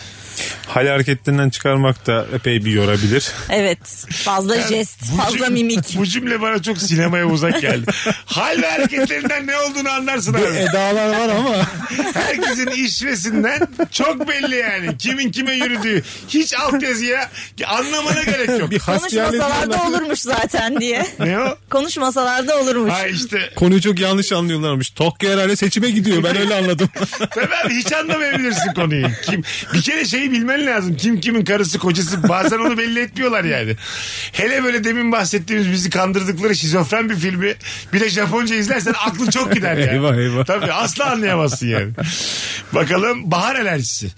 Speaker 4: Hal hareketlerinden çıkarmak da epey bir yorabilir.
Speaker 5: Evet. Fazla jest,
Speaker 3: Bu
Speaker 5: fazla
Speaker 3: cüm-
Speaker 5: mimik.
Speaker 3: Bu cümle bana çok sinemaya uzak geldi. Hal ve hareketlerinden ne olduğunu anlarsın abi.
Speaker 4: Edalar var ama.
Speaker 3: Herkesin işvesinden çok belli yani. Kimin kime yürüdüğü. Hiç altyazıya anlamana gerek yok.
Speaker 4: bir hasbihal
Speaker 5: Konuşmasalarda
Speaker 4: ediyorlar.
Speaker 5: olurmuş zaten diye.
Speaker 3: Ne o?
Speaker 5: Konuşmasalarda olurmuş.
Speaker 3: Ha işte.
Speaker 4: Konuyu çok yanlış anlıyorlarmış. Tokyo herhalde seçime gidiyor. Ben öyle anladım.
Speaker 3: Tabii abi hiç anlamayabilirsin konuyu. Kim, bir kere şeyi bilmen lazım. Kim kimin karısı kocası bazen onu belli etmiyorlar yani. Hele böyle demin bahsettiğimiz bizi kandırdıkları şizofren bir filmi bir de Japonca izlersen aklın çok gider yani.
Speaker 4: Eyvah, eyvah.
Speaker 3: Tabii asla anlayamazsın yani. Bakalım bahar alerjisi.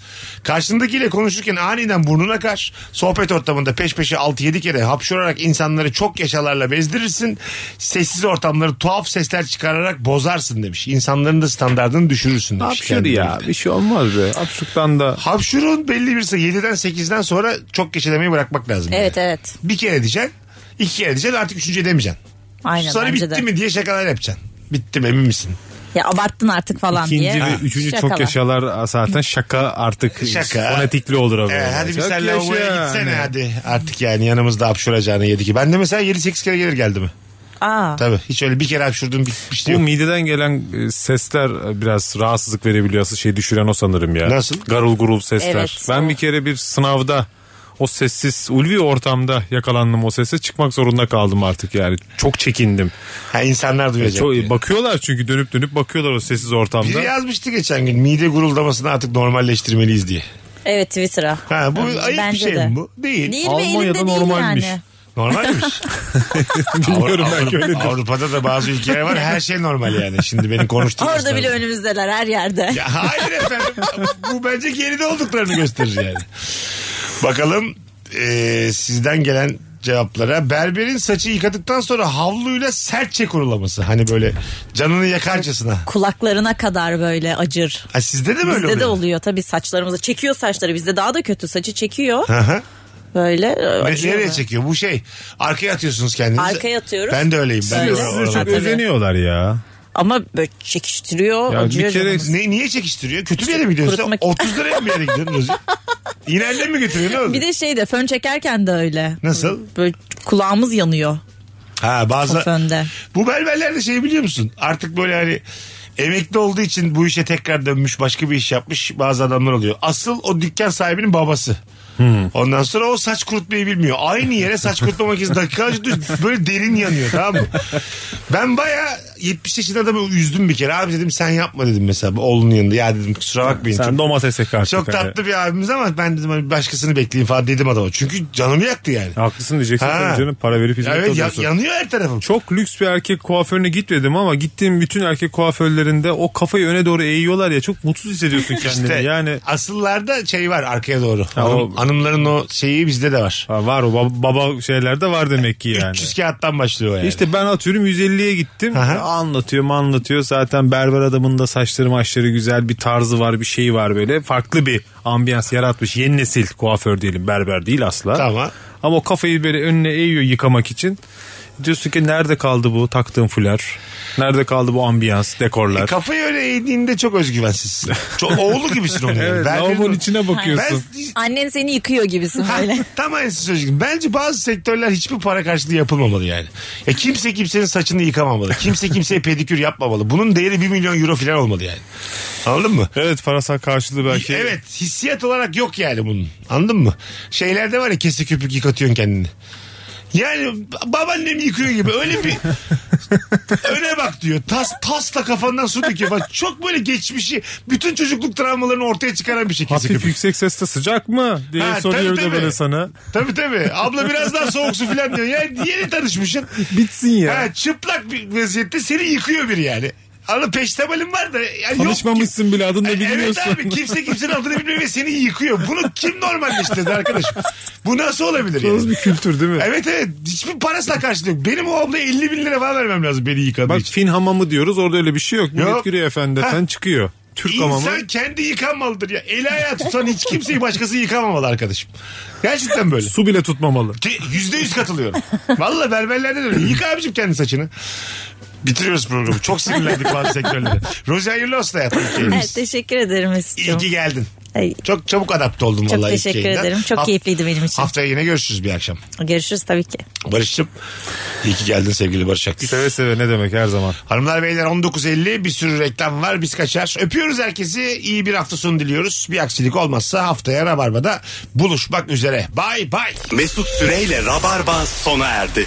Speaker 3: Karşındakiyle konuşurken aniden burnun akar. Sohbet ortamında peş peşe 6-7 kere hapşurarak insanları çok yaşalarla bezdirirsin. Sessiz ortamları tuhaf sesler çıkararak bozarsın demiş. İnsanların da standartını düşürürsün demiş.
Speaker 4: Hapşır
Speaker 3: Kendi
Speaker 4: ya. Bir şey olmaz be. Hapşuktan da.
Speaker 3: Hapşurun belli bir sayı 7'den 8'den sonra çok geçelemeyi bırakmak lazım.
Speaker 5: Evet
Speaker 3: yani.
Speaker 5: evet.
Speaker 3: Bir kere diyeceksin, iki kere diyeceksin artık üçüncü edemeyeceksin.
Speaker 5: Aynen
Speaker 3: Sonra
Speaker 5: bence
Speaker 3: bitti
Speaker 5: de.
Speaker 3: mi diye şakalar yapacaksın. Bitti mi emin misin?
Speaker 5: Ya abarttın artık falan
Speaker 4: İkinci
Speaker 5: diye. Ah,
Speaker 4: ve üçüncü çok
Speaker 5: Şakalar.
Speaker 4: yaşalar zaten şaka artık
Speaker 3: Şaka.
Speaker 4: fonetikli olur. abi.
Speaker 3: Ee, hadi bir
Speaker 4: Çok
Speaker 3: sen
Speaker 4: yaşa
Speaker 3: lavaboya
Speaker 4: yani.
Speaker 3: gitsene hadi. Artık yani yanımızda hapşuracağını yedi ki. Ben de mesela 7-8 kere gelir geldi mi?
Speaker 5: Aa,
Speaker 3: Tabii hiç öyle bir kere hapşurdum bitmişti
Speaker 4: Bu
Speaker 3: yok.
Speaker 4: mideden gelen e, sesler e, biraz rahatsızlık verebiliyor. Asıl şey düşüren o sanırım ya.
Speaker 3: Nasıl?
Speaker 4: Garul gurul sesler.
Speaker 5: Evet.
Speaker 4: ben bir kere bir sınavda o sessiz ulvi ortamda yakalandım o sese çıkmak zorunda kaldım artık yani. Çok çekindim. E,
Speaker 3: Ha insanlar duyacak diye.
Speaker 4: Çok, bakıyorlar çünkü dönüp dönüp bakıyorlar o sessiz ortamda.
Speaker 3: Biri yazmıştı geçen gün mide guruldamasını artık normalleştirmeliyiz diye.
Speaker 5: Evet Twitter'a.
Speaker 3: Ha, bu ayıp bir şey mi bu? Değil.
Speaker 5: Değil ve elinde değil yani.
Speaker 3: Normalmiş.
Speaker 4: Bilmiyorum
Speaker 3: Avru-
Speaker 4: belki öyledir.
Speaker 3: Avrupa'da da bazı ülkeler var her şey normal yani. Şimdi benim konuştuğum
Speaker 5: Orada
Speaker 3: insanlar-
Speaker 5: bile önümüzdeler her yerde.
Speaker 3: Ya hayır efendim. Bu bence geride olduklarını gösterir yani. Bakalım eee, sizden gelen cevaplara. Berberin saçı yıkadıktan sonra havluyla sertçe kurulaması. Hani böyle canını yakarcasına.
Speaker 5: Kulaklarına kadar böyle acır.
Speaker 3: Ha, sizde de böyle
Speaker 5: Bizde
Speaker 3: oluyor.
Speaker 5: de oluyor tabii saçlarımızı. Çekiyor saçları bizde daha da kötü saçı çekiyor.
Speaker 3: Hı hı.
Speaker 5: Böyle
Speaker 3: Ne-
Speaker 5: acıyor.
Speaker 3: Nereye çekiyor? Bu şey. Arkaya atıyorsunuz kendinizi.
Speaker 5: Arkaya atıyoruz.
Speaker 3: Ben de öyleyim. Ben de
Speaker 5: Öyle.
Speaker 3: oralarda-
Speaker 5: Ha,
Speaker 4: Çok
Speaker 5: tabii.
Speaker 4: özeniyorlar ya.
Speaker 5: Ama böyle çekiştiriyor.
Speaker 4: Ya
Speaker 5: acıyor
Speaker 4: bir kere
Speaker 5: canımız.
Speaker 3: Ne, niye çekiştiriyor? Kötü bir yere mi gidiyorsun? sen?
Speaker 5: Kurutmak-
Speaker 3: 30 liraya mı bir yere gidiyorsun Rozi? Yine elden mi götürüyorsun? oğlum?
Speaker 5: Bir de şey de fön çekerken de öyle.
Speaker 3: Nasıl?
Speaker 5: Böyle kulağımız yanıyor
Speaker 3: Ha
Speaker 5: o
Speaker 3: bazı
Speaker 5: fönde.
Speaker 3: Bu berberler de şey biliyor musun? Artık böyle hani emekli olduğu için bu işe tekrar dönmüş başka bir iş yapmış bazı adamlar oluyor. Asıl o dükkan sahibinin babası.
Speaker 5: Hmm.
Speaker 3: Ondan sonra o saç kurutmayı bilmiyor. Aynı yere saç kurutma makinesi dakikalarca düz- böyle derin yanıyor tamam mı? Ben baya 70 yaşında adamı üzdüm bir kere. Abi dedim sen yapma dedim mesela oğlunun yanında. Ya dedim kusura bakmayın.
Speaker 4: Sen
Speaker 3: Çok-
Speaker 4: domatese karşı.
Speaker 3: çok tatlı bir abimiz ama ben dedim hani başkasını bekleyin falan dedim adama. Çünkü canımı yaktı yani.
Speaker 4: Haklısın diyeceksin
Speaker 3: Ha.
Speaker 4: tabii canım para verip hizmet
Speaker 3: Evet ya-
Speaker 4: alıyorsun.
Speaker 3: yanıyor her tarafım.
Speaker 4: Çok lüks bir erkek kuaförüne gitmedim ama gittiğim bütün erkek kuaförlerinde o kafayı öne doğru eğiyorlar ya çok mutsuz hissediyorsun kendini.
Speaker 3: İşte
Speaker 4: Yani
Speaker 3: asıllarda şey var arkaya doğru.
Speaker 4: Ha,
Speaker 3: Hanım-
Speaker 4: o-
Speaker 3: hanımların o şeyi bizde de var.
Speaker 4: ha, var o bab- baba şeylerde var demek ki yani.
Speaker 3: 300 kağıttan başlıyor yani. E,
Speaker 4: İşte ben atıyorum 150'ye gittim.
Speaker 3: Aha.
Speaker 4: Anlatıyor anlatıyor. Zaten berber adamın da saçları maçları güzel bir tarzı var bir şey var böyle. Farklı bir ambiyans yaratmış. Yeni nesil kuaför diyelim berber değil asla.
Speaker 3: Tamam.
Speaker 4: Ama o kafayı böyle önüne eğiyor yıkamak için. Diyorsun ki nerede kaldı bu taktığın fular? Nerede kaldı bu ambiyans, dekorlar?
Speaker 3: E, kafayı öyle eğdiğinde çok özgüvensizsin. Çok oğlu gibisin onun. yani.
Speaker 4: evet,
Speaker 3: Ben-
Speaker 4: lavabonun içine
Speaker 3: Ben,
Speaker 4: bakıyorsun.
Speaker 5: Annen seni yıkıyor gibisin
Speaker 3: Ha,
Speaker 5: böyle.
Speaker 3: tam aynısı söyleyecektim. Bence bazı sektörler hiçbir para karşılığı yapılmamalı yani. E kimse kimsenin saçını yıkamamalı. Kimse kimseye pedikür yapmamalı. Bunun değeri 1 milyon euro falan olmalı yani. Anladın mı?
Speaker 4: Evet parasal karşılığı belki.
Speaker 3: Evet hissiyat olarak yok yani bunun. Anladın mı? Şeylerde var ya kese köpük yıkatıyorsun kendini. Yani babaannem yıkıyor gibi öyle bir öne bak diyor. Tas, tasla kafandan su döküyor. Bak çok böyle geçmişi bütün çocukluk travmalarını ortaya çıkaran bir şey kese
Speaker 4: Hafif
Speaker 3: köpük.
Speaker 4: yüksek sesle sıcak mı diye
Speaker 3: Ha,
Speaker 4: soruyor
Speaker 3: tabii,
Speaker 4: da
Speaker 3: tabii.
Speaker 4: böyle sana.
Speaker 3: Tabii tabii. Abla biraz daha soğuk su falan diyor. Yani yeni tanışmışsın.
Speaker 4: Bitsin ya.
Speaker 3: Ha, çıplak bir vaziyette seni yıkıyor biri yani. Anladın peştemalin var da. Yani yok ki- E,
Speaker 4: Tanışmamışsın bile adını da bilmiyorsun.
Speaker 3: Evet abi kimse kimsenin adını bilmiyor ve seni yıkıyor. Bunu kim normalleştirdi arkadaşım? Bu nasıl olabilir
Speaker 4: Yalnız
Speaker 3: yani?
Speaker 4: bir kültür değil mi?
Speaker 3: Evet evet hiçbir parasına karşılık yok. Benim o abla 50 bin lira falan vermem lazım beni yıkadığı
Speaker 4: Bak
Speaker 3: için.
Speaker 4: Fin hamamı diyoruz orada öyle bir şey yok.
Speaker 3: Yok.
Speaker 4: Millet giriyor efendi
Speaker 3: Ha.
Speaker 4: efendi çıkıyor. Türk hamamı.
Speaker 3: İnsan kendi yıkanmalıdır ya. Eli ayağı tutan hiç kimseyi başkası yıkamamalı arkadaşım. Gerçekten böyle.
Speaker 4: Su bile tutmamalı.
Speaker 3: Ki Yüzde yüz katılıyorum. Valla berberlerde de öyle. Yıka abicim kendi saçını. Bitiriyoruz programı. Çok sinirlendik bazı sektörlerde. Rozi hayırlı olsun hayatım.
Speaker 5: Evet, teşekkür ederim
Speaker 3: İyi
Speaker 5: Mesut'cum.
Speaker 3: ki geldin.
Speaker 5: Ay,
Speaker 3: Çok çabuk adapte oldum
Speaker 5: Çok
Speaker 3: vallahi. ilk
Speaker 5: teşekkür
Speaker 3: yayından.
Speaker 5: ederim. Çok
Speaker 3: Haft-
Speaker 5: keyifliydi benim için.
Speaker 3: Haftaya yine görüşürüz bir akşam.
Speaker 5: Görüşürüz tabii ki.
Speaker 3: Barış'cığım iyi ki geldin sevgili Barış Akgüz.
Speaker 4: Seve seve ne demek her zaman.
Speaker 3: Hanımlar beyler 19.50 bir sürü reklam var biz kaçar. Öpüyoruz herkesi iyi bir hafta sonu diliyoruz. Bir aksilik olmazsa haftaya Rabarba'da buluşmak üzere. Bay bay.
Speaker 2: Mesut Süreyle Rabarba sona erdi.